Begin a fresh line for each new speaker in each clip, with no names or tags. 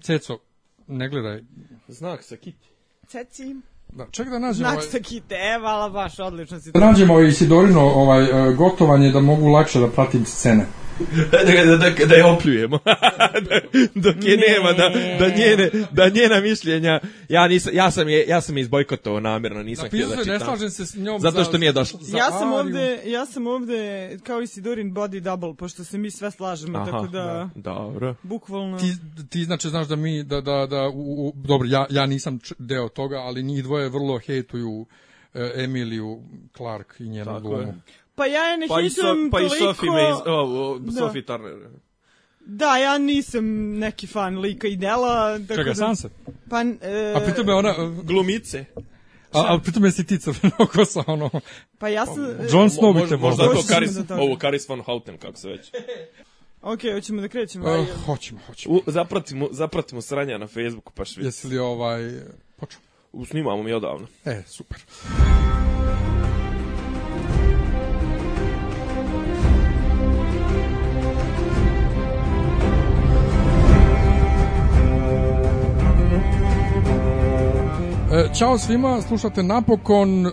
Ceco, ne gledaj.
Znak sa kiti.
Ceci,
Da, ček da nađemo...
znak
ovaj-
sa kite, e, vala baš, odlično si
Da
to.
nađemo i Sidorino ovaj, e, gotovanje da mogu lakše da pratim scene.
Da, da, da, da je opljujemo. Da- Dok je
Ne.
nema, da, da, njene, da njena mišljenja... Ja, nisam, ja, sam je, ja sam je izbojkotovao namjerno, nisam htio da
Napisao je, ne
čitam.
slažem se s njom.
Zato
za-
što nije došlo.
za
Ja sam,
Ariju.
ovde, ja sam ovde kao i Sidorin body double, pošto se mi sve slažemo, tako da,
Dobro.
bukvalno...
Ti, ti znači znaš da mi, da, da, da u, u, dobro, ja, ja nisam č- deo toga, ali njih dvoje vrlo hejtuju e, Emiliju Clark i njenu
Tako
glumu.
je.
Pa ja je ne
Pa i,
hitam
pa i
toliko...
Sofi me iz... O, o,
Da.
Sophie Turner.
Da, ja nisam neki fan lika i dela. Tako
Čega,
da,
Sansa?
Pa, e,
A pritom je ona, e,
Glumice.
a, a pritom je si ti crvenokosa, ono,
pa ja sam... e,
Jon Snow bi
Možda,
te
možda
volao.
to
Došli
Karis,
smo do toga.
ovo Karis van Houten, kako se već.
Ok, hoćemo da krećemo.
Oh.
E,
ajde.
hoćemo, hoćemo.
U, zapratimo, zapratimo sranja na Facebooku, pa švi.
Jesi li ovaj, počeo?
Snimamo mi odavno.
E, super. E, Ćao svima, slušate napokon e,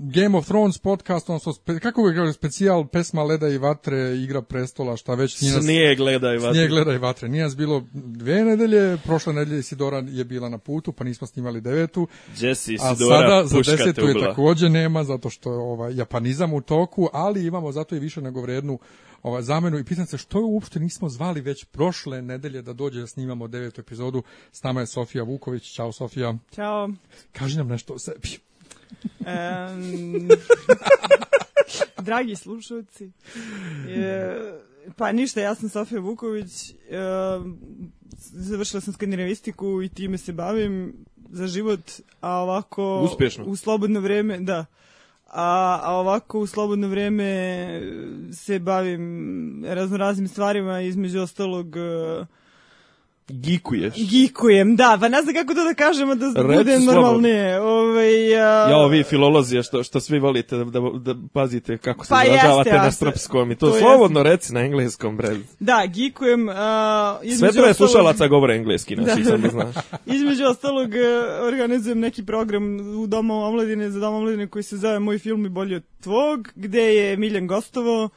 Game of Thrones podcast, odnosno, spe, kako ga kaže, specijal, pesma Leda i vatre, igra prestola, šta već. nije nas-
Snije gledaj vas.
nije gledaj vatre. Nije nas bilo dve nedelje, prošle nedelje Sidora je bila na putu, pa nismo snimali devetu.
Jesse i
A
Sidora,
sada za
puška te
desetu je
ubila.
takođe nema, zato što je ovaj, japanizam u toku, ali imamo zato i više nego vrednu ovaj, zamenu. I pitan se što je uopšte nismo zvali već prošle nedelje da dođe da snimamo devetu epizodu. S nama je Sofija Vuković. Ćao Sofija.
Ćao.
Kaži nam nešto o sebi.
Em, dragi slušalci, e, pa ništa, ja sam Sofija Vuković, e, završila sam skandinavistiku i time se bavim za život, a ovako...
Uspješno.
U slobodno vreme, da. A, a ovako u slobodno vreme e, se bavim raznoraznim stvarima, između ostalog e,
Gikuješ.
gikujem, da, pa ne znam kako to da kažemo da
Reci
budem
slobodno.
normalnije. Ovaj, a,
Ja, vi filolozije što, što svi volite da, da, da pazite kako se
Pa jeste,
izražavate na
a se-
srpskom i to,
to
slobodno reci na engleskom, bre.
Da, gikujem. Uh,
Sve troje slušalaca govore engleski, znači, da.
Da.
sam da znaš.
Između ostalog e, organizujem neki program u Domu omladine, za Dom omladine koji se zove Moj film je bolji od tvog, gde je Miljan Gostovo.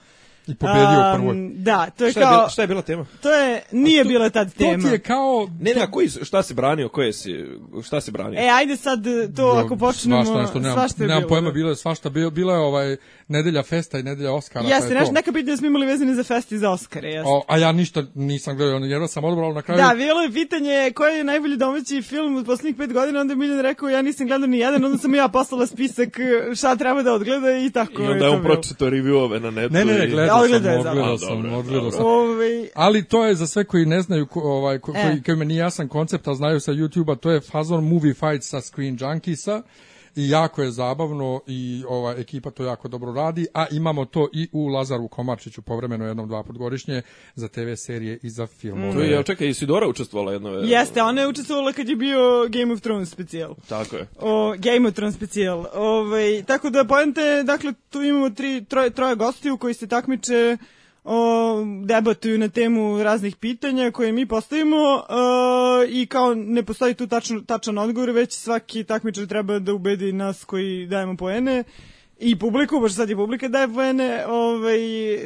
I pobedio u
Am,
prvoj.
Da, to je
Šta je, bila,
kao,
šta je bila tema?
to je, nije bila tad tema.
To ti je kao...
Ne, ne, a koji, su- šta si branio, koje si, šta si branio?
E, ajde sad e, to ako počnemo,
Svašta, nešto, nemam,
svašta je
nemam
bilo.
pojma,
da.
bilo je svašta. Bilo, bila je ovaj, nedelja festa i nedelja Oscara.
Jeste,
pa je
neš,
to.
neka pitanja da smo imali vezane za fest i za Oscare, jeste.
O, a ja ništa nisam gledao, jer sam odobrao na kraju.
Da, bilo je pitanje koji je najbolji domaći film u poslednjih pet godina, onda je Miljan rekao ja nisam gledao ni jedan, onda sam ja poslala spisak e, šta treba da odgleda i tako
I
je
onda
to
je on
bilo.
pročito reviewove na netu.
Ne, ne, ne,
i-
gledao
Ja,
sam,
gledao je
odgledao
zapravo.
sam,
Dobro,
odgledao sam.
Ovaj,
Ali to je za sve koji ne znaju, ko, ovaj, ko,
E.
koji, kojima nije jasan koncept, a znaju sa YouTube-a, to je fazon movie fight sa Screen Junkiesa i jako je zabavno i ova ekipa to jako dobro radi, a imamo to i u Lazaru Komarčiću povremeno jednom dva put godišnje za TV serije i za filmove.
To je, ja, čekaj, Isidora učestvovala jedno. e,
Jeste, ona je učestvovala kad je bio Game of Thrones specijal.
Tako je.
O, Game of Thrones specijal. Ovaj, tako da pojente, dakle, tu imamo tri, troje, troje gostiju koji se takmiče o, debatuju na temu raznih pitanja koje mi postavimo e, i kao ne postoji tu tačno, tačan odgovor, već svaki takmičar treba da ubedi nas koji dajemo poene i publiku, baš sad i publika daje poene, ovaj,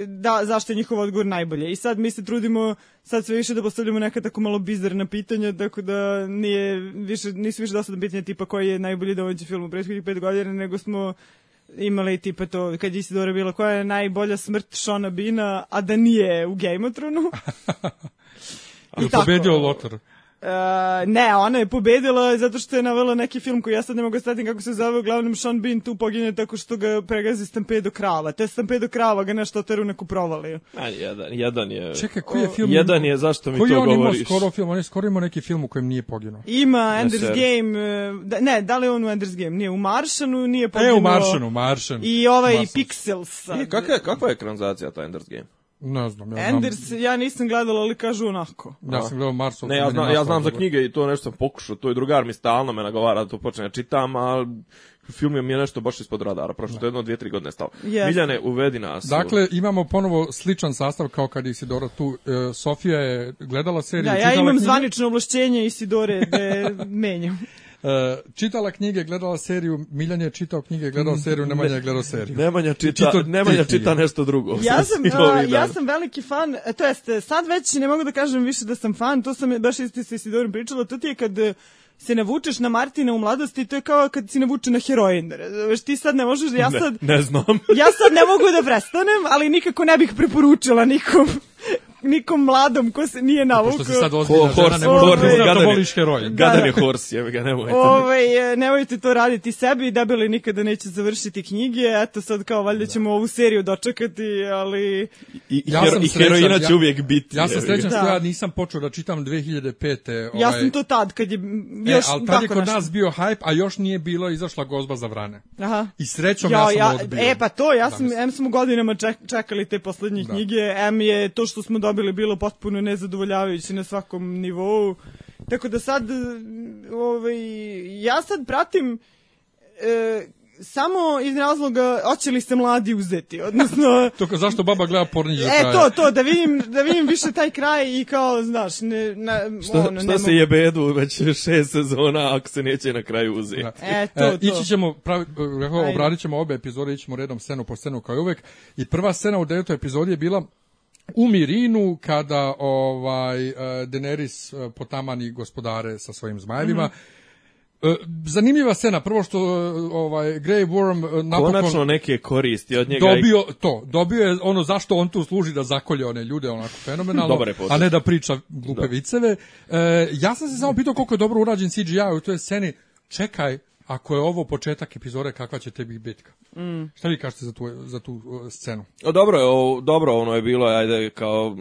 da, zašto je njihov odgovor najbolje. I sad mi se trudimo sad sve više da postavljamo neka tako malo bizarna pitanja, tako da nije više, nisu više dosadna pitanja tipa koji je najbolji domaći film u prethodnih pet godina, nego smo imali tipa to, kad je Isidora bila koja je najbolja smrt Shona Bina, a da nije u Game of Thronesu.
I pobedio Lotar.
Uh, ne, ona je pobedila zato što je navela neki film koji ja sad ne mogu stati kako se zove, uglavnom Sean Bean tu poginje tako što ga pregazi stampedo krava. To je stampedo krava, ga nešto oteru neku provaliju.
A, jedan, jedan je...
Čekaj, koji je film?
Jedan je, zašto mi
koji je
to
on imao
govoriš?
skoro film? On je skoro imao neki film u kojem nije poginuo. E,
Ima Ender's
sir.
Game, e, da, ne, da li je on u Ender's Game? Nije, u Maršanu nije
E,
poginuo.
u Maršanu, Maršan.
I ovaj
Maršan.
Pixels.
E, I kakva je, kakva je ekranizacija ta Ender's Game?
Ne znam, E, ja znam.
Enders, ja nisam gledala, ali kažu onako.
Ja sam gledao Marsov.
Ne, ja
meni
znam, ja
Marsov
znam za
dobro.
knjige i to nešto sam pokušao, to je drugar mi stalno me nagovara da to počne da čitam, a film mi je nešto baš ispod radara, prošlo to je jedno, dvije, tri godine stalo.
Jeste.
Miljane, uvedi nas.
Da. Dakle, imamo ponovo sličan sastav kao kad je Isidora tu. E, Sofija je gledala seriju,
Da, ja
čitala
imam
knjige.
zvanično ovlašćenje Isidore da je menjam.
E, čitala knjige, gledala seriju, Miljan je čitao knjige, gledao seriju, Nemanja je gledao seriju.
Nemanja čita,
Čitao
Nemanja
ti knjige.
čita nešto drugo.
Ja sam,
Svih
a,
ovih
da.
ja
dana.
sam veliki fan, e, to jeste, sad već ne mogu da kažem više da sam fan, to sam baš isto sa Isidorom pričala, to ti je kad e, se navučeš na Martina u mladosti, to je kao kad si navuče na heroin. Razumeš, ti sad ne možeš, da- ja sad,
Ne, ne znam.
ja sad ne mogu da prestanem, ali nikako ne bih preporučila nikom, nikom mladom ko se nije
Da, Pošto
navukao.
si sad ozbiljna žena, ne možeš da
Horse,
priznaš da
Gadan je-
voliš Da, heroin.
Gadan je hors, jevi ga, nemojte.
Ovaj, e, nemojte to raditi sebi, debeli nikada neće završiti knjige, eto sad kao valjda
Da.
ćemo ovu seriju dočekati, ali...
I, i,
Ja
hero-
sam
i
srećan,
heroina
ja-
će uvijek biti.
Ja sam
jevi ga.
srećan što
Da.
ja nisam počeo da čitam 2005. Ovaj,
Ja sam to tad, kad je m,
E,
još
ali tad
tako
je kod
nešto.
nas bio hype, a još nije bilo izašla gozba za vrane.
Aha.
I srećom ja, sam Da, odbio.
E, pa to, ja sam,
Danas.
em smo godinama ček, čekali te poslednje
Da.
knjige, em je to što smo dobili bilo potpuno nezadovoljavajuće na svakom nivou. Tako da sad, e, ovaj, ja sad pratim e, samo iz razloga hoće li se mladi uzeti, odnosno...
To kao, zašto baba gleda porniđe do
E,
kraja?
to, to, da vidim, da vidim više taj kraj i kao, znaš, ne, na,
Šta,
ono, ne
šta se
mogu.
jebedu već šest sezona ako se neće na kraju uzeti?
Da.
E, to, to.
ići ćemo, pravi, rekao,
Ajde.
obradit ćemo obe epizode, ićemo redom scenu po scenu kao i uvek. I prva scena u devetoj epizodi je bila u Mirinu kada ovaj e, Daenerys e, potamani gospodare sa svojim zmajevima.
Mhm.
E, Zanimljiva scena, prvo što e, ovaj Grey Worm e, napokon
Konačno neke koristi od njega. i-
dobio to, dobio je ono zašto on tu služi da zakolje one ljude onako fenomenalno,
Dobar je potez.
a ne da priča glupe viceve. E, ja sam se samo pitao koliko je dobro urađen CGI u toj sceni. Čekaj, ako je ovo početak epizode, kakva će tebi bitka? Mm. Šta vi kažete za tu, za tu e, scenu?
O, dobro, je, o, dobro ono je bilo, ajde, kao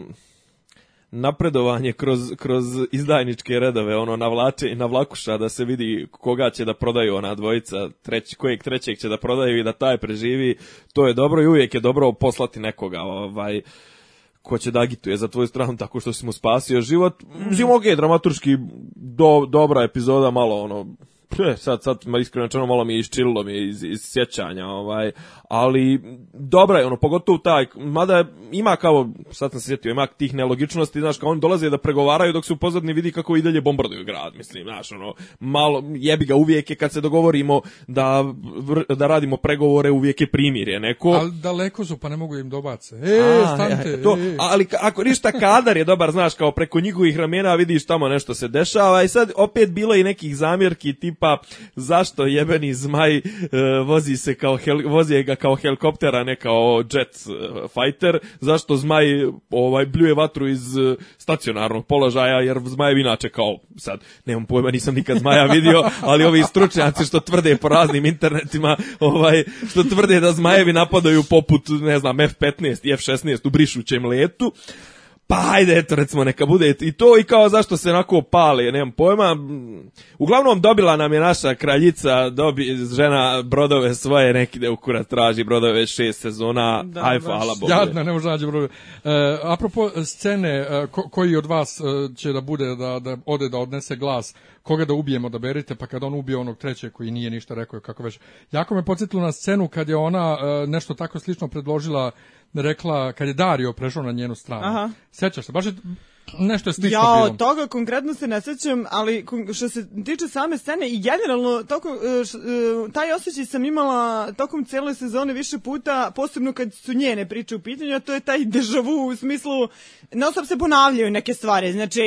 napredovanje kroz, kroz izdajničke redove, ono, navlače, navlakuša da se vidi koga će da prodaju ona dvojica, treć, kojeg trećeg će da prodaju i da taj preživi, to je dobro i uvijek je dobro poslati nekoga, ovaj, ko će da agituje za tvoju stranu tako što si mu spasio život. Mislim, okej, dramaturški do, dobra epizoda, malo ono, eh, sad, sad ma iskreno rečeno malo mi je iščililo mi je iz, iz sjećanja, ovaj, ali dobra je ono, pogotovo taj, mada ima kao, sad sam se sjetio, ima tih nelogičnosti, znaš, kao oni dolaze da pregovaraju dok se u pozadini vidi kako i dalje bombarduju grad, mislim, znaš, ono, malo, jebi ga, uvijek je kad se dogovorimo da, vr- da radimo pregovore, uvijek je primirje neko.
Ali daleko su, pa ne mogu im dobace. E,
A,
stante,
e, to,
e, e.
ali ka- ako ništa kadar je dobar, znaš, kao preko njihovih ramena vidiš tamo nešto se dešava i sad opet bilo je i nekih zamjerki tipa zašto jebeni zmaj e, vozi se kao hel, vozi ga kao helikopter, a ne kao jet e, fighter, zašto zmaj ovaj bljuje vatru iz e, stacionarnog položaja jer zmaj inače kao sad nemam pojma, nisam nikad zmaja vidio, ali ovi stručnjaci što tvrde po raznim internetima, ovaj što tvrde da zmajevi napadaju poput ne znam F15 i F16 u brišućem letu. Pa ajde, eto, recimo, neka bude i to i kao zašto se onako pale, nemam pojma. Uglavnom, dobila nam je naša kraljica, dobi žena brodove svoje, nekide u kurac traži brodove šest sezona,
Da,
aj
baš.
hvala Bogu.
Jadna, ne može nađe broj. E, apropo scene, e, ko, koji od vas e, će da bude da, da ode da odnese glas, koga da ubijemo da berite, pa kada on ubije onog trećeg koji nije ništa rekao, kako već. Jako me podsjetilo na scenu kad je ona e, nešto tako slično predložila, rekla, kad je Dario prešao na njenu stranu.
Aha.
Sjećaš se, baš je nešto je slično
Ja,
bilo.
toga konkretno se ne sećam, ali kon- što se tiče same scene i generalno toko, e, š- e, taj osjećaj sam imala tokom cele sezone više puta, posebno kad su njene priče u pitanju, a to je taj dežavu u smislu, non stop se ponavljaju neke stvari, znači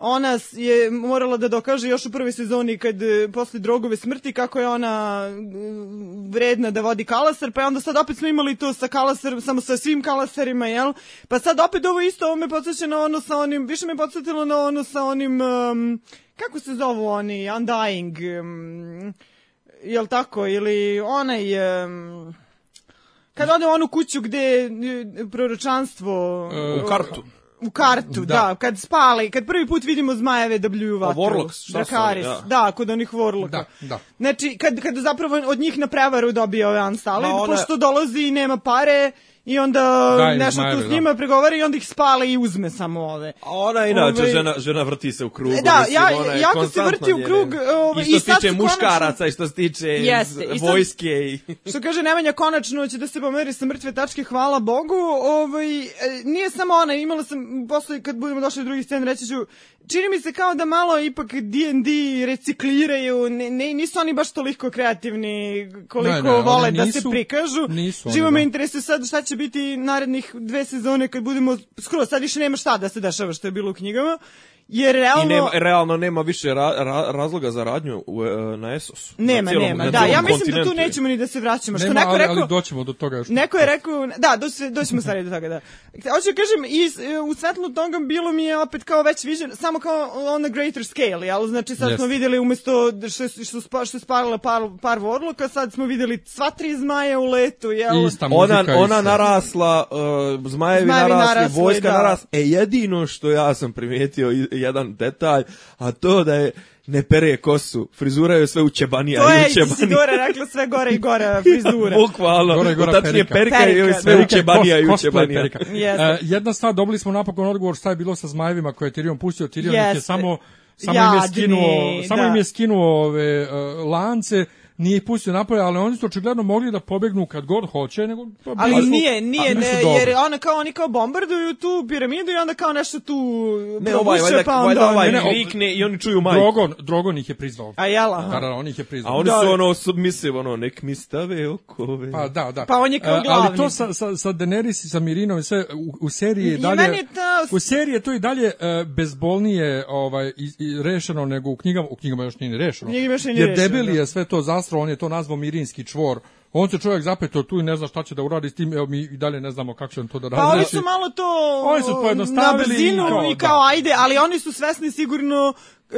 ona s- je morala da dokaže još u prvoj sezoni kad e, posle drogove smrti kako je ona e, vredna da vodi kalasar, pa je onda sad opet smo imali to sa kalasar, samo sa svim kalasarima, jel? Pa sad opet ovo isto, ovo me podsjeća na ono sa onim, više me podsjetilo na ono sa onim, um, kako se zovu oni, Undying, um, jel tako, ili onaj... Um, kad ode u onu kuću gde je proročanstvo
E,
U kartu.
u kartu, da.
Da.
kad spali, kad prvi put vidimo zmajeve da bljuju vatru.
Warlocks, šta su
Drakaris,
oni, da.
da, kod onih Warlocka.
Da, da.
Znači, kad, kad zapravo od njih na prevaru dobije ove Anstali,
Ma ona-
pošto dolazi i nema pare, i onda
Da, ili
nešto
zmajeve,
tu s
da.
njima pregovara i onda ih spale i uzme samo ove.
A ona je inače,
Ovaj-
žena, žena vrti se u krug.
E, da, ja- jako se vrti u krug, ovaj,
I što
i
se
sad
tiče
se
muškaraca, i što se tiče
Jeste, i sad- E,
vojske. I...
Što kaže Nemanja, konačno će da se pomeri sa mrtve tačke, hvala Bogu. Ovaj, e, nije samo ona, imala sam, posle kad budemo došli do drugih scena, reći ću, čini mi se kao da malo ipak D&D recikliraju, ne, ne, nisu oni baš toliko kreativni koliko
Ne, ne, oni
vole da se
nisu-
prikažu.
nisu oni,
Živo me
da.
interesuje sad šta će biti narednih dve sezone kad budemo, skoro sad više nema šta da se dešava što je bilo u knjigama. Jer realno...
I nema, realno nema više ra, ra, razloga za radnju u, e, na Esosu.
Nema,
na cijelom,
nema.
na
Da,
cijelom
ja mislim da tu
kontinentu.
nećemo ni da se vraćamo. Što
Nema,
neko
ali,
rekao,
ali doćemo do toga još.
Neko je rekao, da, do se, doćemo stvari do toga, da. Hoću da kažem, i, s- e, u svetlu toga bilo mi je opet kao već viđen, samo kao on a greater scale, jel? Znači sad smo
Jeste.
videli umesto što, što, spa- što je sparila par, par vorloka, sad smo videli sva tri zmaja u letu, jel?
Ista muzika.
Ona, ona
ista-
narasla, uh, zmajevi,
Zmajevi
narasli,
narasli,
vojska
da.
narasla. E jedino što ja sam primijetio i- jedan detalj, a to da je ne pere kosu, frizura je sve u ćebanija
To
i
je
u ćebani.
Isidora rekla sve gore i gore frizura.
Bukvalno,
Gore i gora
tačnije
perika.
perika, je
Perika,
sve
da.
u ćebanija i u
Cos- cosplay
ćebanija.
perika.
Jeste.
E, jedna stvar, dobili smo napokon odgovor šta je bilo sa zmajevima koje je Tyrion pustio. Tyrion ih
Jeste.
je samo, samo im je
Jadni,
skinuo, samo
da.
im je skinuo ove, e, lance, nije ih pustio napolje, ali oni su očigledno mogli da pobegnu kad god hoće. Nego,
Ali
bili su-
nije, nije,
bili su
ne,
dobri.
jer ona kao, oni kao bombarduju tu piramidu i onda kao nešto tu
Ne, ovaj,
probuše,
valjda,
pa onda
valjda
oni-
ovaj
Ne, ne,
vikne i oni čuju majku.
Drogon, Drogon ih je priznao.
A jel, aha.
Da, da, on ih je priznao.
A oni
Da.
su ono submisive, ono, nek mi stave okove.
Pa da, da.
Pa on je kao
E,
glavni.
Ali to sa, sa, sa Daenerys i sa Mirinom i sve u, u seriji je
I
dalje...
meni je to-
U seriji je to i dalje e, bezbolnije ovaj, i, i rešeno nego u knjigama. U knjigama još nije ni rešeno.
U knjigama još nije ni
Jer
rešeno,
debeli
da.
je sve to zastro, on je to nazvao Mirinski čvor. On se čovjek zapetao tu i ne zna šta će da uradi s tim, evo mi i dalje ne znamo kako će on to da radi.
Pa oni
Znači,
su malo to
Oni su pojednostavili
na brzinu i
i
kao,
kao, da.
ajde, ali oni su svesni sigurno e,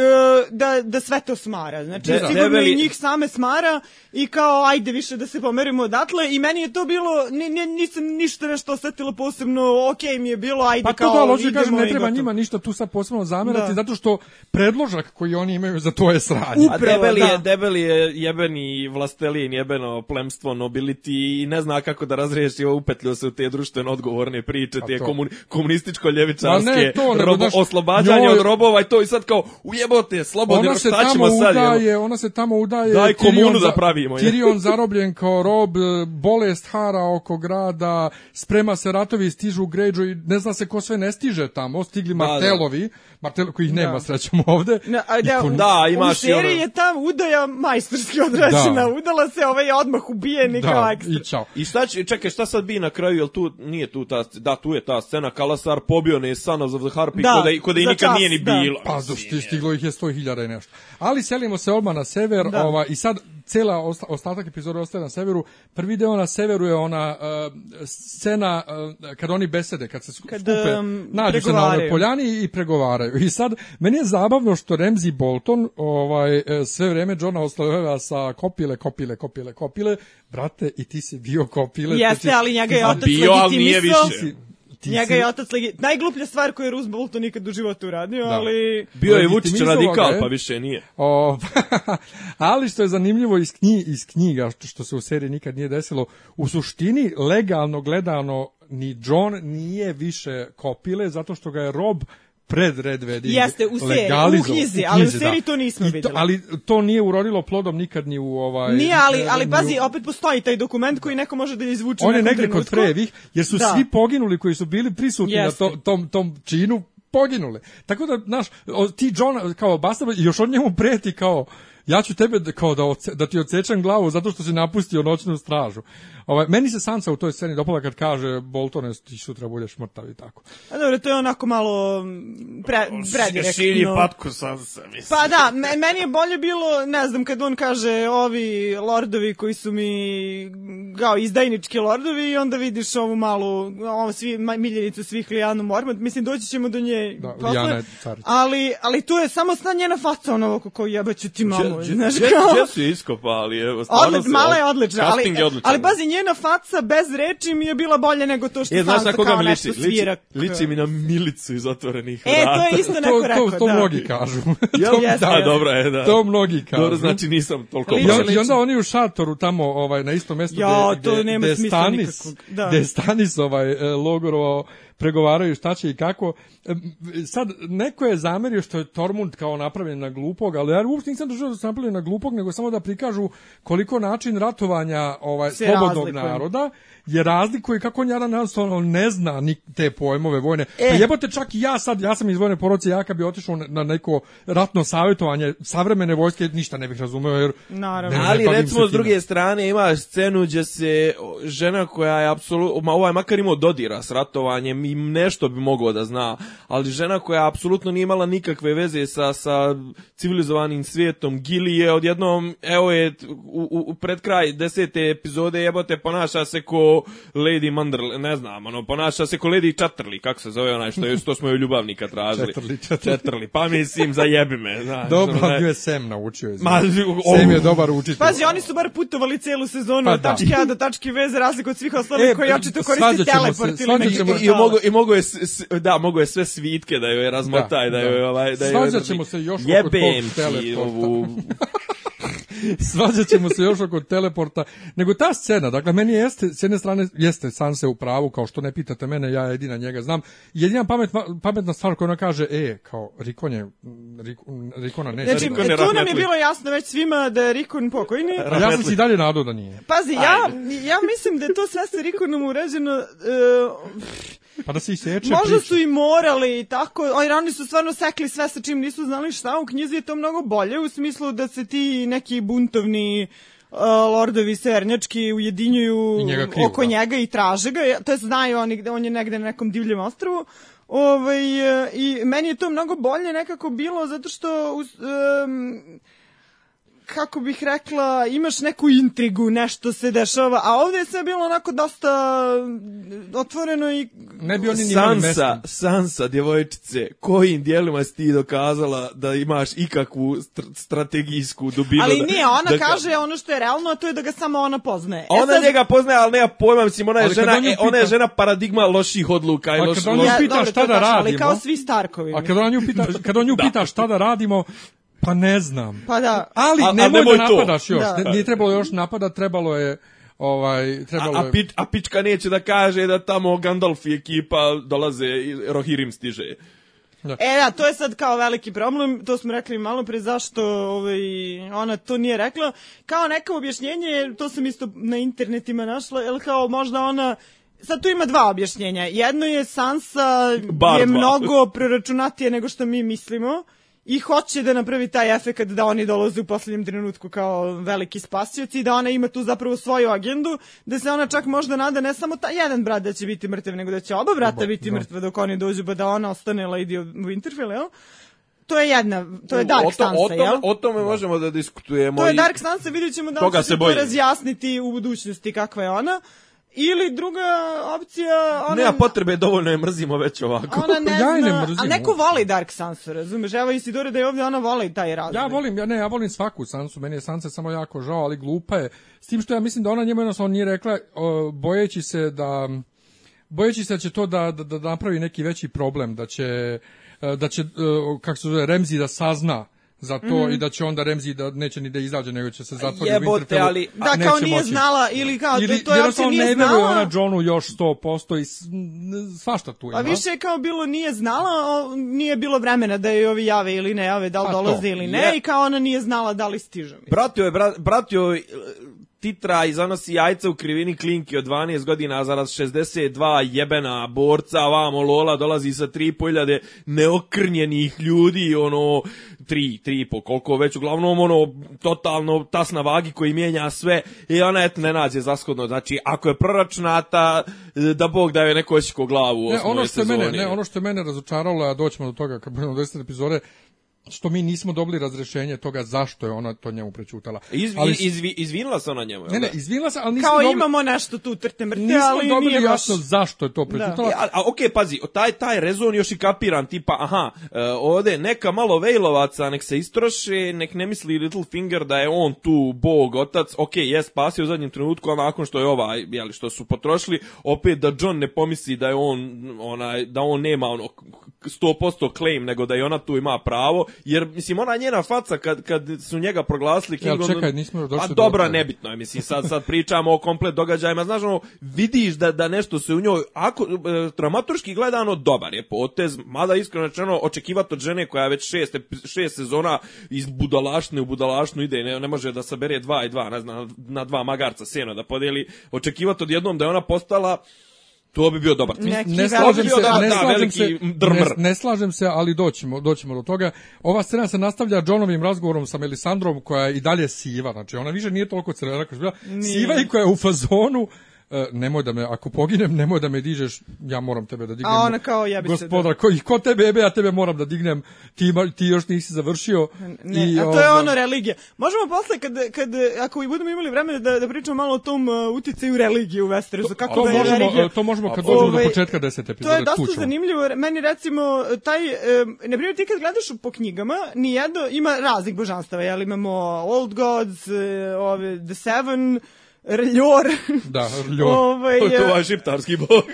da, da sve to smara. Znači,
Da, da.
sigurno
Debeli-
i njih same smara i kao, ajde više da se pomerimo odatle i meni je to bilo, ni, ni, nisam ništa nešto osetila posebno, okej mi je bilo, ajde
Pa
kao,
to da, ali hoću da kažem,
idemo
ne
i
treba
gotovo.
njima ništa tu sad posebno zamerati,
Da.
zato što predložak koji oni imaju za to je sranje. Pa
A
Upravo,
debeli,
da.
je, debeli je jebeni vlastelin, jebeno plemstvo nobility i ne zna kako da razriješi ovo upetljio se u te društveno odgovorne priče, te
to.
komuni, komunističko-ljevičarske
Ma ne, to, nego,
robo-
znaš,
oslobađanje
njoj-
od robova i to i sad kao ujebote, slobodni,
Ona se
šta
tamo
ćemo sad? jel?
udaje, ona se tamo udaje.
Daj
Tyrion
komunu
za-
da pravimo, je.
Tyrion zarobljen kao rob, e, bolest hara oko grada, sprema se ratovi, stižu Greyjoy, ne zna se ko sve ne stiže tamo, stigli
da.
Martelovi, Martel kojih nema srećom ovde.
Na, a da,
Iku-
Da,
u-
imaš
u
i
seriji
ono-
je ta udaja majstorski odrađena,
Da.
udala se ovaj odmah ubijen i kao
da,
ekstra.
i čao.
I šta će, čekaj, šta sad bi na kraju, jel tu, nije tu ta, da, tu je ta scena, Kalasar pobio ne Sons of the Harpy,
Da,
da, kod, kod i
za
nikad
čas,
nije ni
da.
bilo.
Pa zašto ti stiglo ih je 100.000 i nešto. Ali selimo se odmah na sever
Da.
ova, i sad cela osta, ostatak epizode ostaje na severu. Prvi deo na severu je ona uh, scena uh, kad oni besede, kad se sku-
Kad,
skupe,
um,
nađu se na onoj
pregovaraju.
poljani i pregovaraju. I sad, meni je zabavno što Remzi Bolton ovaj, e, sve vreme Johna osloveva sa kopile, kopile, kopile, kopile. Brate, i ti si bio kopile. to
Jeste,
si-
ali njega je
A
otac
bio, ali nije
legitimisao.
više.
ti
Njega
si-
je otac legi... Najgluplja stvar koju je Roose Bolton nikad u životu uradio,
Da.
ali...
Bio je Vučić
Legitimizovala
radikal,
ga e? je.
pa više nije.
O, ali što je zanimljivo iz, knji, iz knjiga, što, što se u seriji nikad nije desilo, u suštini legalno gledano ni John nije više kopile zato što ga je Rob pred Red Wedding
Jeste, u seriji,
legalizovao.
u knjizi, ali u
knjizi, da.
seriji to nismo
I
vidjeli.
Ali to nije urodilo plodom nikad ni u ovaj...
Nije, ali,
ni
ali
u-
pazi, opet postoji taj dokument koji neko može da izvuče u
On je
nekom
negdje kod
trenutku.
Frejevih, jer su
Da.
svi poginuli koji su bili prisutni
Jeste.
na to, tom, tom činu, poginuli. Tako da, znaš, o, ti John kao bastard, i još on njemu preti kao, ja ću tebe da- kao da, oce, da ti odsečem glavu zato što si napustio noćnu stražu. Ovaj, meni se Sansa u toj sceni dopala kad kaže Boltone, ti sutra budeš mrtav i tako.
A dobro, to je onako malo mm, pre, predirektno.
sam se, mislim.
Pa da, me- meni je bolje bilo, ne znam, kad on kaže ovi lordovi koji su mi kao izdajnički lordovi i onda vidiš ovu malu, ovo svi, ma- miljenicu svih Lijanu Mormont, mislim doći ćemo do nje
Da,
posle,
Lijana je carica.
ali, ali tu je samo sna njena faca ono oko koju jebaću ti mamu. ovo,
Đe-
Pa, znaš
Đe-
kao...
Jesu je iskopa, ali evo, stvarno
Odlič,
se-
mala je odlična, ali,
casting je odličan. da.
ali pazi, njena faca bez reči mi je bila bolje nego to što
E, znaš
faca
na koga
kao
mi liči?
nešto
Liči,
svira.
liči mi na milicu iz otvorenih
E,
vrata.
to je isto neko
To,
rekao,
to, to
da.
mnogi kažu.
Jel?
to,
Jeste,
A,
jeste.
dobro je, da.
to mnogi kažu.
Dobro, znači nisam toliko
I,
Liči,
pametan.
on- I onda oni u šatoru tamo ovaj na istom mjestu
Jao,
gde,
to
gde,
nema
gde je
smisla
Stanis,
nikakvog, da.
gde je Stanis ovaj e, logorovao pregovaraju šta će i kako. E, m, Sad neko je zamerio što je Tormund kao napravljen na glupog, ali ja uopšte nisam držao da su napravljeni na glupog, nego samo da prikažu koliko način ratovanja ovaj
Se
slobodnog
razlikuje.
naroda je razlikuje kako on jedan jednostavno ne zna ni te pojmove vojne.
E.
Pa jebote čak i ja sad, ja sam iz vojne porodice, ja kad bi otišao na neko ratno savjetovanje savremene vojske, ništa ne bih razumeo jer
Naravno.
ne- ne
Ali
bavim se
recimo s
time.
druge strane ima scenu gdje se o, žena koja je apsolutno, ma ovaj makar imao dodira s ratovanjem i nešto bi mogao da zna, ali žena koja apsolutno nije imala nikakve veze sa, sa civilizovanim svijetom, Gili je odjednom, evo je t- u, u, u pred kraj desete epizode jebote ponaša se ko Lady Mandrl, ne znam, ono, ponaša se ko Lady Čatrli, kako se zove onaj što, je, što smo joj ljubavnika tražili.
Čatrli, Čatrli.
Čatrli, pa mislim, zajebi me, znaš. ono,
Dobro,
ne-
bio je Sam naučio. iz-
Ma,
Sam je
o,
dobar učitelj.
Pazi, oni su bar putovali celu sezonu
Pa
od
da.
tačke A do tačke V za razliku od svih ostalih
E,
koji očito koriste
svađat ćemo
teleport
se,
ili neki
svađat ćemo-
I, i,
portal.
mogo, i mogo je, s, s, da, mogo je sve svitke da joj razmota i da,
Da,
joj,
da.
ovaj, da joj...
Svađat ćemo se još oko
Jebem
tog
ti
teleporta.
ovu...
Svađat ćemo se još oko teleporta. Nego ta scena, dakle, meni jeste, s jedne strane, jeste Sanse u pravu, kao što ne pitate mene, ja jedina njega znam. Jedina pamet, pametna stvar koju ona kaže, e, kao, Rikon je, Rikon, Rikona da ne.
Znači,
Rikon je
tu nam je
rahmetli.
bilo jasno već svima da je Rikon pokojni.
A ja sam si i dalje nadao da nije.
Pazi, ja, ja mislim da je to sve sa Rikonom urađeno, e,
Pa da se iseče
možda
priča.
su i morali i tako, ali oni su stvarno sekli sve sa čim nisu znali šta, u knjizi je to mnogo bolje u smislu da se ti neki buntovni e, lordovi severnjački ujedinjuju
I njega kriju,
oko
da.
njega i traže ga, to je znaju oni gde on je negde na nekom divljem ostrovu. Ovaj, e, I meni je to mnogo bolje nekako bilo zato što uz, em, kako bih rekla, imaš neku intrigu, nešto se dešava, a ovdje je sve bilo onako dosta e, otvoreno i
Ne bi oni ni imali
Sansa,
mesta.
Sansa, djevojčice, kojim dijelima si ti dokazala da imaš ikakvu str- strategijsku dubinu?
Ali
da-
nije, ona
da, ka-
kaže ono što je realno, a to je da ga samo ona poznaje. E
Ona
sad-
njega poznaje, ali nema pojma, mislim, ona je,
Ali kad
žena,
on nju
e, ona je
pita-
žena paradigma loših odluka
A
i
kad
loših...
on nju
loših-
Ja, pita
dobro,
šta
to je
da
tačno, Ali
radimo.
kao svi Starkovi.
A kad on nju pita, kad on nju pita šta da radimo, pa ne znam.
Pa da.
Ali
A- a
nemoj,
nemoj
da
to.
napadaš još.
Da.
Ne- Nije trebalo još napada, trebalo je ovaj trebalo
A, a,
je-
pič, a pička neće da kaže da tamo Gandalf i ekipa dolaze i Rohirrim stiže.
E da, to je sad kao veliki problem, to smo rekli malo pre zašto ovaj, ona to nije rekla. Kao neko objašnjenje, to sam isto na internetima našla, jel kao možda ona Sad tu ima dva objašnjenja. Jedno je Sansa
Bar
je
dva.
mnogo preračunatije nego što mi mislimo i hoće da napravi taj efekt da oni dolaze u posljednjem trenutku kao veliki spasioci i da ona ima tu zapravo svoju agendu, da se ona čak možda nada ne samo ta jedan brat da će biti mrtav, nego da će oba brata
Oba,
biti
da.
mrtva dok oni dođu, pa da ona ostane Lady of Winterfell, jel? To je jedna, to je Dark
O to- o
Sansa,
tome-
jel?
O tome možemo da diskutujemo.
To je
i-
Dark Sansa, vidjet ćemo da li
Toga
će se
se
to
bojim.
razjasniti u budućnosti kakva je ona. Ili druga opcija, ona...
Nema potrebe, dovoljno je mrzimo već ovako.
Ona ne
Ja je ne
zna,
mrzim
a neko
uopšte.
voli Dark Sansa, razumeš? Evo Isidore da je ovdje ona voli taj razred.
Ja volim, ja ne, ja volim svaku Sansu, meni je Sansa samo jako žao, ali glupa je. S tim što ja mislim da ona njemu jednostavno nije rekla, o, bojeći se da bojeći se da će to da, da, da napravi neki veći problem, da će, e, da će e, kako se zove, Remzi da sazna za to
Mhm.
i da će onda Remzi da neće ni da izađe, nego će se zatvoriti u
Jebote,
Winterfellu.
ali-
a
Da, kao
neće
nije
moći. Da.
znala, ili kao,
Ili,
to je uopće
jednostavno
nije
ne veruje
znala.
ona Johnu još 100% i s- n- svašta tu ima.
Pa više je kao bilo nije znala, o, nije bilo vremena da joj ovi jave ili ne jave, da li
Pa to. Pa
dolaze ili ne,
Je.
i kao ona nije znala da li stiže. mislim.
Bratio je, bra- bratio je, e, titra i zanosi jajca u krivini klinki od 12 godina za raz 62 jebena borca, vamo Lola dolazi sa 3.500 neokrnjenih ljudi, ono, 3, 3,5, koliko već, uglavnom, ono, totalno tas na vagi koji mijenja sve i ona et ne nađe zashodno, znači, ako je proračunata, e, da Bog daje neko očiko glavu u
Ne,
osmoj
ono što je mene,
sezoni.
ne, ono što je mene razočaralo, a doćemo do toga kad budemo do 10 epizode, što mi nismo dobili razrešenje toga zašto je ona to njemu prećutala.
Iz,
Ali-
ali, izvi, izvinila se ona njemu, jel
Ne, ne,
da?
izvinila se, ali nismo
Kao
dobili,
imamo nešto tu trte mrte,
nismo
ali
dobili
nije baš... Da.
jasno zašto je to prećutala.
E, A, a okej, pazi, o, taj, taj rezon još i kapiram, tipa, aha, e, ovde neka malo vejlovaca, nek se istroše, nek ne misli Littlefinger da je on tu bog, otac, okej, je spasio u zadnjem trenutku, a nakon što je ovaj, jeli, što su potrošili, opet da John ne pomisli da je on, onaj, da on nema ono, k- k- 100% claim, nego da i ona tu ima pravo, jer, mislim, ona njena faca kad, kad su njega proglasili
Jel,
King of the-
čekaj, nismo još došli
Pa
do
dobro,
toga.
ne nebitno je, mislim, sad, sad pričamo o komplet događajima, znaš, ono, vidiš da, da nešto se u njoj, ako, e, dramaturški gledano, dobar je potez, mada iskreno rečeno, očekivati od žene koja već šest, epi- šest sezona iz budalašne u budalašnu ide, i ne, ne može da sabere dva i dva, ne znam, na dva magarca seno da podeli, očekivati odjednom da je ona postala, to bi bio dobar twist.
Neki
ne slažem se,
veliki- Da,
ne
da,
slažem
veliki
se,
drmr.
ne, ne slažem se, ali doćemo, doćemo do toga. Ova scena se nastavlja Johnovim razgovorom sa Melisandrom koja je i dalje siva, znači ona više nije toliko crvena kao što je bila. Siva i koja je u fazonu e, nemoj da me, ako poginem, nemoj da me dižeš, ja moram tebe da dignem.
A ona kao, jebi se,
Gospodar, ko, i ko tebe jebe, ja tebe moram da dignem, ti, ima- ti još nisi završio.
Ne,
I,
a to je
ovaj,
ono religija. Možemo posle, kad, kad, ako i budemo imali vremena, da, da pričamo malo o tom uh, uticaju religije u Westerosu. Kako
To
da je
možemo,
religija...
e, to možemo kad dođemo do
Ovaj,
početka deset
To je
epizode. tu
dosta
ćemo.
zanimljivo, jer meni recimo taj, e, na primjer ti kad gledaš po knjigama, ni jedno, ima raznih božanstava, jel imamo Old Gods, e, ove, The Seven, Reljor,
Da, ljo.
ovaj,
To je to
e,
ovaj šiptarski bog.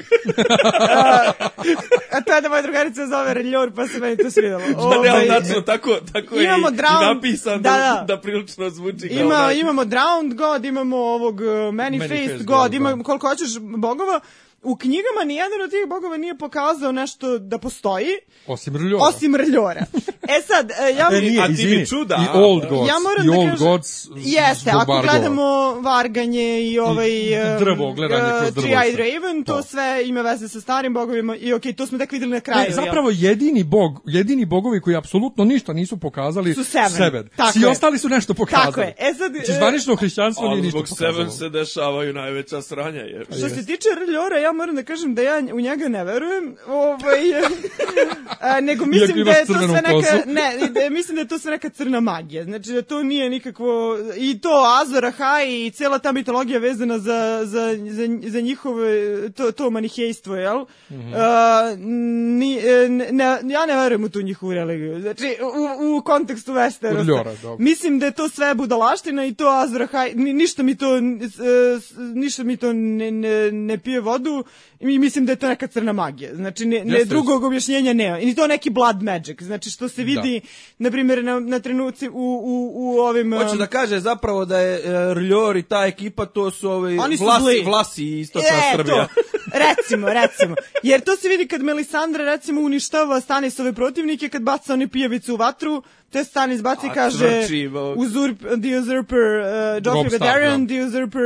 a to je da moja drugarica zove Reljor, pa se meni to svidalo.
Pa ne, ali
Ovaj,
tačno, tako, tako je i,
Imamo
i
drown.
napisan da,
Da,
da,
da.
prilično zvuči kao da
Ima,
onaj-
imamo Drowned God, imamo ovog e, Manifest God,
God,
God,
da.
ima koliko hoćeš bogova. U knjigama nijedan od tih bogova nije pokazao nešto da postoji,
Osim ljo.
osim Rljora. E sad, e, ja...
E, nije,
A ti mi
izvini,
čuda,
I
a?
Old Gods,
Ja moram
i
da
Old
kažem-
Gods
Jeste,
zbog
ako
Bargova.
gledamo varganje i ovaj...
I drvo, gledanje kroz drvo i
Tree
sve.
Raven, to,
To.
sve ima veze sa starim bogovima i okej, to smo tek videli na kraju.
Ne,
jel?
zapravo jedini bog, jedini bogovi koji apsolutno ništa nisu pokazali
Su Seven.
Seven.
Tako
Svi
je.
ostali su nešto pokazali.
Tako je. E sad,
Znači,
e,
zvanično hrišćanstvo nije
Ali
ništa
zbog
pokazalo.
Seven se dešavaju najveća sranja. Je.
Što se tiče Rljora, ja moram da kažem da ja u njega ne verujem, ovaj, a, nego
Iako
mislim
ima
da je to
crvenu
sve neka,
kosu.
ne, i da, mislim da je to sve neka crna magija, znači da to nije nikakvo, i to Azor Ahai i cela ta mitologija vezana za, za, za, za njihove, to, to manihejstvo, jel? Mm
Mhm.
-hmm. a, ni, e, ne, ja ne verujem u tu njihovu religiju, znači u, u kontekstu Westerosa.
Rljora, dobro.
Mislim da je to sve budalaština i to Azrahaj, ni, ništa mi to, n- s- e, s- ništa mi to ne, ne, ne pije vodu i mislim da je to neka crna magija. Znači, ne, ne
Jeste, Da.
drugog objašnjenja nema. I to neki blood magic, znači što se vidi, na primjer, na, na trenuci u, u, u ovim... e,
Hoće da kaže zapravo da je e, Rljor i ta ekipa, to su ovi
Oni su
vlasi,
zli.
vlasi istočna
E,
Srbija.
To. Recimo, recimo. Jer to se vidi kad Melisandra recimo uništava Stanisove protivnike kad baca one pijavicu u vatru, to je Stanis baci i
A,
kaže
crči, bo-
uzurp, the usurper uh, Joffrey
Robb znači, Stark,
Vedarion,
da.
the usurper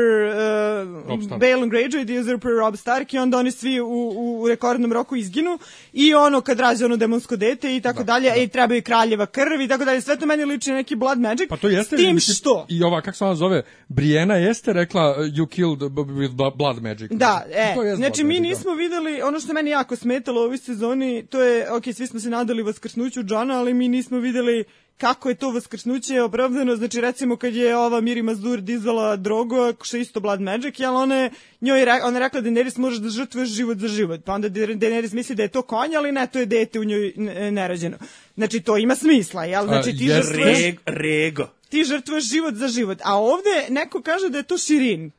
Robb
uh,
Stark.
Balon Greyjoy, the usurper Robb Stark i onda oni svi u, u, u rekordnom roku izginu i ono kad rađe ono demonsko dete i tako
Da,
dalje, i treba i kraljeva krv i tako dalje, sve to meni liči na neki blood magic.
Pa to jeste...
S tim
mislim,
što?
I ova, kako se ona zove, Brijena jeste rekla uh, you killed b- b- with bla- blood magic.
Da, e,
To jest
znači
blood
mi
magic, da.
nismo videli, ono što je meni jako smetalo u ovoj sezoni, to je, ok, svi smo se nadali vaskrsnuću Džana, ali mi nismo videli kako je to vaskrsnuće opravdano, znači recimo kad je ova Miri Mazdur dizala drogo, što je isto Blood Magic, jel ona je, njoj je, re- ona je rekla Daenerys možeš da žrtvuješ život za život, pa onda Da- Daenerys misli da je to konj, ali ne, to je dete u njoj e, nerađeno. Znači to ima smisla, jel? Znači ti
jeste.
žrtvuješ
rego.
ti žrtvuješ život za život. A ovde neko kaže da je to Širin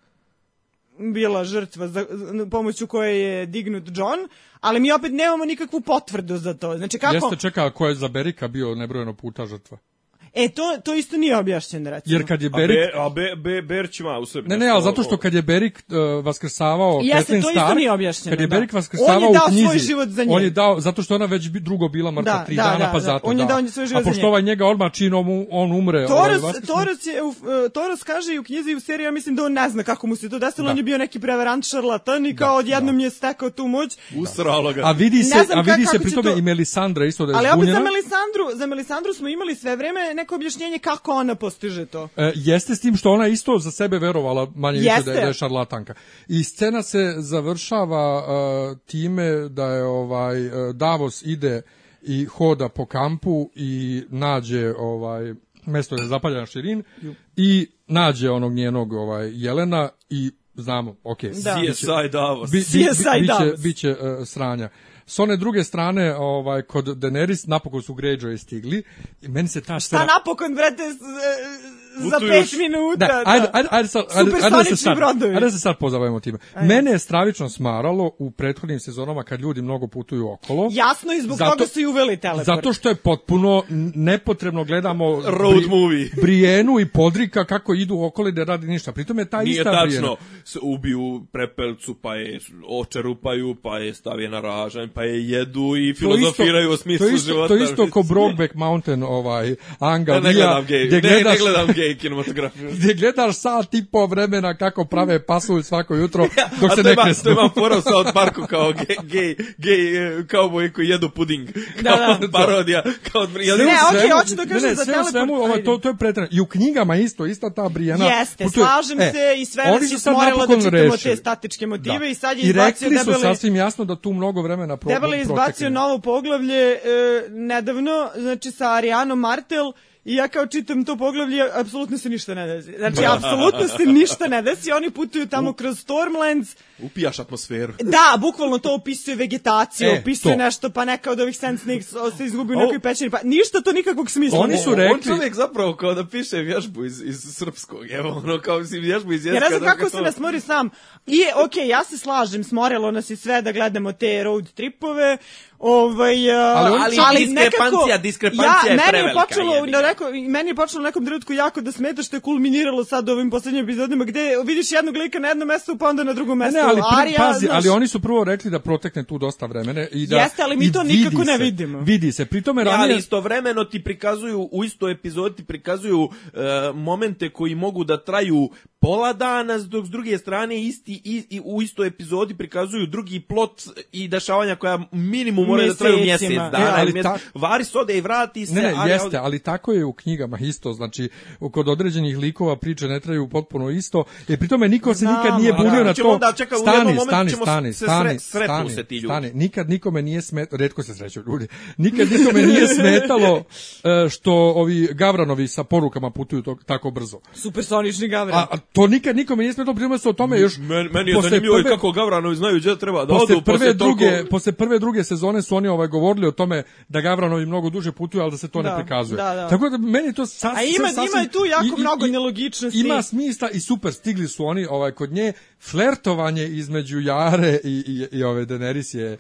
bila žrtva za, za- pomoću koje je dignut John, ali mi opet nemamo nikakvu potvrdu za to. Znači kako?
Jeste čeka ko je za Berika bio nebrojeno puta žrtva.
E, to, to isto nije objašnjeno, recimo.
Jer kad je
A,
Berik...
be, a be, be, Berć ima u sebi.
Ne, ne,
nešto
ali zato što
ovo.
kad je Berik uh, vaskrsavao
Jeste,
Catelyn
to isto
Stark,
nije objašnjeno,
kad je
da.
Berik vaskrsavao
On je dao
u knjizi,
svoj život za nje.
On je dao, zato što je ona već bi- drugo bila mrtva
Da,
tri
da,
dana,
da,
pa
da.
zato
On je
da.
dao svoj život
A
za
pošto
nje.
ovaj njega odmah činom u- on umre. ovaj,
Toros,
vaskrsne.
Toros, je, u, e, Toros kaže i u knjizi i u seriji, ja mislim da on ne zna kako mu se to desilo,
Da.
on je bio neki prevarant šarlatan i kao odjednom je stekao tu moć,
Usralo ga.
A vidi
Ne
se,
znam
a vidi
kako
se
će
pri tome
to-
i Melisandra isto da je
ali opet
zbunjena.
za Melisandru, za Melisandru smo imali sve vreme neko objašnjenje kako ona postiže to.
E, jeste s tim što ona isto za sebe verovala manje više da je,
Jeste.
da je šarlatanka. I scena se završava e, time da je ovaj e, Davos ide i hoda po kampu i nađe ovaj mesto za zapaljan širin i nađe onog njenog ovaj jelena i znamo, okej,
Da.
CSI Davos.
bi, bi,
CSI
bi, biće,
Davos.
biće e, sranja. S one druge strane, ovaj, kod Daenerys napokon su Greyjoy stigli i meni se ta
Ta
scena...
napokon, brate, s- e, za
Putuješ.
pet minuta.
Da, ajde, ajde, ajde, sad, ajde, ajde, da se
Supersonični
sad,
brodovi.
ajde da se sad pozabavimo time. Mene je stravično smaralo u prethodnim sezonama kad ljudi mnogo putuju okolo.
Jasno i zbog
Zato-
toga su i uveli teleport.
Zato što je potpuno n- nepotrebno gledamo
Road movie.
Brijenu i Podrika kako idu okolo i ne radi ništa. Pritom je ta
Nije
ista Brijena.
tačno, S- ubiju prepelcu, pa je očerupaju, pa je stave na ražanj, pa je jedu i
To isto-
filozofiraju o smislu
to isto,
života.
To isto ko Brokeback Mountain ovaj, Anga
Ja ne
Lija,
gledam gej,
gdje
ne, ne
gledaš-
gledam gej kinematografiju.
gdje gledaš sat i po vremena kako prave pasulj svako jutro dok
A
se
to
ne
ima, to
kresnu.
ima fora sa od parku kao gej, gej, gej e, kauboji koji jedu puding. Kao
Da, da.
parodija. Kao, jel
Ne,
ima
okej,
svemu-
hoću da kažem
ne, ne,
za
sve u
teleport,
svemu, ovo,
ajde.
to, to je pretrano. I u knjigama isto, ista ta Brijana.
Jeste,
putuje.
slažem
da. E,
se i sve
oni
nas
su
je
sad
smorilo da
napokon
čitamo
rešili.
te statičke motive
Da.
i sad je
I
izbacio
rekli su
debeli,
sasvim jasno da tu mnogo vremena pro,
debeli je izbacio
protekne.
novo poglavlje e, nedavno, znači sa Arijanom Martel i ja kao čitam to poglavlje, apsolutno se ništa ne desi. Znači,
Da.
apsolutno se ništa ne desi, oni putuju tamo kroz Stormlands,
Upijaš atmosferu.
Da, bukvalno to opisuje vegetaciju,
E,
opisuje
to.
nešto, pa neka od ovih Sand Snakes o, se izgubi u
Ovo-
nekoj pećini, pa ništa to nikakvog smisla.
Oni
nema.
su re-
On
rekli-
čovjek zapravo kao da piše vježbu iz, iz srpskog, evo, ono, kao mislim vježbu iz jezika.
Ja ne
dakle,
znam
da
kako
ga
se
to-
nas mori sam. I, okej, ja se slažem, smorelo nas je sve da gledamo te road tripove, ovaj, a,
Ali oni
ali,
su-
diskrepancija, diskrepancija
ja,
je
meni
prevelika,
Počelo,
jebi
na
ga.
neko, meni je počelo u nekom trenutku jako da smeta što je kulminiralo sad u ovim poslednjim epizodima gde vidiš jednog lika na jednom mestu pa onda na drugom
Ne,
mestu.
ne, ali pri-
Arya,
pazi,
znaš,
ali oni su prvo rekli da protekne tu dosta vremena i da
Jeste, ali mi
i
to
vidi
nikako ne
se,
vidimo.
Vidi se. Pritome
Ja,
ranije
ali istovremeno ti prikazuju, u istoj epizodi ti prikazuju e, momente koji mogu da traju pola dana, dok s druge strane isti, i, i u istoj epizodi prikazuju drugi plot i dešavanja koja minimum moraju da traju mjesec
Mjesecima.
dana.
E, ali
ili mjesec-
tak-
Varis ode i vrati se.
Ne, ne,
Arya
jeste,
ode-
ali tako je u knjigama isto, znači kod određenih likova priče ne traju potpuno isto, i pri tome niko se
Znam,
nikad nije
ali
bunio na
ćemo
to,
onda, čekaj, u jednom
stani,
momentu
stani,
ćemo
stani,
se
stani,
sre- sretnu
stani,
se ti ljudi.
stani, nikad nikome nije smetalo, redko se sreću ljudi, nikad nikome nije smetalo e, što ovi gavranovi sa porukama putuju to, tako brzo.
Supersonični gavran.
A, a to nikad nikome nije smetalo, primjer se o tome još...
Men, meni je
posle
zanimljivo i
prve-
kako Gavranovi znaju gdje treba da
posle
odu.
prve
posle toliko-
druge posle prve druge sezone su oni ovaj govorili o tome da Gavranovi mnogo duže putuju ali da se to
Da,
ne prikazuje.
da, da.
Tako da meni to sas,
A ima-
sa- sasvim-
ima tu jako mnogo nelogičnosti.
Ima smisla i super stigli su oni ovaj kod nje flertovanje između Jare i i, i ove Daenerys je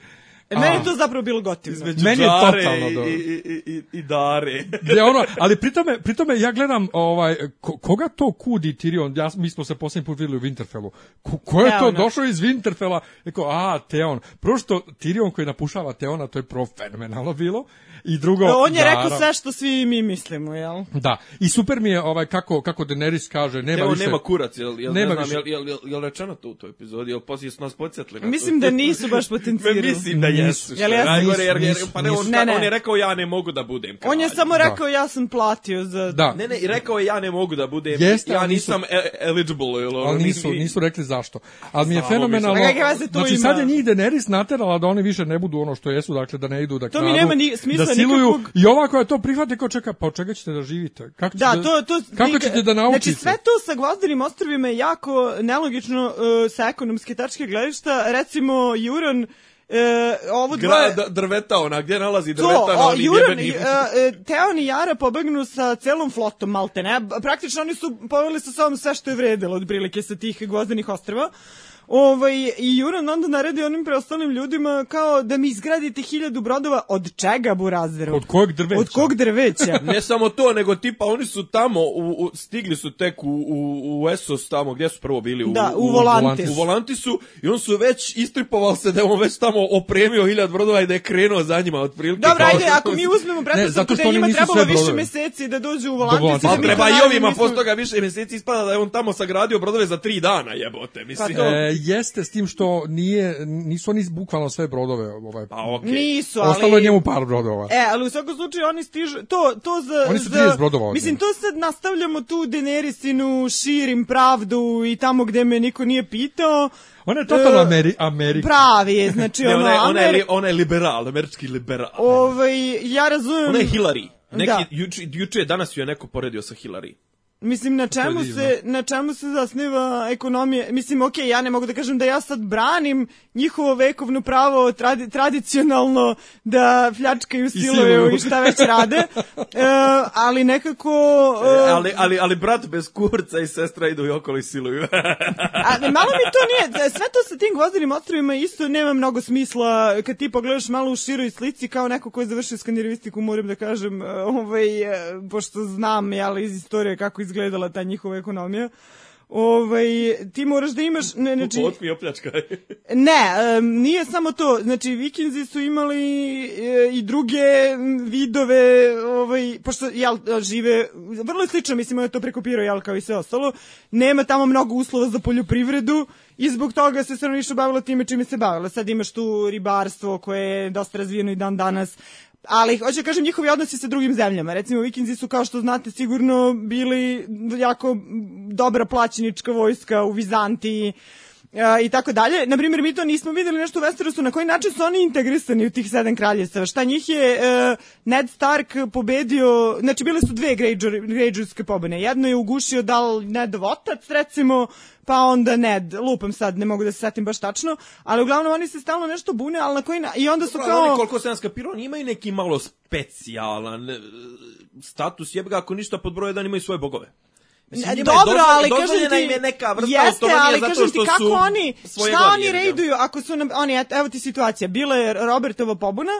E, Meni je to zapravo bilo gotivno.
između
Meni je
Dare
totalno
i,
dobro.
i, i, i, i Dare.
Gdje ono, ali pritome, pritome ja gledam ovaj ko, koga to kudi Tyrion, ja, mi smo se posljednji put videli u Winterfellu. Ko, ko je to
Teona.
došao iz Winterfella? Eko, a, Teon. Prvo što Tyrion koji napušava Teona, to je prvo fenomenalno bilo. I drugo,
E, Da, On je
naravno-
rekao sve što svi mi mislimo, jel?
Da, i super mi je ovaj kako kako Daenerys kaže, nema
Evo,
više.
nema kurac, jel, jel,
Nema
ne znam,
više.
jel, jel, jel, jel rečeno to u toj epizodi, jel poslije su nas podsjetili na to?
Mislim da nisu baš
Me
potencirali.
mislim da jesu. što
Jel
je
jesu?
najgore, jer, jer,
Nisu,
pa ne, on,
nisu.
ne,
Ne, ne.
on je rekao ja ne mogu da budem kralj.
On je samo rekao ja sam platio za...
Da.
Ne, ne, i rekao je ja ne mogu da budem,
Jeste,
ja
ali nisu-
nisam e- eligible, jel, ono,
ali nisu,
nisam-
nisu rekli zašto. Ali mi je
Samo
fenomenalno...
mislim. Kakve veze to
Znači,
ima?
sad je njih Daenerys naterala da oni više ne budu ono što jesu, dakle, da ne idu, da
To mi
kradu,
nema ni- smisla
da siluju.
nikakvog.
I ova koja to prihvate, ko čeka, pa od čega ćete da živite? Kako ćete
Da, to, to,
kako ćete da naučite?
Znači, sve to sa Gvozdanim ostrovima je jako nelogično e, sa ekonomske tačke gledišta. Recimo, Juron, e, ovo
Gra,
dvoje...
da, drveta ona, gdje nalazi
To,
drveta na
o,
onim
Juran,
jebenim...
e, e, Teon i Jara pobegnu sa celom flotom malte, ne? Praktično oni su poveli sa sobom sve što je vredilo od prilike sa tih gvozdenih ostrava. Ovaj, I Juran onda naredi onim preostalim ljudima kao da mi izgradite hiljadu brodova od čega burazeru?
Od kojeg drveća?
Od kog drveća?
Ne samo to, nego tipa oni su tamo, u, u, stigli su tek u, u, u Esos tamo, gdje su prvo bili? U,
da, u,
u
volantis.
U volanti su i on su već istripovao se da je on već tamo opremio hiljad brodova i da je krenuo za njima otprilike.
Dobro,
Kao
ajde,
što-
ako mi uzmemo
zato što
pretpostavku da je
oni
njima
nisu
trebalo
sve
više
brodove.
meseci da dođu u volantis.
Volantisa.
da
Pa
mi to
treba i
naravno
ovima
nismo-
posle toga više mjeseci ispada da je on tamo sagradio brodove za tri dana, jebote, mislim.
Pa to-
E, jeste s tim što nije, nisu oni bukvalno sve brodove. Ovaj,
Pa okej.
Nisu, ali...
Ostalo je njemu par brodova.
E, ali u svakom slučaju oni stižu, to, to za...
Oni su
za-
30 brodova odnijeli.
Mislim, to sad nastavljamo tu Daenerysinu, širim pravdu i tamo gde me niko nije pitao.
Ona je totalno
E,
Ameri Amerika.
Pravi je, znači
Ne,
ono...
ona je, ona je,
Ameri-
li- ona je liberal, američki liberal.
Ovaj, ja razumem...
Ona je Hillary. Neki,
Da.
juče, juče, danas ju je neko poredio sa Hillary.
Mislim, na čemu,
divno.
se, na čemu se zasniva ekonomija? Mislim, okej, ja ne mogu da kažem da ja sad branim njihovo vekovno pravo tradi, tradicionalno da pljačkaju, siluju
siluju.
i šta već rade, e, ali nekako...
E,
e,
ali, ali, ali brat bez kurca i sestra idu i okolo i siluju.
A, ne, malo mi to nije, da, sve to sa tim gvozdenim ostrovima isto nema mnogo smisla kad ti pogledaš malo u široj slici kao neko ko je završio skandinavistiku, moram da kažem, e, ovaj, e, pošto znam jel, iz istorije kako izgledala ta njihova ekonomija. Ovaj, ti moraš da imaš, ne, znači,
Otmi i opljačkaj.
ne, em, nije samo to, znači vikinzi su imali e, i druge m, vidove, ovaj, pošto jel, žive, vrlo je slično, mislim, on je to prekopirao, jel, kao i sve ostalo, nema tamo mnogo uslova za poljoprivredu i zbog toga se stanovništvo bavilo time čime se bavilo. Sad imaš tu ribarstvo koje je dosta razvijeno i dan danas, ali hoću da kažem njihovi odnosi sa drugim zemljama. Recimo, vikinzi su, kao što znate, sigurno bili jako dobra plaćenička vojska u Vizantiji, e, i tako dalje. Na primjer, mi to nismo videli nešto u Westerosu, na koji način su oni integrisani u tih sedam kraljestava. Šta njih je e, Ned Stark pobedio, znači bile su dve Greyjoy- Greyjoyske pobune. Jedno je ugušio dal Nedov otac, recimo, pa onda Ned, lupam sad, ne mogu da se setim baš tačno, ali uglavnom oni se stalno nešto bune, ali na koji na... I onda su
Kao... Oni,
kao...
koliko sam skapirao, oni imaju neki malo specijalan e, status. Jebe ga, ako ništa pod broj jedan imaju svoje bogove. Mislim, njima je
e, Dobro,
dozvo-
ali kažem
dozvoljena
ti,
im je neka vrsta
jeste,
autonomije
ali
zato
kažem ti
što
kako
su
oni,
svoje da.
šta
godine,
oni
jel?
rejduju, ako su nam, oni, eto, evo ti situacija, bila je Robertova pobuna,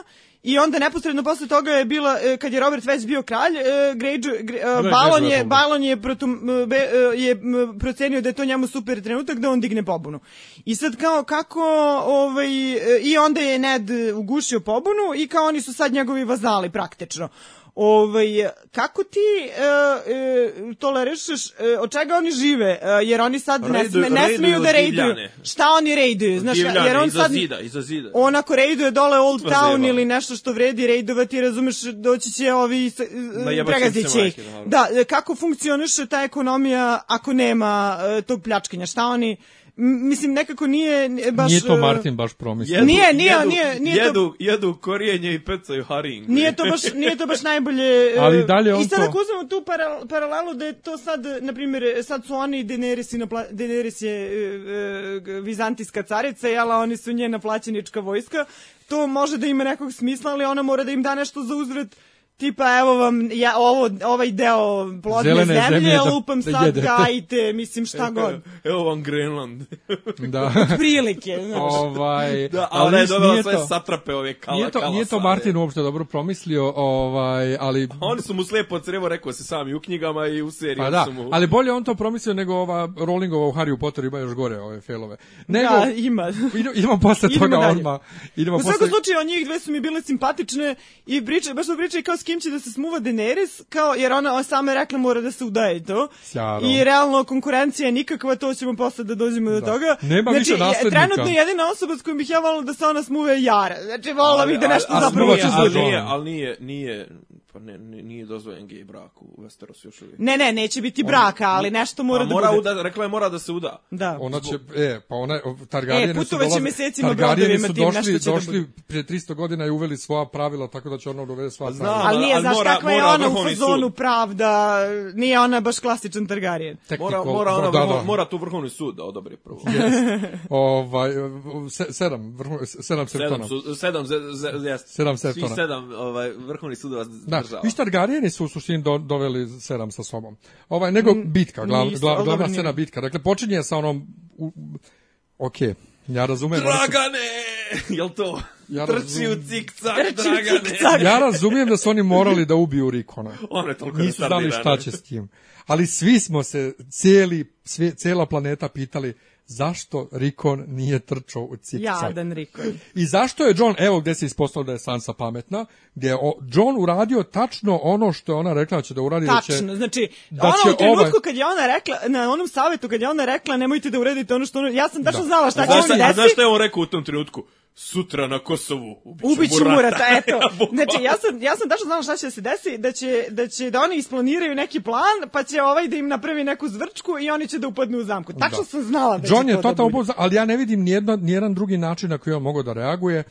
I onda neposredno posle toga je bila, e, kad je Robert već bio kralj, e, Greyjo- Gre- e,
Ne,
Balon
Greyjoyova
je,
pobuna.
Balon je, protum, be, e, je m, procenio da je to njemu super trenutak da on digne pobunu. I sad kao kako, ovaj, e, i onda je Ned ugušio pobunu i kao oni su sad njegovi vazali praktično. Ovaj, kako ti e, e, tolerišeš, e, od čega oni žive, e, jer oni sad ne,
Rejduju-
sme, ne smeju
rejduju
da rejduju.
divljane.
Šta oni rejduju? Znaš,
Divljane,
jer on
iza
sad,
zida, iza zida.
on ako rejduje dole Old
Tvrdo
Town
jebalo.
ili nešto što vredi rejdovati, razumeš, doći će ovi, sa-
Najebat će
pregazit
se
će ih.
majke, naravno.
Da, e, kako funkcioniše ta ekonomija ako nema e, tog pljačkanja? Šta oni, m, mislim, nekako nije n- baš...
Nije to
e,
Martin baš promislio.
Jedu-
Nije, nije,
jedu,
nije, nije to-
jedu, jedu korijenje i pecaju haring.
Nije to baš nije to baš najbolje. e,
Ali dalje on
I sad
to-
ako uzmemo tu para, paralelu da je to sad e, na primjer sad su oni Daenerys i napla, Daenerys je e, e, g- vizantijska carica, jela oni su njena plaćenička vojska. To može da ima nekog smisla, ali ona mora da im da nešto za uzvrat. Tipa, evo vam ja, ovo, ovaj deo plodne
Zelene
zemlje,
zemlje da- E, pa-
lupam
da
sad
jedete.
gajite, mislim šta god.
Evo vam Greenland.
Da.
Prilike, znači, znaš.
ovaj,
da, a
ali
ona je dobila
nije
sve
to-
satrape ove kala,
Nije to,
kala
nije to
sade.
Martin uopšte dobro promislio, ovaj, ali...
A Oni su mu slepo crevo, rekao se sam i u knjigama i u seriji.
Pa da,
su mu...
ali bolje on to promislio nego ova Rowlingova u Harry Potteru ima još gore ove failove. Nego,
Da, ima.
Idemo, idemo posle
Idemo
toga
dalje.
odmah. Idemo
U
posle...
svakom slučaju, od njih dve su mi bile simpatične i priče, baš su priče kao s kim će da se smuva Daenerys, kao, jer ona ona sama je rekla mora da se udaje i to.
Sjajno.
I realno konkurencija je nikakva, to ćemo posle da dođemo do toga.
Nema
znači,
više naslednika.
Trenutno jedina osoba s kojom bih ja volila da se ona smuve je Jara. Znači, volila bih da nešto
a- a smuva
zapravo
će
ja.
se
ali,
za
nije,
Johna.
ali nije, nije, pa ne, ne- nije dozvoljen gej brak u Westerosu još uvijek.
Ne, ne, neće biti braka, ali nešto mora,
A mora
da bude.
uda, rekla je mora da se uda.
Da.
Ona će, e, pa ona, Targarijeni
E,
su
putovat će
dolaze,
mesecima
Targarijeni
brodovima
su
tim, nešto
došli,
će da
došli
bude.
prije 300 godina i uveli svoja pravila, tako da će ona da uvede svoja
Pa Znam,
pravila.
Ali nije,
ali
znaš
mora-
kakva je
mora
ona u
Vrhovni sud.
fazonu pravda, nije ona baš klasičan Targaryen.
Mora,
Technical-
mora, ona,
da,
vrho-
da.
mora tu vrhovni sud da odobri prvo.
Ovaj, se, sedam, vrhu, sedam septona.
Sedam, su, sedam, ze, ze, jest.
Sedam
Svih
septona.
sedam ovaj, vrhovni sudovac
Da,
država.
i Targarijeni su u suštini do, doveli sedam sa sobom. Ovaj, nego bitka, glav,
nisu,
glav,
ali
glavna
dobro, Mm, nije.
scena bitka. Dakle, počinje sa onom... U, ok, ja razumem... oni su-
Dragane! Jel to?
Ja
Trči u
razumem.
cik-cak, Dragane!
Ja razumijem da su oni morali da ubiju Rikona.
Ono je toliko
Nisu znali
retardirana.
šta će s tim. Ali svi smo se, cijeli, sve, cijela planeta pitali zašto Rikon nije trčao u cikcak.
Jadan Rikon.
I zašto je John, evo gdje se ispostavilo da je Sansa pametna, gdje je o- John uradio tačno ono što je ona rekla da će da uradi. da će,
Tačno, znači,
da
ono
će
u trenutku
ovaj-
kad je ona rekla, na onom savjetu kad je ona rekla nemojte da uredite ono što ono, ja sam tačno
Da.
znala šta će
Znaš
se
šta, a znaš
desiti.
šta je on rekao u tom trenutku? Sutra na Kosovu ubićemo
Ubiću
Murata.
Murata, eto.
Bukvalno.
Znači, ja sam, ja sam tačno znala šta će da se desi, da će, da će da oni isplaniraju neki plan, pa će ovaj da im napravi neku zvrčku i oni će da upadnu u zamku. Tačno
Da.
sam znala da
John
će
je
to da
totalno
bude.
upoznat, ali ja ne vidim nijedna, nijedan drugi način na koji je on mogao da reaguje.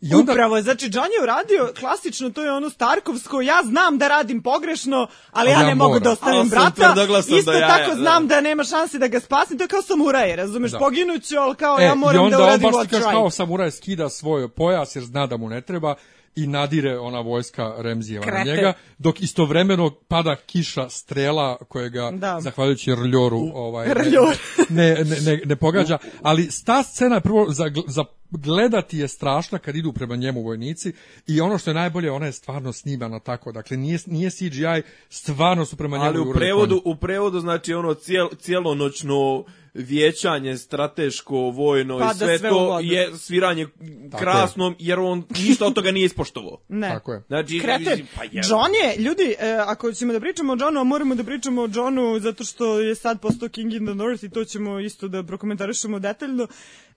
I onda,
Upravo, znači John je uradio klasično, to je ono Starkovsko, ja znam da radim pogrešno, ali ja,
Ali ja
ne mogu da
moram.
ostavim
Ali sam
brata,
tvrdoglasan
isto
do jaja,
tako
da.
znam da nema šanse da ga spasim, to je kao samuraje, razumeš,
Da.
poginuću, ali kao
e,
ja
i
moram
onda
da uradim
on baš
what
ti kaže
right.
kao samuraj skida svoj pojas jer zna da mu ne treba i nadire ona vojska Remzijeva na
Kreten.
njega, dok istovremeno pada kiša strela kojega,
Da.
zahvaljujući rljoru, ovaj, ne-
Rljor.
ne, ne, ne, ne pogađa, ali ta scena prvo za, za gledati je strašna kad idu prema njemu vojnici i ono što je najbolje, ona je stvarno snimana tako, dakle nije, nije CGI, stvarno su prema njemu
Ali u
jurali
prevodu, u prevodu znači ono cijel, cijelonoćno vijećanje strateško, vojno
Pada
i sve,
Pa da sve u
to
vodu.
je sviranje
Tako
krasnom jer on ništa od toga nije ispoštovao.
Ne.
Tako je.
Znači,
Kreten.
pa je.
John je, ljudi, e, ako ćemo da pričamo o Johnu, a moramo da pričamo o Johnu zato što je sad postao King in the North i to ćemo isto da prokomentarišemo detaljno.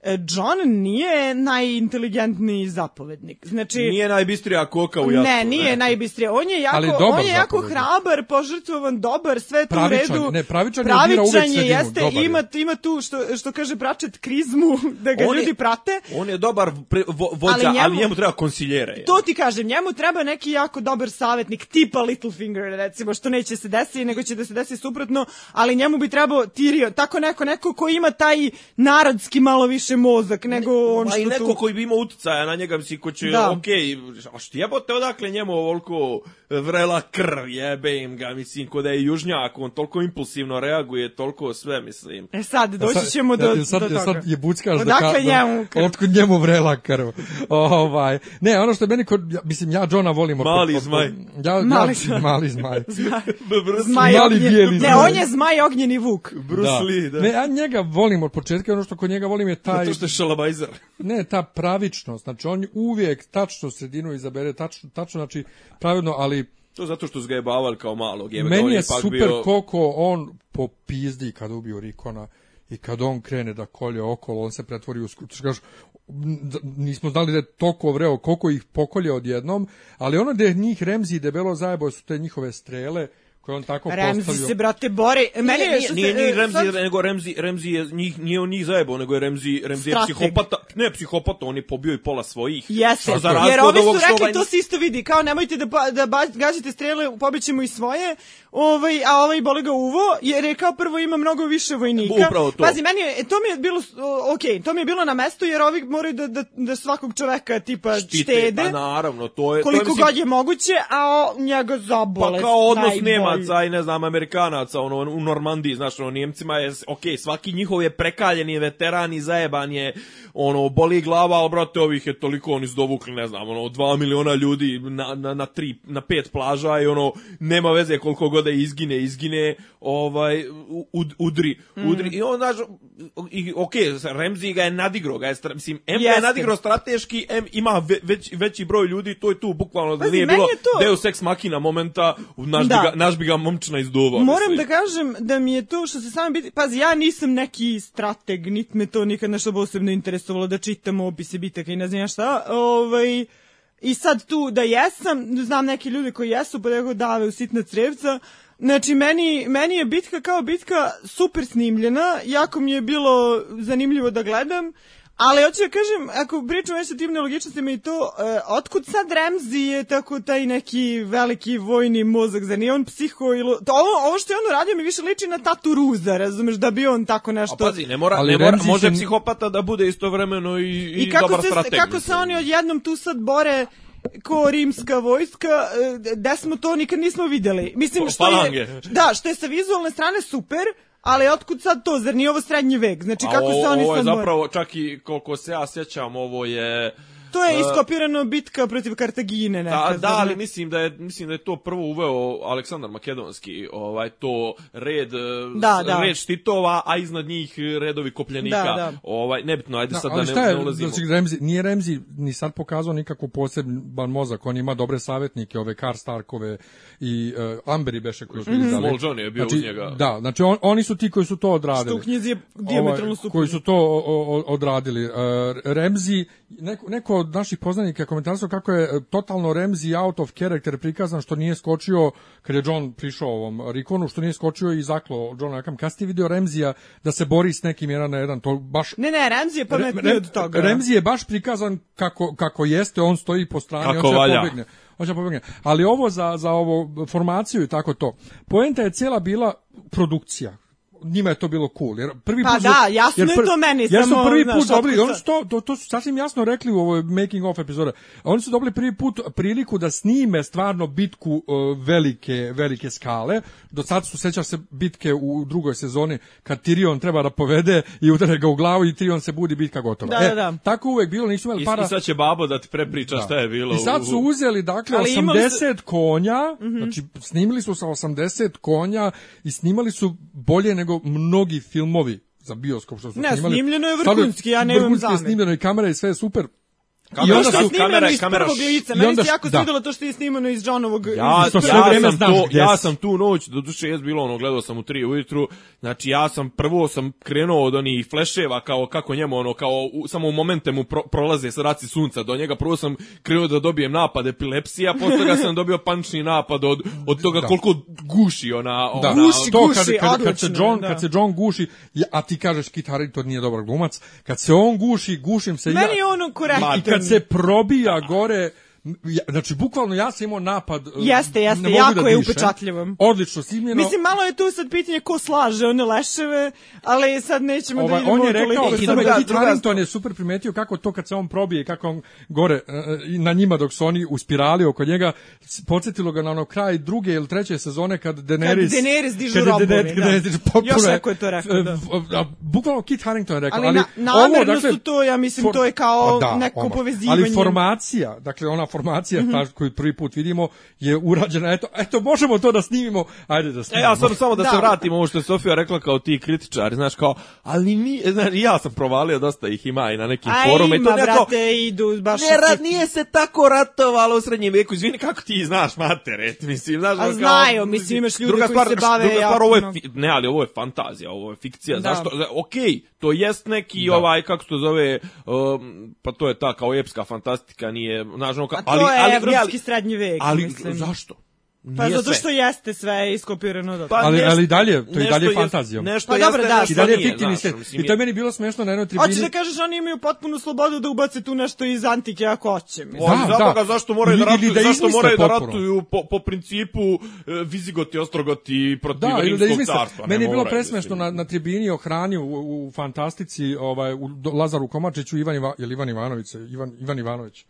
E, John nije najinteligentniji zapovednik. Znači,
Nije najbistrija koka u jastu. e.
Ne, nije najbistrije. On je jako,
Ali dobar
on je jako
zapovednik.
hrabar, požrtvovan, dobar, sve je to
Pravičan,
u redu.
ne, pravičan je,
pravičan
dira uvek
je,
sredinu,
jeste,
dobar je.
ima, ima tu što, što kaže bračet krizmu, da ga
On je-
ljudi prate.
On je dobar pre, vo, vođa,
Ali
ali
njemu-
njemu, treba konsiljere. je.
To ti kažem, njemu treba neki jako dobar savjetnik, tipa Littlefinger recimo, što neće se desiti, nego će da se desi suprotno, ali njemu bi trebao Tyrion, tako neko, neko ko ima taj narodski malo više mozak nego on
Ma
što
Pa i neko
tu...
koji bi imao uticaja na njega, mislim, ko će,
Da.
okej, a što jebote odakle njemu ovoliko vrela krv, jebe im ga, mislim, ko da je južnjak, on toliko impulsivno reaguje, toliko sve, mislim.
E sad,
Sad-
doći ćemo do,
jel sad,
do
jel
toga.
Sad je buckaš da
Odakle
ka- da-
njemu krv?
Otkud njemu vrela krv. Ovaj. Ne, ono što je meni, kod, ja- mislim, ja Johna volim. oko-
Mali
oko-
zmaj.
Ja,
Mali
mali
zmaj.
zmaj. Mali zmaj.
Zmaj
Mali
ognjen-
bijeli
Ne,
zmaj.
on je zmaj ognjeni vuk.
Bruce Lee, da.
Ne, ja njega volim od početka, ono što kod njega volim je taj...
Zato što je šalabajzer.
Ne, ta pravičnost. Znači, on uvijek tačno sredinu izabere, tačno, tačno znači, pravedno, ali
To zato što su ga jebavali kao malog, jebe ga, on
meni je
ipak
super
bio...
koliko on popizdi kad ubiju Rikona i kad on krene da kolje okolo, on se pretvori u skruč. Kažu, m, d- nismo znali da je toliko vreo, koliko ih pokolje odjednom, ali ono gde je njih Remzi debelo zajebo su te njihove strele koje on tako
Remzi
postavio.
se, brate, bori. Meni je,
Nije,
što
nije,
se,
nije
e,
Remzi,
sad-
nego Remzi, Remzi je, njih, nije on njih zajebao, nego je Remzi, Remzi je
Strateg.
psihopata. Ne, psihopata, on je pobio i pola svojih.
Jeste,
Što Pa za razliku
jer
od
ovi su
ovog što
rekli,
ovaj-
to se isto vidi, kao nemojte da, ba- da ba- gađate strele, pobećemo i svoje, ovaj, a ovaj boli ga uvo, jer je kao prvo ima mnogo više vojnika.
Upravo to.
Pazi, meni je, e, to mi je bilo, ok, to mi je bilo na mestu, jer ovi moraju da, da, da svakog čoveka tipa
štite,
štede,
pa naravno, to je... to je,
koliko
mislim,
god je moguće, a o, njega zabole.
Pa kao odnos
najbolje.
Nemaca i ne znam Amerikanaca ono u Normandiji, znaš, ono Njemcima je ok, svaki njihov je prekaljen je veteran i zajeban je, ono boli glava, ali brate ovih je toliko oni su dovukli, ne znam, ono 2 miliona ljudi na, na, na tri, na pet plaža i ono nema veze koliko god da izgine, izgine, ovaj u- ud- udri,
Mm.
udri i on znaš i ok, Remzi ga je nadigrao, ga je stra- mislim, M ga je
Jeste.
nadigrao strateški, M ima ve- već, veći broj ljudi, to je tu bukvalno da
Pazi,
nije
meni
bilo
je to-
Deus Ex Machina momenta, naš,
Da.
bi ga, naš bi ga momčina izduvao.
Moram da
mislim.
kažem da mi je to što se sami biti... Pazi, ja nisam neki strateg, nit me to nikad nešto posebno interesovalo da čitam opise bitaka i ne znam ja šta. Ovaj, I sad tu da jesam, znam neke ljude koji jesu, pa tako dave u sitna crevca. Znači, meni, meni je bitka kao bitka super snimljena, jako mi je bilo zanimljivo da gledam. Ali hoću da kažem, ako pričamo već o tim nelogičnostima i to, e, otkud sad Remzi je tako taj neki veliki vojni mozak, zar nije on psiho ili... To, ovo, ovo što je on uradio mi više liči na tatu Ruza, razumeš, da bi on tako
A
nešto...
pazi, ne mora,
Ali
ne mora,
Ramsey
može
se-
psihopata da bude istovremeno i, i,
I kako
dobar
se,
strateg.
kako se
mislim.
oni odjednom tu sad bore ko rimska vojska, e, da smo to nikad nismo vidjeli. Mislim,
Pa-
što
falange.
je, da, što je sa vizualne strane super, ali otkud sad to, zar nije ovo srednji vek? Znači, kako
A o-
se oni
Ovo je
sad bore?
zapravo, čak i koliko se ja sjećam, ovo je...
To je iskopirano bitka protiv Kartagine nekad.
eh, Da, da, ali mislim da je mislim da je to prvo uveo Aleksandar Makedonski, ovaj to red
Da,
s-
da.
red štitova, a iznad njih redovi kopljenika.
Da, da.
Ovaj nebitno, ajde sad da
ali
ne,
šta je,
ne ulazimo.
znači, Remzi, nije Remzi ni sad pokazao nikakvu poseban mozak, on ima dobre savjetnike, ove Kar Starkove i uh, Amberi beše koji su izdali.
Mhm. Small Johnny je bio uz
znači,
njega.
Da, znači on, oni su ti koji su to odradili.
Što u knjizi je diametralno
Ovaj,
suprotno.
koji su to o- o- odradili. E, Remzi, neko, neko od naših poznanika je komentarisao kako je e, totalno Remzi out of character prikazan što nije skočio, kad je John prišao ovom Rikonu, što nije skočio i zaklo John Akam. Kad ste vidio Remzija da se bori s nekim jedan na jedan, to baš
Ne, ne, Ramzi je pametniji od toga.
Remzi je baš prikazan kako, kako jeste, on stoji po strani,
Kako
on će da
valja.
pobegne. On će da pobegne. Ali ovo za, za ovo formaciju i tako to. Poenta je cijela bila produkcija. Njima je to bilo cool. Jer prvi
Pa
put
da, jasno
jer
je to meni,
Jer su
samo,
prvi
znaš,
put dobili,
otkuca.
oni su to, to, to su sasvim jasno rekli u ovoj making of epizode. Oni su dobili prvi put priliku da snime stvarno bitku e, velike, velike skale. Do sad su, sećaš se bitke u drugoj sezoni kad Tyrion treba da povede i udare ga u glavu i Tyrion se budi bitka gotova.
Da,
E,
da, da.
Tako uvek bilo, nisu imali
I,
para.
I sad će babo da ti prepriča šta je bilo.
I sad su
u-
uzeli, dakle,
Ali imali Mhm.
80 konja, znači snimili su sa 80 konja i snimali su bolje nego mnogi filmovi za bioskop što su
Ne,
snimali.
snimljeno je
Stvarno
vrhunski, ja nemam
vrhunski je
zamerke.
snimljeno i kamera i sve je super.
Kamera-
I onda
Što je
su-
snimljeno
kamera-
iz
kamera-
prvog lica.
i
Meni
onda
se
su-
jako
da.
svidjelo to što je snimano iz Johnovog...
Ja,
iz
to sve
ja,
vrijeme
sam
znaš
to,
gdje
ja
si.
sam tu noć, doduše jes bilo ono, gledao sam u tri ujutru, znači ja sam prvo sam krenuo od onih fleševa kao kako njemu ono, kao u, samo u momente mu pro, prolaze raci sunca do njega, prvo sam krenuo da dobijem napad epilepsija, posle toga sam dobio pančni napad od, od toga koliko guši ona, ona
Da,
Guši,
to
guši,
kad, kad, kad se
odlično,
John,
da.
kad se John guši, ja- a ti kažeš Kit Harington nije dobar glumac, kad se on guši, gušim se i ja.
Meni je ono korektan.
I kad se probija gore, ja, znači bukvalno ja sam imao napad. e,
Jeste, jeste,
ne mogu
jako
da
je
dišem.
upečatljivo.
Odlično snimljeno.
Mislim, malo je tu sad pitanje ko slaže one leševe, ali sad nećemo da
Ovaj,
idemo
on je
u toliko
rekao,
sad.
da
Da,
je Kit
druga-
Harington je super primetio kako to kad se on probije, kako on gore e, e, i na njima dok su oni u spirali oko njega, s- podsjetilo ga na ono kraj druge ili treće sezone kad Daenerys...
Kad Daenerys dižu
kad je
robovi,
Daenerys-
da.
Daenerys diže potpuno
Još neko je to rekao,
e,
da.
v- a, Bukvalno Kit Harington je rekao.
Ali
Ali,
na-
ovo,
namerno
dakle,
su to, ja mislim, to je kao
Pa da,
neko
odmah.
povezivanje. Mhm.
Ali formacija, dakle ona formacija ta koju prvi put vidimo je urađena, eto, eto možemo to da snimimo, ajde da
E,
snimimo.
ja sam samo da,
Da.
se vratim ovo što je Sofija rekla kao ti kritičari, znaš kao, ali ni, e, znaš, i ja sam provalio dosta ih ima i na nekim
A
forumima. i to
ima,
nekako-
brate, idu baš...
Ne, ra, nije se tako ratovalo u srednjem vijeku. Izvini, kako ti znaš materet, mislim, znaš,
A
ono
Pa znaju, mislim, imaš ljudi koji se bave
Druga stvar,
jako
ovo je,
mnogo.
fi- ne, ali ovo je fantazija, ovo je fikcija,
Da.
zašto, za- okej, to jest neki ovaj, kako se to zove, um, pa to je ta kao epska fantastika, nije, znaš, ono, kao,
A Pa to
ali,
je
ali,
evropski
ali,
srednji vek,
ali,
mislim.
zašto?
Pa
Nije
zato
sve.
što jeste sve iskopirano do
Pa
Ali-
nešto-
ali i dalje, to i
nešto
dalje je
jest-
fantazijom.
Nešto
Pa
jeste,
dobro, da,
nešto
I dalje je
nije,
fiktivni
znaš,
svijet.
mislim,
I to je meni bilo smešno na jednoj tribini.
Hoćeš da kažeš oni imaju potpunu slobodu da ubace tu nešto iz antike ako hoće. mislim.
Da,
Da, zato
da.
ga zašto moraju da
Ili- ili
ratuju,
da
zašto
izmisle
moraju da
potpuno.
ratuju po, po principu e, Vizigoti, Ostrogoti protiv
Da, ili da
Rimskog
izmisle.
carstva. ne
Meni je bilo
moraju,
presmešno
mislim.
na, na tribini o hrani u, u fantastici, ovaj, u Do- Lazaru Komačiću, Ivan, Iva, je li Ivan Ivanović, se- Ivan, Ivan Ivanović.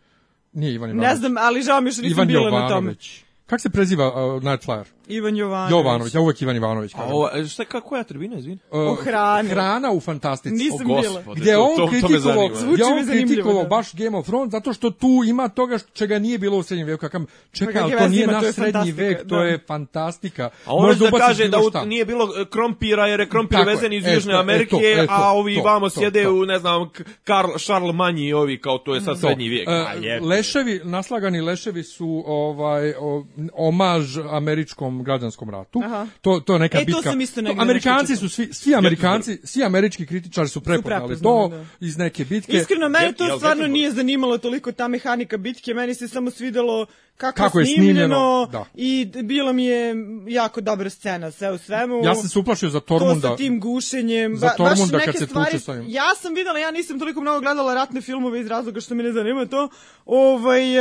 Nije Ivan Ivanović.
Ne znam, ali žao mi je što nisam
Ivan
bila na tome.
Jovanović. Kako se preziva uh, Nightflyer?
Ivan Jovanović.
Jovanović, ja uvek Ivan Ivanović.
A
kažem.
ovo, e, šta, kako ja tribina, izvini?
Uh,
o hrani.
Hrana u fantastici.
Nisam
O,
bila.
gospode.
Gdje je
Pa da To-
on
to- to me
kritikovao,
zanima.
Zvuči
gdje
mi
on
zanimljivo,
kritikovao
da.
baš Game of Thrones zato što tu ima toga što- čega nije bilo u srednjem vijeku. Kakam, čekaj,
Kakve
ali to
veze
nije
ima, to je
naš srednji
fantastika,
vijek, to
da.
je fantastika.
A on već
Možda
da
ubaciš
kaže da
bilo
u-
šta.
nije bilo e, krompira jer je krompir
Tako je,
vezen iz
e,
Južne
to, e,
Amerike,
to, e, to,
a ovi
to,
vamo
to,
sjede
to.
u, ne znam, k- Karl, Šarl Manji i ovi, kao to je sad srednji vijek.
E,
A je.
leševi, naslagani leševi su ovaj o- omaž američkom građanskom ratu. To to je neka
E, to
bitka.
sam isto negdje nešto
Amerikanci su
čitala.
svi svi Amerikanci, svi američki kritičari su prepoznali
prepoznali,
to
da.
iz neke bitke.
Iskreno, mene to
Jel- jel
stvarno
Gettysburg?
nije zanimalo toliko ta mehanika bitke, meni se samo svidelo kako,
Kako je snimljeno, da.
i d- bila mi je jako dobra scena sve u svemu.
Ja sam se uplašio za
to
Tormunda.
sa tim gušenjem,
Za
ba-
Tormunda
baš neke
kad se
stvari,
tuče sa njim.
ja sam videla, ja nisam toliko mnogo gledala ratne filmove iz razloga što me ne zanima to, ovaj...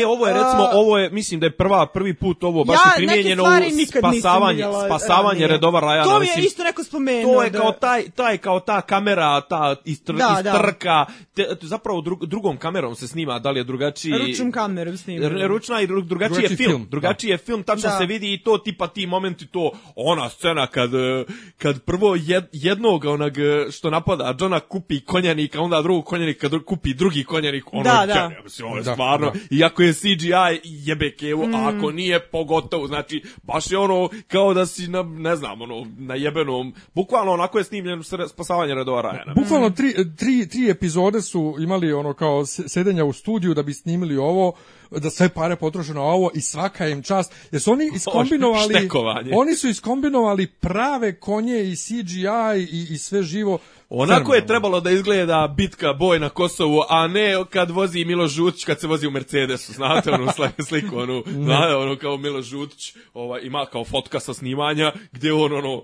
E, ovo je recimo, ovo je, mislim da je prva, prvi put ovo baš
ja
je primijenjeno
neke stvari
u
nikad nisam
spasavanje,
vidjela
spasavanje
ranije.
redova Rajana.
To mi je
mislim,
isto neko spomenuo.
to je
da-
kao taj, taj kao ta kamera, ta istr,
Da, da.
istrka, te, zapravo drug, drugom kamerom se snima, da li je drugačiji...
Ručnom kamerom snimljeno.
R- Ručna ima i dru- drugačiji je
Drugačiji
film.
film, da.
Drugačiji je film, tačno
Da.
se vidi i to tipa ti momenti, to ona scena kad, e, kad prvo jed, jednog onog e, što napada Johna kupi konjanika, onda drugog konjanika dru- kupi drugi konjanik, ono
Da,
je
da.
genijalno, mislim, ovo je
Da,
stvarno,
da.
iako je CGI jebekevo,
Mm.
a ako nije pogotovo, znači baš je ono kao da si na, ne znam, ono, na jebenom, bukvalno onako je snimljen sre- spasavanje Redova Rajana.
Bukvalno tri, tri, tri epizode su imali ono kao s- sedenja u studiju da bi snimili ovo, da sve pare potroše na ovo i svaka im čast. Jer su oni iskombinovali...
štekovanje.
Oni su iskombinovali prave konje i CGI i, i sve živo.
Onako je
Fenomenalno.
trebalo da izgleda bitka boj na Kosovu, a ne kad vozi Milo Žutić, kad se vozi u Mercedesu, znate onu sli- sliku, onu, znate, ono kao Milo Žutić, ovaj, ima kao fotka sa snimanja, gdje on, ono,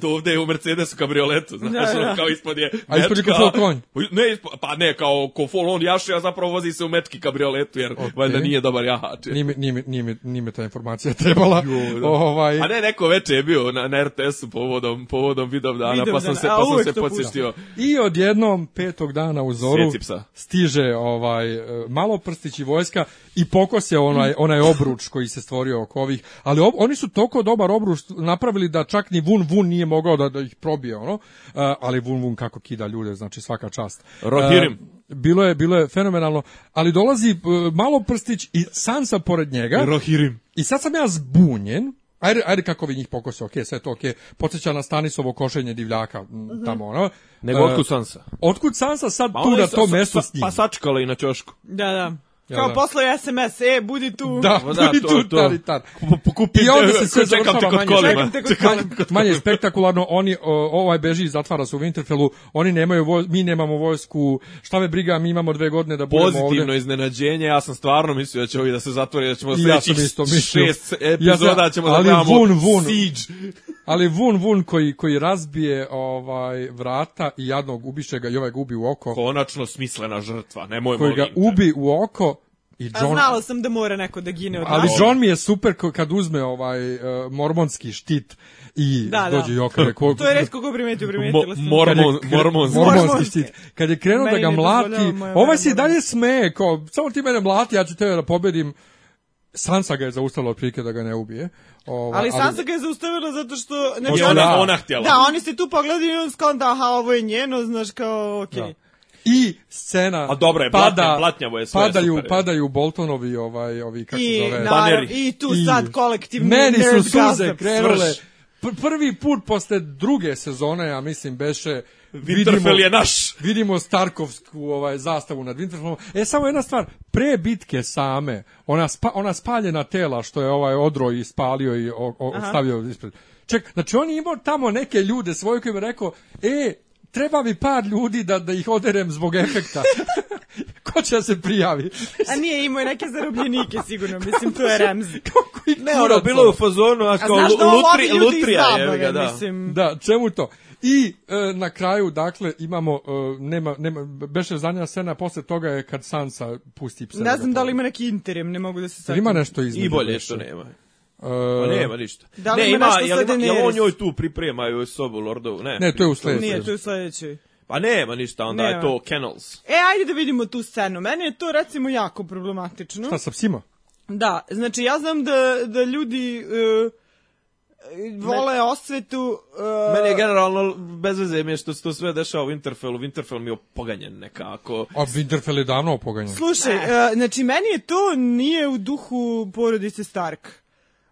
do ovde je u Mercedesu kabrioletu, znaš,
Da, da.
ono, kao ispod je
A ispod je
mečka.
ko fol konj.
Ne, ispo- pa ne, kao ko fol, on jaše, a zapravo vozi se u mečki kabrioletu, jer valjda nije dobar jahač.
Nije mi, nije, mi- nije, mi- nije mi ta informacija trebala.
da.
ovaj,
A ne, neko veče je bio na, na RTS-u povodom, povodom vidov dana,
Vidov
pa sam
dana,
se,
a
pa sam
uvek
se
to pušta.
podsjetio.
I odjednom petog dana u zoru
Sjeci psa.
stiže ovaj e, malo prstić i vojska i pokose onaj onaj obruč koji se stvorio oko ovih, ali ob- oni su toliko dobar obruč napravili da čak ni Vun Vun nije mogao da, da ih probije ono, E, ali Vun Vun kako kida ljude, znači svaka čast.
Rohirim.
E, Bilo je bilo je fenomenalno, ali dolazi e, malo prstić i Sansa pored njega.
Rohirim.
I sad sam ja zbunjen. Ajde, ajde kako vi njih pokose, okej, sve to okej. Podsjeća na Stanisovo košenje divljaka, m, tamo ono.
Mhm. Nego
E,
otkud Sansa?
Otkud Sansa sad
Pa
tu
ona
na
je sa-
tom
sa-
mestu
sa-
s njim?
Pa sačkala i na čošku.
Da, da.
Ja,
Kao
da.
poslao SMS, e, budi tu.
Da,
Pa
to, i tu totalitar.
Pokupi,
I onda se sve
čekam te
završava
kod
manje.
kolima.
Čekam te kod
Čekam
kolima.
te kod
Manje spektakularno, oni o, ovaj beži i zatvara se u Winterfellu, oni nemaju voj, mi nemamo vojsku, šta me briga, mi imamo dve godine da budemo
Pozitivno
ovde.
iznenađenje, ja sam stvarno mislio da će ovi da se zatvori, da
I
ćemo
ja sam
sljedećih
isto mislio.
šest
Ja
epizoda
sam-
ćemo da
ali
gledamo
vun, vun.
Siege.
Ali Vun Vun koji, koji razbije ovaj vrata i jadnog ubiše ga i ovaj ga ubi u oko,
Konačno smislena žrtva, nemoj
koji ga
molim te.
ubi u oko i
A
John,
znala sam da mora neko da gine od
Ali
nas.
John mi je super ko- kad uzme ovaj uh, mormonski štit i
Da, da.
dođe i okre. Ko,
To je redko ko primetio, primetila
Mo-
sam.
kad je
Mormon,
kre-
mormonski.
mormonski
Mormonski.
štit. Kad je krenuo da
Meni
ga
ne
mlati,
dozvoljava moja
ovaj
vera,
se i
moram.
dalje smeje, kao, samo ti mene mlati, ja ću tebe da pobedim. Sansa ga je zaustavila otprilike da ga ne ubije. Ova,
Ali Sansa ga je zaustavila zato što...
I
Znači,
Možda
ona,
da.
ona htjela.
Da, oni se tu pogledaju i on skonta, aha, ovo je njeno, znaš, kao, okej.
Da. I scena
A dobro je, platnja- platnjavo je sve,
padaju,
super je.
padaju Boltonovi, ovaj, ovi, kako
I,
se zove...
naravno,
Baneri.
i tu
I-
sad kolektivni
Meni su
nerd
suze
gasap.
krenule.
svrš.
Pr- prvi put posle druge sezone, ja mislim, beše...
Winterfell je naš.
Vidimo Starkovsku ovaj, zastavu nad Winterfellom. E, samo jedna stvar, pre bitke same, ona, spa, ona spaljena tela što je ovaj odro i spalio i o, o, stavio ispred. Ček, znači on je imao tamo neke ljude svoje koji mi rekao, e, treba mi par ljudi da, da ih oderem zbog efekta. Ko će da se prijavi?
A nije imao neke zarobljenike, sigurno, mislim, to je Ramzi.
Kako ih
Ne, ono,
kurac,
bilo je u fazonu, a
A
kao
znaš da ovo ovi
lutri,
ljudi iz
lutrija je,
zabave,
ga, da.
mislim.
Da, čemu to? I e, na kraju, dakle, imamo, e, nema, nema, beše zadnja scena, posle toga je kad Sansa pusti psa.
Ne znam da li ima neki interim, ne mogu da se sad...
Jel ima nešto iznad.
I bolje što nema. Pa
E,
nema ništa.
Da li
ne,
ima
ima,
nešto
jel,
sa
ima, jel
Daenerys?
on njoj tu priprema joj sobu, lordovu? Ne,
Ne, to je u sledećoj.
Nije, to je u sledećoj.
Pa nema ništa, onda je
Nema.
to kennels.
E, ajde da vidimo tu scenu. Meni je to, recimo, jako problematično.
šta sa psima?
Da, znači ja znam da, da ljudi e, vole osvetu... e,
Meni je generalno bez veze mi je što se to sve dešava u Winterfellu. Winterfell mi je opoganjen nekako.
A Winterfell je davno opoganjen.
Slušaj, e, znači meni je to nije u duhu porodice Stark.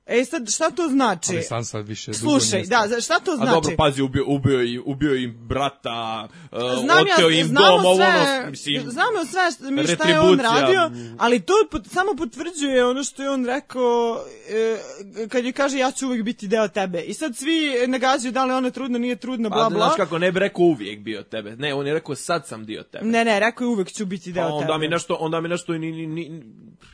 E sad, šta to znači?
Ali Sansa više dugo
Slušaj,
nije
da, za- šta to
A
znači?
dobro, pazi, ubio, ubio, i, ubio im brata, uh,
Znam
oteo
ja,
im
znamo
dom, ovo
sve,
ono, mislim...
znamo sve šta, mi šta je on
retribucija.
radio, ali to pot, samo potvrđuje ono što je on rekao e, kad je kaže ja ću uvijek biti deo tebe. I sad svi nagađaju da li ona trudna, nije trudna,
Pa,
bla,
znaš
bla.
kako, ne bi rekao uvijek bio tebe. Ne, on je rekao sad sam dio tebe.
Ne, ne, rekao je uvek ću biti
Pa
deo
onda
tebe.
mi nešto, onda mi nešto, ni, ni, ni,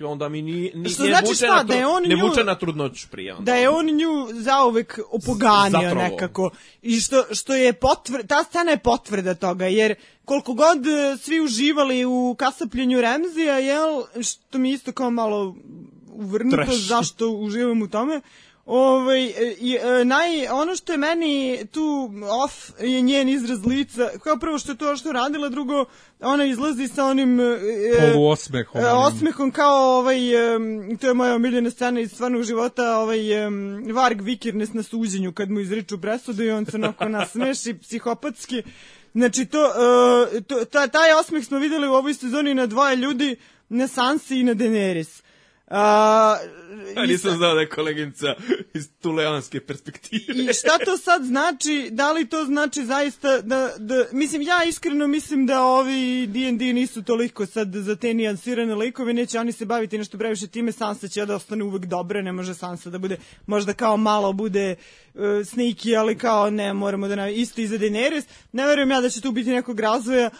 onda mi ni, ni
Što
ne
znači
vuče
šta,
na
da je
tru-
on
ne
nju-
vuče na trudnoću prije. onda.
da je on nju zauvek opoganio
Zapravo.
nekako i što, što je potvr, ta scena je potvrda toga jer koliko god e, svi uživali u kasapljenju Remzija jel, što mi je isto kao malo uvrnuto
Trash.
zašto uživam u tome Ovaj, i, e, naj, ono što je meni tu off je njen izraz lica, kao prvo što je to što je radila, drugo ona izlazi sa onim e,
Poluosmehom.
e, osmehom kao ovaj, em, to je moja omiljena scena iz stvarnog života, ovaj em, Varg Vikernes na suđenju kad mu izriču presudu i on se onako nasmeši psihopatski. Znači, to, e, to, ta, taj osmeh smo videli u ovoj sezoni na dvoje ljudi, na Sansi i na Daenerys. A,
Ja
i
nisam znao da je koleginica iz tuleanske perspektive.
I šta to sad znači? Da li to znači zaista da, da mislim ja iskreno mislim da ovi D&D nisu toliko sad za te nijansirane likove, neće oni se baviti nešto previše time, Sansa će da ostane uvek dobra, ne može Sansa da bude, možda kao malo bude uh, sneaky, ali kao ne, moramo da nam, isto i za Daenerys, ne verujem ja da će tu biti nekog razvoja,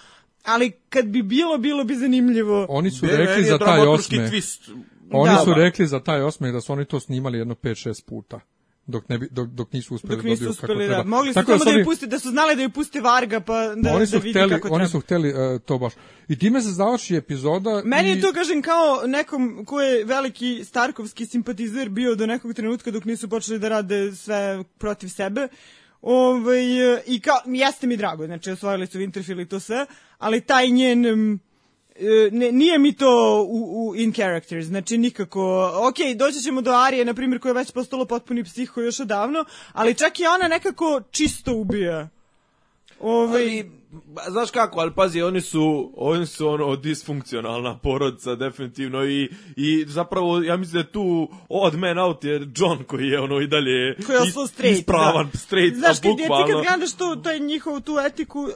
ali kad bi bilo, bilo bi zanimljivo.
Oni su
Meni
rekli
je
za taj
dramaturški
osmeh.
twist.
Oni
Da.
su rekli za taj osmeh da su oni to snimali jedno 5-6 puta. Dok, ne bi, dok, dok nisu uspeli
Dok
da
nisu
dobiju kako
uspeli
treba.
da, mogli su
Tako
samo
su
da
oni-
ju puste, da su znali da ju puste Varga, pa da,
oni
da
su
vidi
hteli,
kako treba.
oni su hteli e, to baš. I time se završi epizoda.
Meni
i...
je to, kažem, kao nekom ko je veliki starkovski simpatizer bio do nekog trenutka dok nisu počeli da rade sve protiv sebe. Ovaj, e, I kao, jeste mi drago, znači osvojili su Winterfell i to sve, ali taj njen... em, e, Ne, nije mi to u, u in characters, znači nikako, ok, doći ćemo do Arije, na primjer, koja je već postala potpuni psiho još odavno, ali čak i ona nekako čisto ubija. Ovaj,
Ali, ba, znaš kako, ali pazi, oni su, oni su ono disfunkcionalna porodica definitivno i, i zapravo ja mislim da je tu odd man out je John koji je ono i dalje
koji je
is-
ostao straight.
ispravan,
da.
straight,
Znaš,
a
kad, je- ti
bukvalno.
kad gledaš to, to je njihovu tu etiku, uh,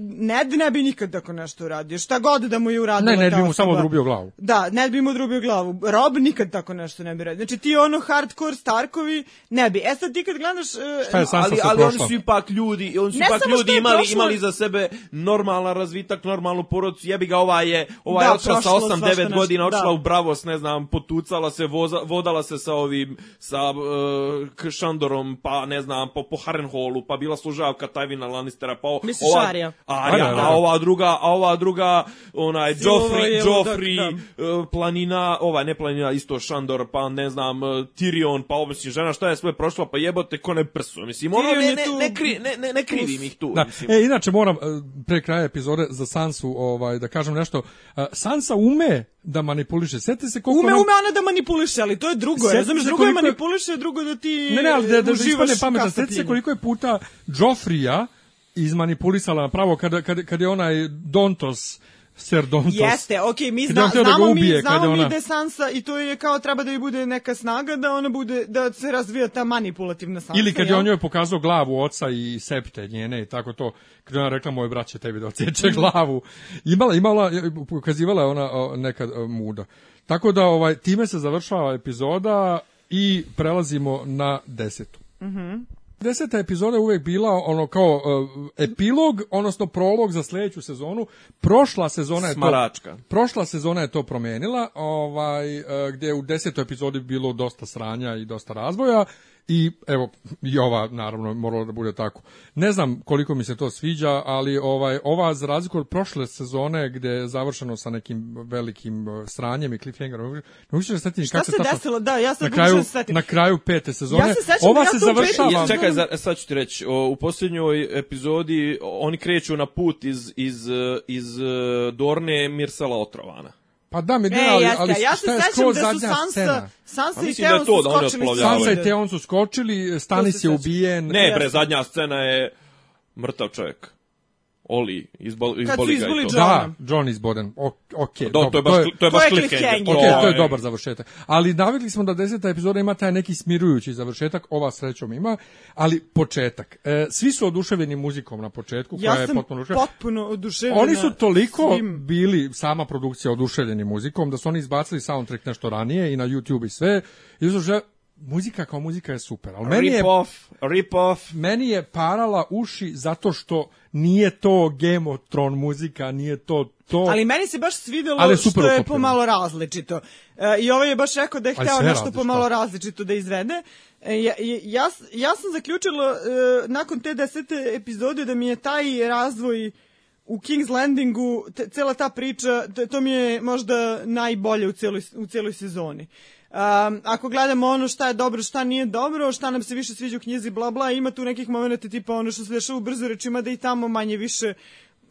Ned ne bi nikad tako nešto uradio. Šta god da mu je uradila
Ne, ne
ta
bi mu
osoba.
samo drubio glavu.
Da, Ned bi mu drubio glavu. Rob nikad tako nešto ne bi radio. Znači ti ono hardcore Starkovi ne bi. E sad ti kad gledaš... uh,
Šta je Sansa
ali,
se
ali oni
prošla?
su ipak ljudi, oni su
Ne
ipak
samo što
ljudi
je
imali,
prošlo-
imali za sebe normalan razvitak, normalnu porodicu, jebi ga ova je, ova je
Da,
otišla sa
prošlo
8,
svašta
9
nešto,
godina, otišla
da.
u Bravos, ne znam, potucala se, voza, vodala se sa ovim, sa uh, k- Šandorom, pa ne znam, po, po Harrenholu, pa bila služavka Tywina Lannistera, pa o-
Misliš
ova,
Arya?
Arya,
Arya,
a
da.
ova druga, a ova druga, onaj,
Silova
Joffrey,
je
Joffrey,
ludak, da.
e, planina, ova ne planina, isto Šandor, pa ne znam, e, Tyrion, pa obisni žena, šta je sve prošla, pa jebote, ko ne prsu, mislim, ono
Tyrion
ne,
je
ne,
tu-
ne, kri, ne, ne, ne krivim ih tu,
Da.
mislim.
E, inače moram e, pre kraja epizode za Sansu ovaj, da kažem nešto. E, Sansa ume da manipuliše. Sjeti se koliko...
Ume,
ona-
ume ona da manipuliše, ali to je drugo.
Sjeti
Ja znam,
se
drugo je
koliko je-
manipuliše, drugo je da ti
Ne, ne, ali da, da, da
uživaš
ispane pametan.
kasapljinu.
Sjeti se koliko je puta Joffrija izmanipulisala napravo kada, kada, kada je onaj Dontos, Ser Dontos.
Jeste, okej, mi
Kad
zna,
on hteo da ga
znamo, mi,
ubije, kad
znamo
je
mi
ona-
da je Sansa i to je kao treba da joj bude neka snaga, da ona bude, da se razvija ta manipulativna Sansa.
Ili kad je
jel?
on njoj pokazao glavu oca i septe njene i tako to, kad je ona rekla moje braće tebi da odseče glavu. Imala, imala, pokazivala je ona o, nekad o, muda. Tako da ovaj time se završava epizoda i prelazimo na desetu. Deseta epizoda je uvek bila ono kao e, epilog, odnosno prolog za sledeću sezonu. Prošla sezona je
Smaračka.
to prošla sezona je to promenila, ovaj e, gdje je u desetoj epizodi bilo dosta sranja i dosta razvoja i evo i ova naravno morala da bude tako. Ne znam koliko mi se to sviđa, ali ovaj ova za razliku od prošle sezone gdje je završeno sa nekim velikim e, sranjem i cliffhangerom. Ne mogu se setiti ni
Šta
kako
se
se tačno-
desilo? Da, ja sad
na kraju,
pokušam se setiti.
na kraju pete sezone.
Ja se sećam
ova
da ja
se
to u petoj
završava.
I, čekaj, za, e, sad ću ti reći, o, u posljednjoj epizodi o, oni kreću na put iz, iz, e, iz e, Dorne Mirsala Otrovana.
Pa da, mi
E,
ne, ali,
jeste,
ali
ja se
šta je
sećam
skroz
da su
zadnja
Sansa,
scena?
Sansa
Pa
i
mislim da je
Theon
to
su
da one
skočili sa
otplovljavaju.
Sansa i
ovde.
Theon su skočili, Stanis
se
je
sećam.
ubijen.
Ne, bre,
Jeste.
zadnja scena je mrtav čovjek. Oli, izbol,
su
izboli ga
izboli
i to.
John-
da, John izboden. O, ok,
Da, to je baš, to je
to
baš
je
cliffhanger.
cliffhanger.
Ok,
Okej,
to je dobar završetak. Ali navikli smo da deseta epizoda ima taj neki smirujući završetak, ova srećom ima, ali početak. E, svi su oduševljeni muzikom na početku, koja
Ja
je
sam
potpuno oduševljena.
potpuno oduševljena.
Oni su toliko
svim.
bili sama produkcija oduševljeni muzikom da su oni izbacili soundtrack nešto ranije i na YouTube i sve. I da su že, muzika kao muzika je super, ali meni je
Rip off, rip off.
meni je parala uši zato što nije to Game of Thrones muzika, nije to to.
Ali meni se baš svidelo
Ali je super
što je
uklopljeno.
pomalo različito. E, I ovaj je baš rekao da je
Ali
hteo
sve
nešto
različito.
pomalo različito da izvede. E, Ja, ja, ja, s- ja sam zaključila e, nakon te desete epizode da mi je taj razvoj u King's Landingu, te, cela ta priča, te- to mi je možda najbolje u cijeloj, u cijeloj sezoni. Um, ako gledamo ono šta je dobro, šta nije dobro, šta nam se više sviđa u knjizi, bla bla, ima tu nekih momenta tipa ono što se dešava u brzo rečima da i tamo manje više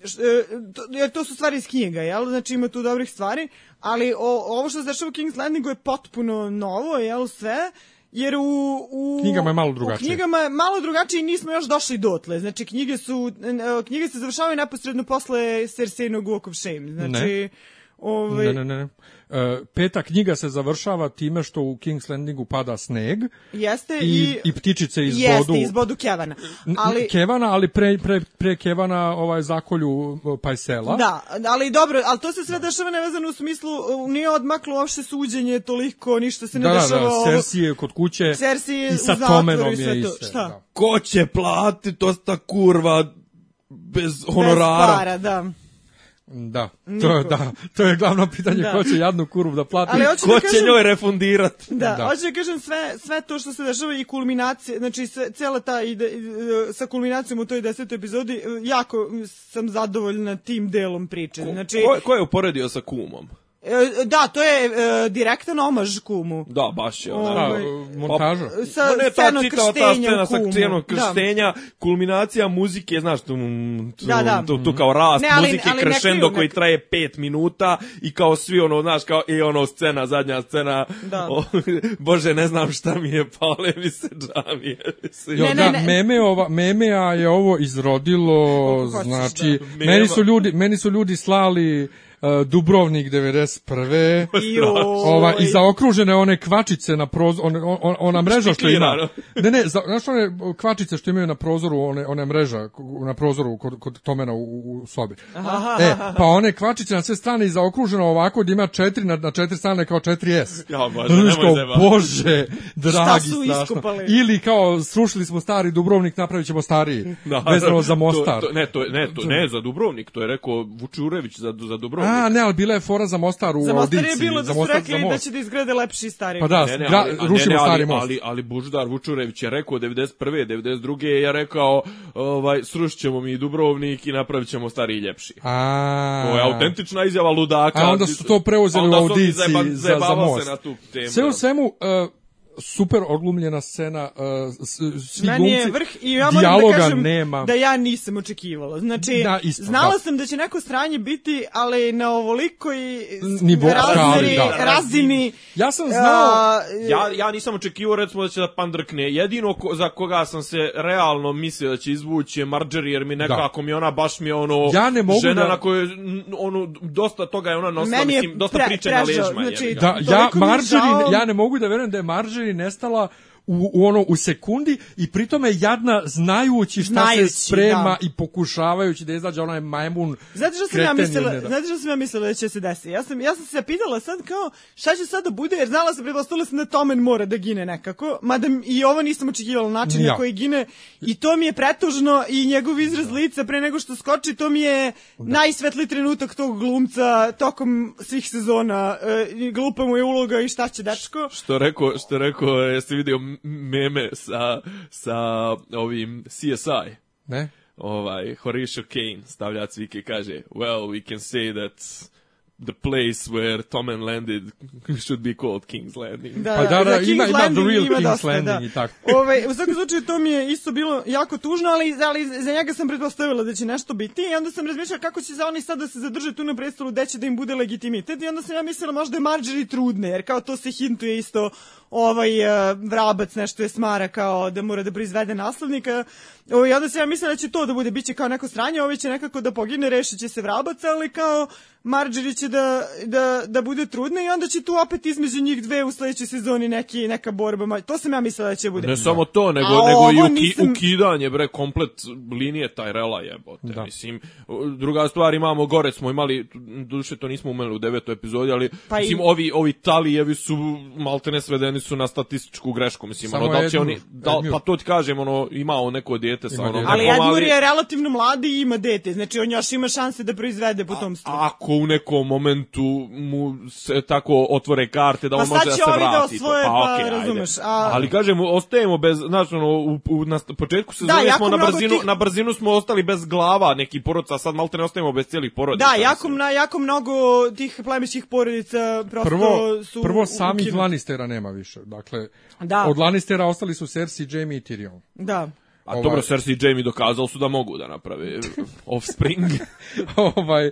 š- e, to, jer to su stvari iz knjiga, jel? Znači ima tu dobrih stvari, ali o, ovo što se dešava u King's Landingu je potpuno novo, jel? Sve, jer u, u
Knjigama je malo
U
drugačije.
knjigama je malo drugačije i nismo još došli dotle. Znači knjige su e, knjige se završavaju neposredno posle Cerseinog Walk of Shame. Znači ovaj
Ne, ne, ne. ne. E, peta knjiga se završava time što u King's Landingu pada sneg
jeste
i, i ptičice iz
jeste,
bodu
iz bodu Kevana.
ali...
Ali,
Kevana, ali pre, pre, pre Kevana ovaj, zakolju e, Pajsela.
da, ali dobro, ali to se sve dešava nevezano u smislu, e, nije odmaklo uopšte suđenje toliko, ništa se ne
da, da,
dešava.
da,
ovo-
Cersei je kod kuće
Cersei je
i
u
sa
zatvoru
Tomenom
i sve
je
to.
iste,
Šta?
da.
Ko će platiti dosta kurva bez
Bez
honorara?
para, da.
Da, to, je- da, to je glavno pitanje
Da.
ko će jadnu kurvu da plati.
Ali hoću
Ko
da
će
kažem,
njoj refundirati?
Da,
Da.
hoću da kažem sve, sve to što se dešava i kulminacija, znači sve, cijela ta ide, i- e, sa kulminacijom u toj desetoj epizodi, e, jako sam zadovoljna tim delom priče. Znači,
Ko, ko je uporedio sa kumom?
e, da, to je e, direktan omaž kumu.
Da, baš je
Da,
ona.
Ovaj,
e, montaža.
Sa
Ma ne, ta
scenom
čitava ta
krštenja
scena
u
sa
kumu.
scenom
Da.
krštenja, kulminacija muzike, znaš, tu, mm, tu,
Da, da.
tu, tu kao rast
Ne, ali-
muzike,
ali ne
krešendo
kriju,
koji
ne-
traje pet minuta i kao svi ono, znaš, kao i ono scena, zadnja scena,
Da.
o, bože, ne znam šta mi je, pale mi se džamije. mislim.
Jo,
Ne, ne,
da,
ne.
meme ova, memea je ovo izrodilo,
hoćeš,
znači,
da.
meni su ljudi, meni su ljudi slali e, Dubrovnik 91.
Joj.
Ova, I
da.
zaokružene one kvačice na prozoru, one, on, ona mreža što ima. Ne, ne, za, znaš one kvačice što imaju na prozoru, one, one mreža na prozoru kod, kod Tomena u, u sobi. Aha, e, pa one kvačice na sve strane i zaokruženo ovako da ima četiri, na, na četiri strane kao 4S.
Ja,
da,
bože,
Znaš
nemoj
kao,
zajebavati.
bože, dragi,
su
strašno.
iskopali?
Ili kao, srušili smo stari Dubrovnik, napravit ćemo stariji.
Da.
Vezano za Mostar.
To, to, ne, to, je- ne, to, ne, za Dubrovnik, to je rekao Vučurević za, za Dubrovnik.
A, ne, ali bila je fora za Mostar u
Za Mostar je
audiciji.
bilo da
za
su
Mostar, za
rekli da
most.
će da izgrade lepši i stariji.
Pa da,
Ne, ne,
gra-
ali, a ne,
rušimo
ne, ali,
stari most.
Ali, ali Boždar Vučurević je rekao 91. 92. je rekao ovaj, srušćemo mi Dubrovnik i napravit ćemo stariji i ljepši.
A,
To je autentična izjava ludaka.
A onda su to preuzeli
A onda
u
su oni
audiciji
zajeban-
za- za
zajebavao
most.
se na tu temu. da,
Sve u svemu, e, super odlumljena scena, e, s- svi
Znači, Meni je
glumci,
vrh i ja moram da
dijaloga
kažem
nema.
da ja nisam očekivala. Znači,
Da, isto,
znala
da.
sam da će neko stranje biti, ali na ovolikoj s-
Nivo-
razmeri,
da,
da.
razini...
Ja sam znao,
a,
Ja, ja nisam očekivao recimo da će da pandrkne. Jedino ko, za koga sam se realno mislio da će izvući je Marjorie jer mi nekako mi ona baš mi je ono
Ja ne mogu
žena
da-
na kojoj n- ono dosta toga je ona nosila,
Meni je
mislim, dosta
pre-
priče na
prežao,
ležima.
znači,
jebi ga.
da,
toliko
ja,
mi je
Marjorie,
žao.
ja ne mogu da verujem da je Marjorie nestala u, u ono u sekundi i pritome jadna znajući šta
Znajući,
se sprema
da.
i pokušavajući da izađe onaj majmun
Znate što sam
kreten
ja
ili
mislila,
ne da-
znate što sam ja mislila da će se desiti? Ja sam, ja sam se pitala sad kao šta će sad da bude, jer znala sam, pretpostavila sam da Tomen mora da gine nekako, mada m- i ovo nisam očekivala način
Ni ja. Da.
na koji gine i to mi je pretužno i njegov izraz lica pre nego što skoči, to mi je najsvetliji trenutak tog glumca tokom svih sezona. E, i glupa mu je uloga i šta će dečko.
Što rekao, što rekao, jeste vidio meme sa, sa ovim CSI?
Ne?
Ovaj, Horatio Kane stavlja cvike i kaže, well, we can say that the place where Tom and landed should be called King's Landing.
Da,
Pa da, da,
da, za
ima-
King's
ima The
Landing
Real King's
dosta, da.
Landing i tako.
Ovaj, u svakom slučaju to mi je isto bilo jako tužno, ali, ali za njega sam pretpostavila da će nešto biti i onda sam razmišljala kako će za oni sad da se zadrže tu na prestolu, gde će da im bude legitimitet i onda sam ja mislila možda je Marjorie trudne, jer kao to se hintuje isto ovaj eh, vrabac nešto je smara kao da mora da proizvede naslednika. Ovaj, onda sam ja mislila da će to da bude, bit će kao neko sranje, ovaj će nekako da pogine, rešit će se vrabac, ali kao Marjorie će da, da, da bude trudna i onda će tu opet između njih dve u sledećoj sezoni neki, neka borba. ma- To sam ja mislila da će bude.
Ne samo to, nego,
A
nego i
ovo
uki,
nisam-
ukidanje, bre, komplet linije Tyrella jebote.
Da.
Mislim, druga stvar, imamo gore, smo imali, duše to nismo umeli u devetoj epizodi, ali
Pa i-
mislim, ovi, ovi Talijevi su maltene svedeni osuđeni su na statističku grešku, mislim,
Samo
ono, da li će
Edmure.
oni, da,
Edmure.
pa to ti kažem, ono, ima on neko dijete sa
Ima
onom
dijete.
Ali
nekom,
Edmur je relativno mladi i ima dete, znači on još ima šanse da proizvede potomstvo.
ako u nekom momentu mu se tako otvore karte da
Pa
on
sad
može da
će
se
ovi da
vrati.
osvoje,
to,
pa
okej, ajde.
razumeš, a-
Ali kažem, ostajemo bez, znaš, ono, u, u, na st- početku sezone
Da, jako
smo na
mnogo
brzinu,
tih-
na brzinu smo ostali bez glava neki porodica, a sad malte ne ostajemo bez cijelih porodica.
Da, jako,
mislim.
na, jako mnogo tih plemiških porodica prosto
Prvo,
su...
prvo
u-
samih
ukinuti.
Lannistera nema više. Dakle,
Da.
od Lannistera ostali su Cersei, Jaime i Tyrion.
Da.
A
ovaj-
dobro, Cersei i Jamie dokazali su da mogu da naprave offspring.
ovaj, eh,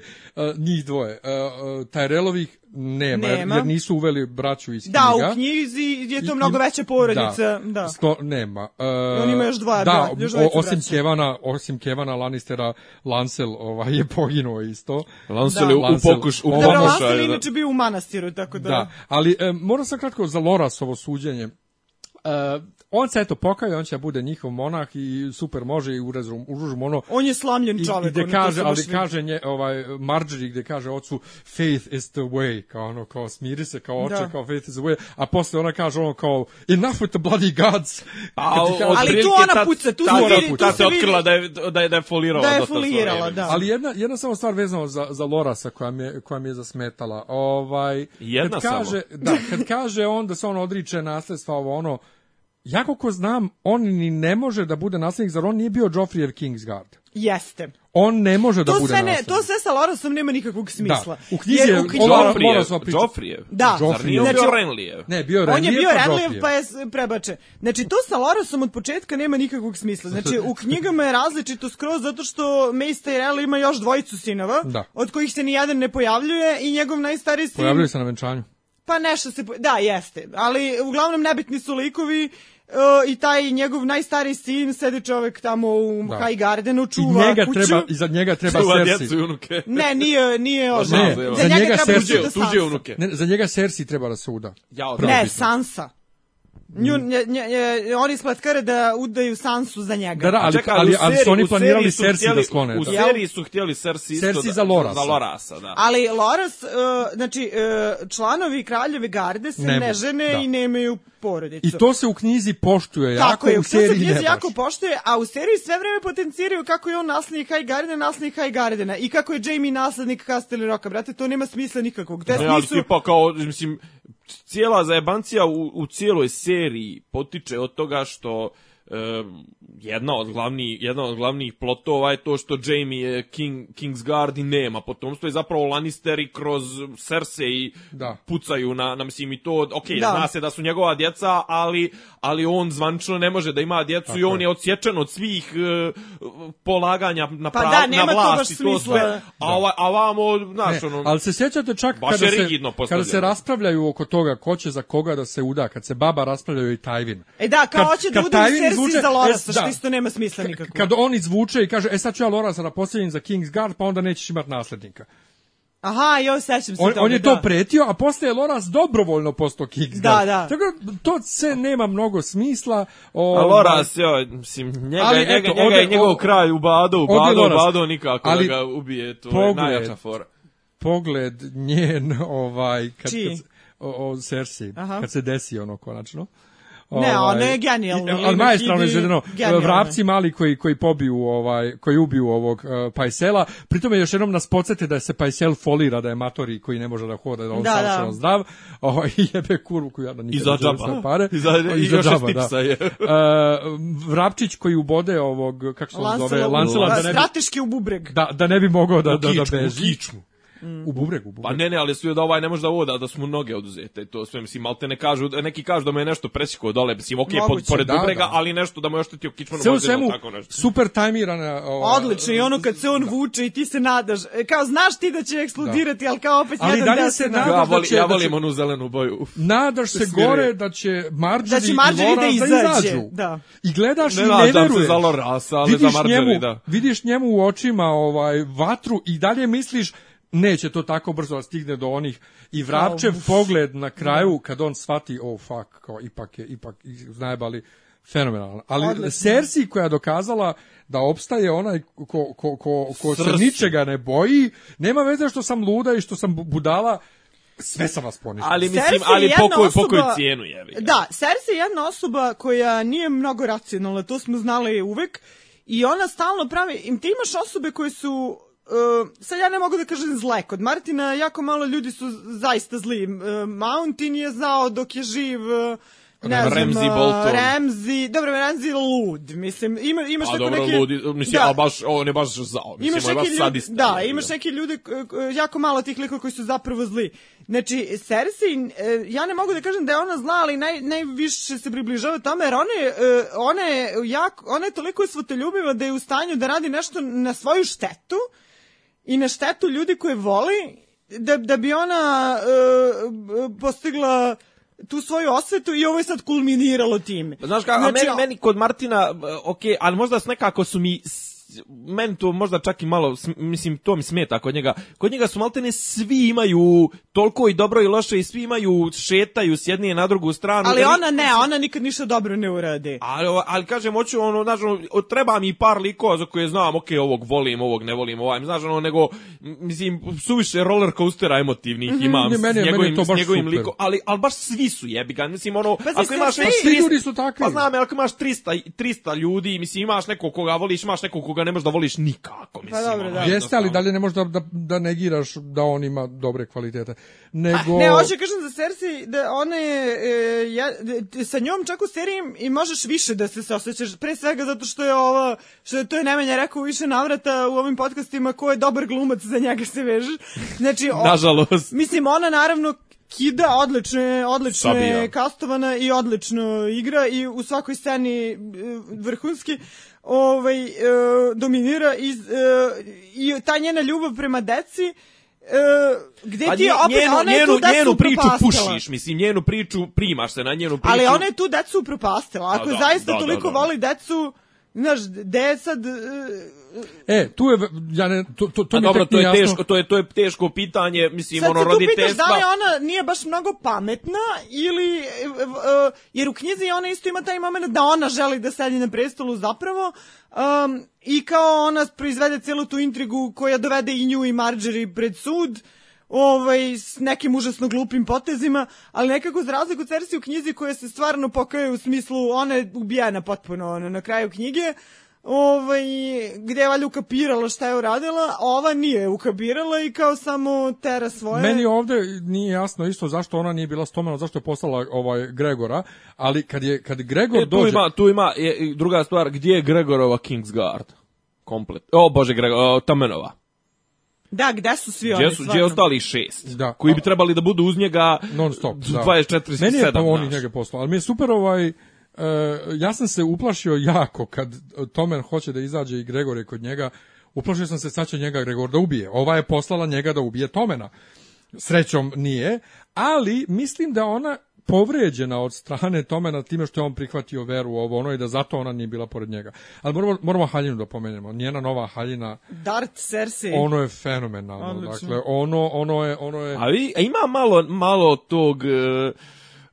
njih dvoje. Eh, eh, Tyrelovih nema, jer-
Nema.
jer nisu uveli braću iz
Da,
knjiga.
u knjizi je
I-
to mnogo
i-
veća porodica. Da.
Sto, nema. E,
on ima još dva
da,
bra- još
o-
dvojicu
osim
braće.
Kevana, osim Kevana Lannistera, Lancel ovaj, je poginuo isto.
Lancel
Da.
je u, u
Lancel.
pokuš, u
Dobro,
Dobro,
Pokušaj,
pokušaju.
Lasel je
da-
inače bio u manastiru, tako da...
Da, ali e, moram sam kratko za Lorasovo suđenje. E, on se eto pokaja, on će da bude njihov monah i super može i urezum, uružum ono
On je slamljen
i, i
čovjek.
gde
ono, to
kaže,
se baš
ali
vidi.
kaže nje, ovaj, Marjorie gde kaže ocu faith is the way, kao ono, kao smiri se, kao oče,
Da.
kao faith is the way, a posle ona kaže ono kao enough with the bloody gods.
A,
Kad ti kaže-
Pa, Ali tu
otprilike
ona
tad-
puca, tu
tad
se
ona
vidi-
puca.
tu
Tad
se
se
vidi-
otkrila da je, da je, da je folirala.
Da je
dosta svoje
folirala,
vreme.
da.
Ali jedna, jedna samo stvar vezano za, za Lorasa koja mi je, koja mi je zasmetala. Ovaj,
Jedna
kad kaže, Da, kad kaže on da se on odriče nasledstva ovo ono, ja koliko znam, on ni ne može da bude naslednik, zar on nije bio Joffrijev Kingsguard.
Jeste.
On ne može da
To
bude
sve, ne,
naslednik.
to sve sa Lorasom nema nikakvog smisla.
u knjizi
Jer
je
u knjizi-
Lara-
Joffrijev,
Moram sva priča.
Joffrijev.
Da.
Zar nije on
Joffrijev.
bio
Znači,
Renlijev?
Ne, bio je
On je
Renly,
bio
pa
Renly,
Joffrijev.
pa je s- prebačen. Znači, to sa Lorasom od početka nema nikakvog smisla. Znači, u knjigama je različito skroz zato što Mace Tyrell ima još dvojicu sinova,
Da.
od kojih se ni jedan ne pojavljuje i njegov najstariji sin...
Pojavljaju se na venčanju.
Pa nešto se... po- Da, jeste. Ali uglavnom nebitni su likovi e, i taj njegov najstariji sin sedi čovek tamo u
Da.
High Gardenu,
I
čuva
njega
kuću.
treba, i za njega treba
Čuva djecu
Cersei.
i unuke.
Ne, nije, nije on.
Ne,
za,
za
njega,
njega
treba
Cersei,
da
Tuđe unuke.
Ne, za njega Cersei treba da se uda.
Jao,
Prvo Mm.
Ne,
bitno.
Sansa. Nju, nje, nje, nje, oni splatkare da udaju Sansu za njega.
Da, da, ali,
Čekaj,
ali,
u
ali su
seriji-
oni
u
planirali
seriji su
Cersei da
htjeli-
sklone.
U
da.
seriji su htjeli Cersei isto
Cersei
da-
za Lorasa.
Za Lorasa, da.
Ali Loras, e, znači, e, članovi kraljeve garde se
Ne
ne,
mogu,
žene
da.
i nemaju porodicu.
I to se u knjizi poštuje jako,
Tako je,
u
u
seriji
knjizi
ne baš.
jako poštuje, a u seriji sve vreme potenciraju kako je on naslednik Highgardena, naslednik Highgardena i kako je Jamie naslednik Castelli Roka. Brate, to nema smisla nikakvog. Te
Da,
Ne, ali
smislu...
tipa kao, mislim, cijela zajebancija u, u cijeloj seriji potiče od toga što e, jedna od glavni jedna od glavnih plotova je to što Jaime je King Kingsguard i nema potomstvo i zapravo Lannisteri kroz Cersei
Da.
pucaju na, na mislim i to okej
Da.
zna se da su njegova djeca ali ali on zvančno ne može da ima djecu i
Tako
on
je.
je odsječen od svih e, polaganja na
Pa
pra-
da, nema
na
to baš
vlast i to
smisla.
sve a ova a vamo
Ne,
znaš ono
ali se sjećate čak
E, Baš
kada
je
se,
rigidno
kada se
postavljeno.
raspravljaju oko toga ko će za koga da se uda, kad se baba raspravljaju i Tajvin.
E da, kao
Kad-
hoće da
kad
udaju
Tywin
Cersei
izvuče-
za Lorasa,
e,
što
da.
isto nema smisla nikakvog.
Kad on izvuče i kaže, e sad ću ja Lorasa da postavim za Kingsguard, pa onda nećeš imati naslednika.
Aha, jo, sećam se
On,
toga,
on je
da.
to pretio, a posle je Loras dobrovoljno postao Kingsguard.
Da, da.
Tako da, to se nema mnogo smisla. O,
A Loras, jo, mislim, njega,
Ovaj, Ali
je-
eto,
njega, njega
ode-
je njegov
o-
kraj u Bado, u
ode
Bado, u
Loras.
Bado nikako
Ali
da ga ubije, to
pogled-
je najjača fora.
Pogled njen, ovaj, kad,
Čiji?
kad se- o, o Cersei,
Aha.
kad se desi ono konačno.
Ne, ona je genijalna,
i- Ali
Lina
majestralno
Kidi,
izvedeno.
genijalna.
Vrapci mali koji, koji pobiju ovaj, koji ubiju ovog uh, Pajsela. Pritome još jednom nas podsjete da se Pajsel folira, da je matori koji ne može da hoda, da on
Da,
da,
da.
savršeno zdrav. Ovaj, I jebe kurvu koju ja da nikad
I za
neću
džaba.
uzeti na Pare. pa
I za- i još iz tipsa je.
Uh, Vrapčić koji ubode ovog, kako se on zove,
Lancela,
Lancela,
da,
da ne bi,
strateški u bubreg.
da, da ne bi mogao da, da, da
Kičmu,
beži.
kičmu.
U bubregu, u bubregu.
Pa ne, ne, ali su joj da ovaj ne može da voda, da su mu noge oduzete, i to sve, mislim, malte ne kažu, neki kažu da mu je nešto presjekao dole, mislim, okej, pod-
Moguće,
pored
da,
Dubrega,
da.
ali nešto da mu je oštetio kičmanu
Pa, Sve u
moždinu,
svemu,
tako nešto.
super tajmirana... ova,
Odlično, i ono kad se on vuče i ti se nadaš, e, kao znaš ti da će eksplodirati, ali kao opet
Ali
jedan
dalje
desna.
se
Ja,
nadaš da
voli,
će-
ja
da
volim
će-
onu zelenu boju. Uf.
Nadaš se
Smiruje.
gore da će Marjorie,
Da će Marjorie
i
da
Loras
izađe,
izađu.
da.
I gledaš
Ne
i ne
nadam se
veruješ.
za Lorasa, ali za
vidiš,
Marjorie,
njemu,
da.
vidiš njemu u očima ovaj vatru i dalje misliš neće to tako brzo da stigne do onih i Vrapčev pogled na kraju kad on shvati oh fuck kao ipak je ipak znajbali fenomenalno. Ali
Odlično.
Cersei koja je dokazala da opstaje onaj ko, ko, ko, ko se
Cersei.
ničega ne boji, nema veze što sam luda i što sam bu- budala, Sve sam vas poništio.
Ali mislim,
Cersei je
ali
jedna
pokoj, pokoj
osoba-
cijenu jebi. ga.
Da, Cersei je jedna osoba koja nije mnogo racionalna, to smo znali uvek. I ona stalno pravi, im ti imaš osobe koje su Uh, sad ja ne mogu da kažem zle kod Martina jako malo ljudi su zaista zli uh, Mountain je zao dok je živ uh, ne
Rem-
znam,
Ramsey
uh,
Bolton.
Ramsey dobro Ramsey je lud mislim ima, imaš
A
tako
dobro,
neke
ludi, mislim,
Da.
da. ali baš, on je baš zao. Mislim,
Imaš
on je baš
neke ljude,
sadista.
da,
jebi ga.
imaš neke ljude, k- k- jako malo tih likova koji su zapravo zli. Znači, Cersei, e, ja ne mogu da kažem da je ona zla, ali naj, najviše se približava tome, jer ona je, e, ona je, jako, ona je toliko svotoljubiva da je u stanju da radi nešto na svoju štetu i na štetu ljudi koje voli, da, da bi ona e, e, postigla tu svoju osvetu i ovo je sad kulminiralo time.
Znaš kako, znači, meni,
a-
meni kod Martina, b- ok, ali možda s nekako su mi s- meni to možda čak i malo, sm- mislim, to mi smeta kod njega. Kod njega su maltene svi imaju toliko i dobro i loše i svi imaju, šetaju s jedne na drugu stranu.
Ali
Jer-
ona ne, ona nikad ništa dobro ne uradi.
Ali, o- ali kažem, hoću ono, znaš, ono, o, treba mi par likova za koje znam, okej, ovog volim, ovog ne volim, ovaj, znaš, ono, nego, m, mislim, suviše roller coastera emotivnih imam
Mhm, Ne, meni je-
s
meni je
njegovim,
to
s
baš
njegovim
super. Pa
likom, ali, ali baš svi su jebiga, mislim, ono,
Pazi,
ako imaš
svi-
već
Svi
300
ljudi su takvi.
Pa znam, ako imaš 300, i- 300 ljudi, mislim, imaš nekog koga voliš, imaš nekog koga ne možeš da voliš nikako, mislim.
dobro, da.
Jeste, ali
jednostavno.
dalje ne možeš da, da, da negiraš da on ima dobre kvalitete. Nego...
Ne, hoću da kažem za Cersei da ona je, e, ja, d- sa njom čak u seriji i možeš više da se saosećaš, pre svega zato što je ovo, što je to je Nemanja rekao u više navrata u ovim podcastima, ko je dobar glumac, za njega se vežeš. Znači, o-
Da, Nažalost.
mislim, ona naravno kida, odlično je, odlično je
Sabija.
kastovana i odlično igra i u svakoj sceni e, vrhunski ovaj, e, dominira iz, e, i ta njena ljubav prema deci e, gde
A
ti je
nje-
opet, ona je tu
njenu,
decu
njenu priču
upropastila.
pušiš, mislim, njenu priču primaš se na njenu priču.
Ali ona je tu decu upropastila. Ako
A da,
zaista
da, da,
toliko
da.
voli decu, znaš, gde je sad... e,
E, tu je... Ja ne, to, to, to
A
mi
Pa dobro,
tek
to
nije
je
jasno.
teško, to je to je teško pitanje, mislim
sad
ono
se tu pitaš
roditeljstva.
da li ona nije baš mnogo pametna ili... e, e, jer u knjizi ona isto ima taj moment da ona želi da sedi na prestolu zapravo um, i kao ona proizvede celu tu intrigu koja dovede i nju i Marjorie pred sud ovaj, s nekim užasno glupim potezima, ali nekako za razliku od Cersei u knjizi koja se stvarno pokaje u smislu, ona je ubijena potpuno ono, na kraju knjige, ovaj, gde je valjda ukapirala šta je uradila, a ova nije ukapirala i kao samo tera svoje.
Meni ovde nije jasno isto zašto ona nije bila spomenuta, zašto je poslala ovaj Gregora, ali kad je kad Gregor
E, tu
dođe,
ima, tu ima je, i druga stvar, gdje je Gregorova Kingsguard? Komplet. O bože, Gregor, o, Tamenova.
Da, gde su svi oni?
Gdje su gdje je
stvarno?
ostali šest?
Da.
Koji bi trebali da budu uz njega
non stop, da.
24
Meni je pa on i
znaš.
njega poslao, ali mi je super ovaj e, ja sam se uplašio jako kad Tomen hoće da izađe i Gregor je kod njega. Uplašio sam se sad će njega Gregor da ubije. Ova je poslala njega da ubije Tomena. Srećom nije, ali mislim da ona povređena od strane Tomena time što je on prihvatio veru u ovo ono i da zato ona nije bila pored njega. Ali moramo, moramo haljinu da pomenemo. Njena nova haljina,
Dart Cersei.
ono je fenomenalno.
Odlično.
Dakle, ono, ono je, ono je...
A vi, a ima malo, malo tog... e,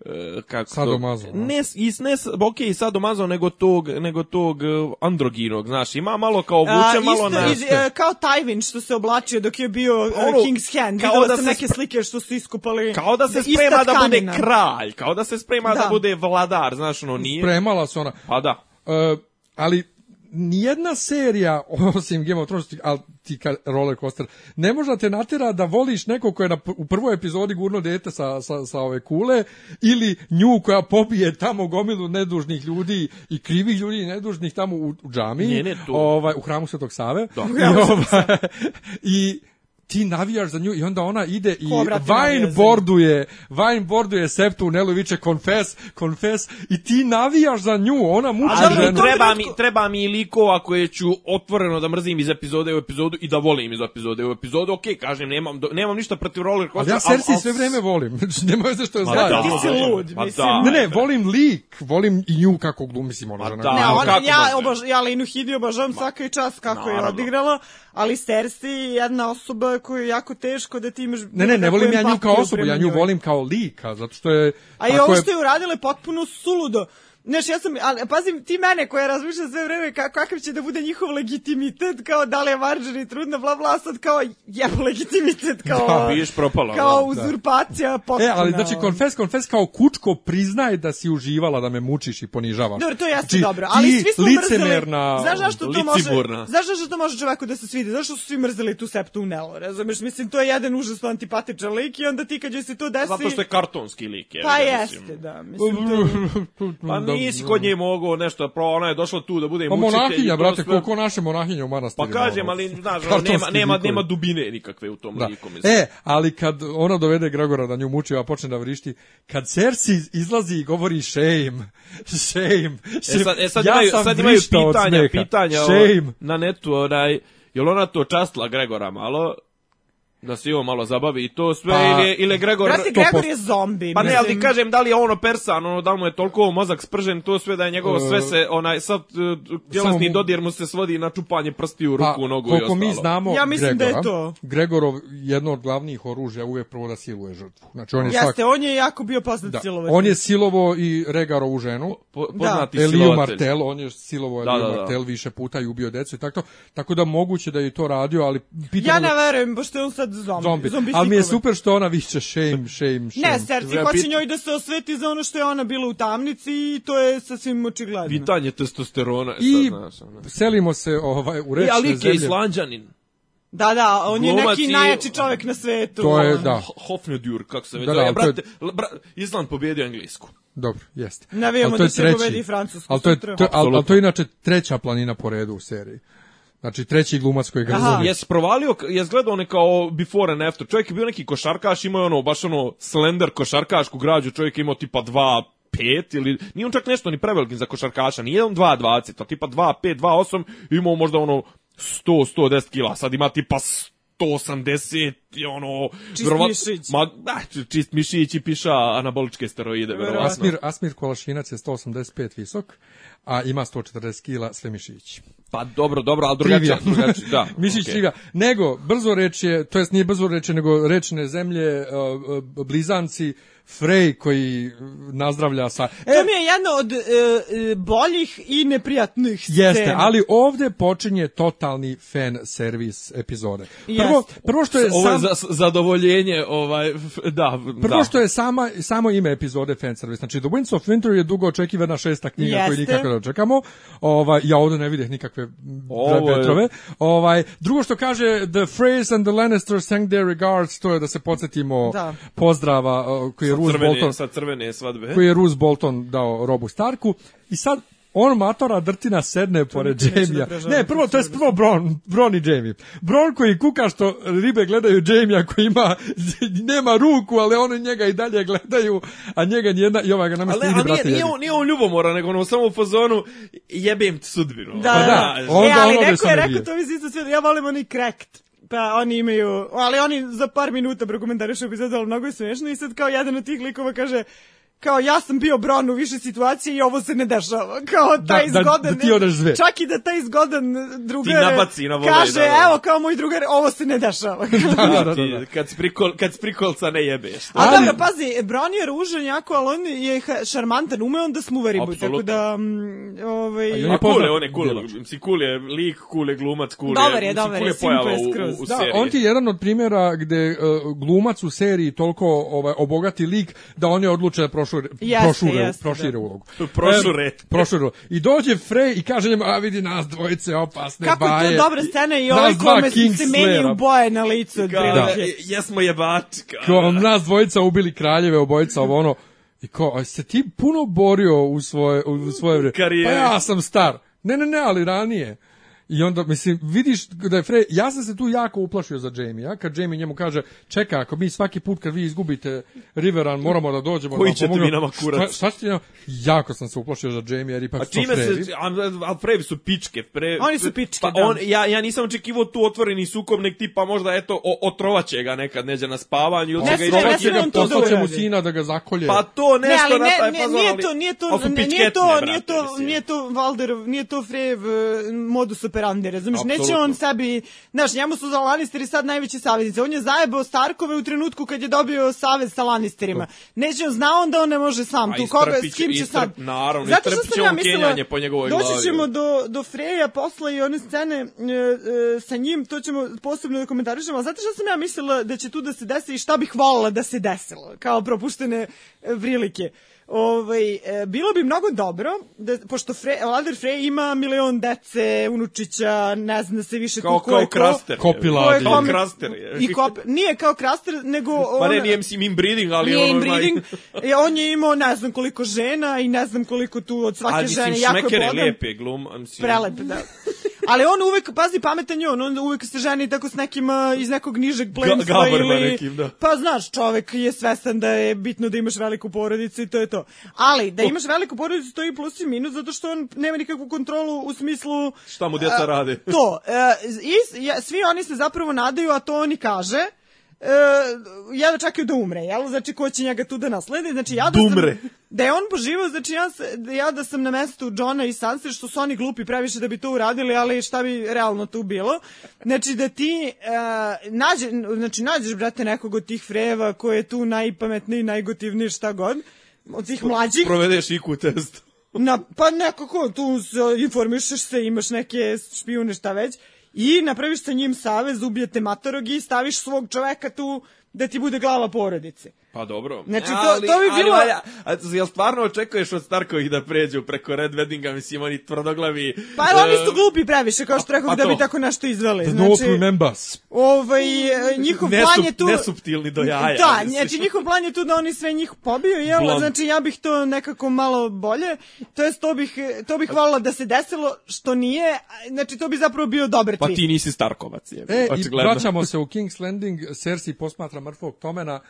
e, kako to-
Sadomazo, no.
Ne, s- i s- ne, s- ok, i sadomazo, nego tog, nego tog e, androginog, znaš, ima malo kao
A,
vuče, malo
isto,
na...
iz, e, kao Tywin što se oblačio dok je bio e,
Ono,
King's Hand.
kao
Videla
da
sam
se
neke
spra-
slike što su iskupali.
Kao da se
Ista
sprema da bude
tkanina.
kralj, kao da se sprema da,
Da.
bude vladar, znaš, ono nije.
Premala se ona.
Pa da.
E, ali nijedna serija, osim Game of Thrones, ti- ali ti ka roller coaster, ne može da te natjera da voliš nekog koja je na, p- u prvoj epizodi gurno dete sa, sa, sa ove kule, ili nju koja pobije tamo gomilu nedužnih ljudi i krivih ljudi i nedužnih tamo u, u džamiji,
Ne, ne, to-
ovaj, u hramu Svetog Save.
Da.
I, ovaj, I ti navijaš za nju i onda ona ide i
Ko, brate, navija za
Vine
nju?
borduje, Vine borduje septu u Nelu i viče confess, confess i ti navijaš za nju, ona muči
A
ženu.
dobro, treba mi, treba mi i likova koje ću otvoreno da mrzim iz epizode u epizodu i da volim iz epizode u epizodu. Okej, kažem, nemam, do- nemam ništa protiv roller
Ali
coastera.
ja Cersei sve vreme volim. Znači, nema veze što je
Ma
zla.
da,
ti si
ma
lud,
da, ma
mislim.
da,
Ne, ne, volim lik, volim i nju kako glumi, mislim, ona
Ma
žena.
da.
Ne,
A,
ona,
kako
ja,
može?
obož, ja Linu Hidi obožavam svaka i čas kako je
naravno.
odigrala, ali Cersei je jedna osoba koju je jako teško da ti imaš...
Ne, ne, ne
kakvu
volim ja nju
empatiju
kao osobu,
prema
ja nju
njoj.
volim kao lika, zato što je...
A i
tako
ovo
je-
što je uradila je potpuno suludo. Znaš, ja sam, ali pazim, ti mene koja razmišlja sve vreme ka, kakav će da bude njihov legitimitet, kao da li je Marjorie trudna, bla bla, sad kao jebo legitimitet, kao,
Da, biješ propalo,
kao
da, da.
uzurpacija potpuna.
E, ali znači,
ono.
konfes, konfes kao kučko priznaje da si uživala da me mučiš i ponižavaš.
Dobro, to jeste
Znači,
dobro, ali
ti
svi su
licemerna...
mrzeli. Znaš zašto to može?
liciburna.
Znaš zašto to može čoveku da se svidi? Znaš što su svi mrzeli tu septu Nelo, razumeš? Mislim, to je jedan užasno antipatičan lik i onda ti kad joj se
Pa,
to desi...
Zato što je kartonski lik. Je,
Pa
mislim.
jeste, da. Mislim, to je-
Pa nisi kod nje mogao nešto, pro, ona je došla tu da bude
Pa
mučitelj. i
monahinja,
to
brate,
sve.
koliko naše monahinje u manastiru.
Pa kažem, ali znaš, ono,
Kartonski
nema, nema,
likovi.
nema dubine nikakve u tom
Da.
liku. Mislim.
E, ali kad ona dovede Gregora da nju muči, a počne da vrišti, kad Cersei izlazi i govori shame, shame, shame.
E sad, e sad
ja
imaju,
sam
sad imaju
vrištao od
pitanja,
smeha.
pitanja
Shame.
o, na netu, onaj, jel ona to častila Gregora malo, da se i on malo zabavi i to sve,
Pa-
ili, je- ili je Gregor...
Brate,
to
Gregor
post-
je zombi.
Pa ne,
mislim.
ali kažem, da li je ono persan, ono, da li mu je toliko mozak spržen, to sve da je njegovo
E,
sve se, onaj, sad, e, tjelesni
samo mu-
dodir mu se svodi na čupanje prsti u
Pa,
ruku, nogu i
koliko
ostalo.
mi znamo
Ja mislim da je
Gregora,
to.
Gregorov jedno od glavnih oružja uvijek prvo da siluje žrtvu. Znači, on je svak,
Jeste, on je jako bio poznat
da,
silovatelj.
on je silovo i Regarovu ženu.
Po, poznati
Eliju
silovatelj.
Martel, on je silovo
Da,
Eliju
da, da.
Martel više puta i ubio decu i tako to. Tako da moguće da je to radio, ali pitanje
Ja ne verujem, pošto je on sad zombi.
zombi.
zombi
Ali mi je super što ona viće shame, shame, shame.
Ne, Serci
Ja
hoće
pit-
njoj da se osveti za ono što je ona bila u tamnici i to je sasvim očigledno.
Pitanje testosterona, I...
I
sad, znaš, ono.
selimo se ovaj, u
I
rečne
Alik je
zemlje.
islanđanin.
Da, da, on je
Glumac
neki
i-
najjači čovek na svetu.
To je,
ono.
da,
Ho- Hofnedjur, kako se već
Da,
zove.
da, ali to
brate, bra, Island pobjedio Englesku.
dobro, jeste.
Navijamo
Ali to je
da će
treći.
pobedi Francusku
Ali to je,
sutra.
to, ali, ali to
Apsolutno.
je inače treća planina po redu u seriji. Znači, treći glumac koji ga
Aha.
glumi.
Jes provalio, jes gledao one kao before and after. Čovjek je bio neki košarkaš, imao je ono, baš ono, slender košarkašku građu. Čovjek je imao tipa 2 5 ili nije on čak nešto ni preveliki za košarkaša, nije on 2 20, a tipa 2 5 2 8, imao možda ono 100 110 kg, sad ima tipa 180 i ono
Čist
vjerovat-
mišić.
Ma, da, čist mišić i piša anaboličke steroide verovatno.
Asmir, Asmir Kolašinac je 185 visok, a ima 140 kila sve mišić.
Pa dobro, dobro, al drugačije,
Trivija.
drugačije, da.
Mišić
okej.
trivija. Nego, brzo reč je, to jest nije brzo reč je, nego rečne zemlje, uh, uh, blizanci, Frey koji uh, nazdravlja sa... E,
To mi je jedno od e, e, boljih i neprijatnih scena.
Jeste, ali ovde počinje totalni fan servis epizode. Prvo,
Jeste.
prvo što je
Ovo je
sam,
za, zadovoljenje, ovaj, f- da,
prvo
da.
što je sama, samo ime epizode fan servis. Znači The Winds of Winter je dugo očekivana šesta knjiga koju
Jeste.
nikako ne očekamo. Ovaj ja ovde ne videh nikakve
Ovo je-
vetrove. Ovaj drugo što kaže The Freys and the Lannisters sang their regards, to je da se podsjetimo
Da.
pozdrava uh, koji je Roose
crvene,
Bolton
sa crvene svadbe.
koji je Roose Bolton dao Robu Starku i sad on matora drtina sedne pored
nikad neću
Jamija.
da prežalim,
Ne, prvo, to je prvo Bron, Bron i Jamie. Bron koji kuka što ribe gledaju Jamija koji ima, nema ruku, ali oni njega i dalje gledaju, a njega nijedna, i ovaj ga nama
Ali,
stidi,
ali nije,
brate,
nije,
jebi.
on, nije on ljubomora, nego ono samo u fazonu jebem ti sudbinu.
Da,
Pa
da.
da,
E,
onda
ali
ono gde
neko
se ne
je rekao,
bije.
to mi se isto sviđa. Ja volim oni cracked. Pa oni imaju, ali oni za par minuta prokomentarišu epizodu, ali mnogo je smiješno i sad kao jedan od tih likova kaže kao ja sam bio Bron u više situacije i ovo se ne dešava. Kao taj
da-
zgodan...
da ti odeš sve.
Čak i da taj zgodan drugar
Ti nabaci na volej,
kaže,
da, da.
evo kao moj drugar, ovo se ne dešava.
Da, da, da, da.
Ti, kad, si prikol, kad si prikolca ne jebeš.
A
Ali-
ali... dobro, pazi, Bron je ružan jako, ali on je ha- šarmantan, ume on da smuveri mu, tako
Apsolutno.
da... Mm, ovaj...
A i
A
on
cool je,
poznat
Pa on je cool.
djelač.
Mislim, cool je lik, cool je glumac, cool
Dobar je,
mislim,
dobar
cool
je,
je pojava
simple
u,
skroz.
u, u
Da,
seriji.
on ti je jedan od primjera gde uh, glumac u seriji toliko ovaj, obogati lik da on je odluče da prošure,
Jeste,
prošure,
jeste,
prošire
da.
ulogu.
Prošure.
E, prošure. I dođe Frey i kaže njemu, a vidi nas dvojice opasne
Kako
baje.
je to dobra scena i
Nas
ovaj
dva
kome se
Kingslayera.
menjaju boje na licu.
Kao,
Da.
je- Jesmo jebači. Kao,
kao nas dvojica ubili kraljeve, obojica ovo ono. I kao, a se ti puno borio u svoje, u svoje vrijeme?
Karijeri.
Pa ja sam star. Ne, ne, ne, ali ranije. I onda, mislim, vidiš da je Frey, ja sam se tu jako uplašio za Jamie-a, kad Jamie njemu kaže, čeka, ako mi svaki put kad vi izgubite Riveran, moramo da dođemo
Koji
da vam
ćete vi
pomognemo."
nama kurac?
Šta, šta ćete nam? Jako sam se uplašio za Jamie, jer ipak
A
su to
čime
Freyi.
se, a, a Frevi su pičke. Pre,
Oni su pičke,
pa
da.
on, ja, ja nisam očekivao tu otvoreni sukob, nek tipa možda, eto, o, otrovaće ga nekad, neđe na spavanju ili
Ne
će ga
sme, ne
izrovaće
sme
ga
on to da
Poslaće mu
uradi.
sina da ga zakolje.
Pa to
Ne,
nešto
ali
na taj
ne, ne,
fazon,
nije
ali-
to, nije to,
ali su
nije
pičketne,
to,
brate,
nije to,
mislim.
nije to Valderov, nije to Frejev eh, modus operandi, razumiješ? Neće
Apsolutno.
on sebi, znaš, njemu su za Lannisteri sad najveći saveznici. On je zajebao Starkove u trenutku kad je dobio savez sa Lannisterima. Neće on znao da on ne može sam.
A
tu koga,
istrpit
s
će-
kim će sad?
istrp- naravno,
Zato što
istrpit
sam
će
ja
on
mislila,
kenjanje po njegovoj glavi.
doći ćemo do, do Freja posle i one scene e, e, sa njim, to ćemo posebno da komentarišemo, ali znate što sam ja mislila da će tu da se desi i šta bih volila da se desilo, kao propuštene e, prilike. Ovaj, e, bilo bi mnogo dobro, da, pošto Fre, Vlader Frej ima milion dece, unučića, ne zna se više
Kao,
tu ko
kao
je ko.
kraster.
Kopila.
Ko je
Vladir.
Kao
kome-
kraster je.
I kop, nije kao kraster, nego...
Pa ne,
ona-
nije mislim inbreeding, ali
nije
ono...
inbreeding. E, on je imao ne znam koliko žena i ne znam koliko tu od svake
A
žene.
mislim,
Jako je
šmekere
bogat.
lijepe glum. a Mislim,
Prelep, da. Ali on uvek, pazi, pametan je on, on uvek se ženi tako s nekim a, iz nekog nižeg plemstva
gabarima
ili...
nekim, da.
Pa znaš, čovek je svestan da je bitno da imaš veliku porodicu i to je to. Ali,
Oh.
da imaš veliku porodicu, to je i plus i minus, zato što on nema nikakvu kontrolu u smislu...
Šta mu djeca
a,
rade?
To. e, i, s- ja, svi oni se zapravo nadaju, a to oni kaže... E, ja da čekaju da umre, jel? Znači, ko će njega tu da nasledi? Znači, ja da sam-
Dumre.
da je on poživao, znači ja, se- da ja da sam na mestu Johna i Sanse, što su oni glupi previše da bi to uradili, ali šta bi realno tu bilo. Znači da ti e, nađe, znači, nađeš, brate, nekog od tih frejeva koji je tu najpametniji, najgotivniji, šta god, od svih mlađih,
Provedeš IQ test.
na, pa nekako tu se informišeš se, imaš neke špijune, šta već, i napraviš sa njim savez, ubijete matorog i staviš svog čoveka tu da ti bude glava porodice.
Pa dobro.
Znači, to- to bi bilo-
valja- a, jel stvarno očekuješ od Starkovih da pređu preko Red Weddinga, mislim, oni tvrdoglavi...
Pa oni su
e,
glupi previše, kao što rekao,
pa
da bi
to. Pa
tako nešto izveli.
Nope
Znači,
remembers.
ovaj, e, njihov plan je
nesup,
tu...
nesuptilni do jaja.
Da,
mislim.
znači njihov plan je tu da oni sve njih pobiju, jel?
Blond.
Znači ja bih to nekako malo bolje, to jest to bih, to bih volila da se desilo, što nije, a, znači to bi zapravo bio dobar
Pa
twist.
ti nisi Starkovac, je.
E, i
očigledno.
vraćamo se u King's Landing, Cersei posmatra mrtvog Tomena.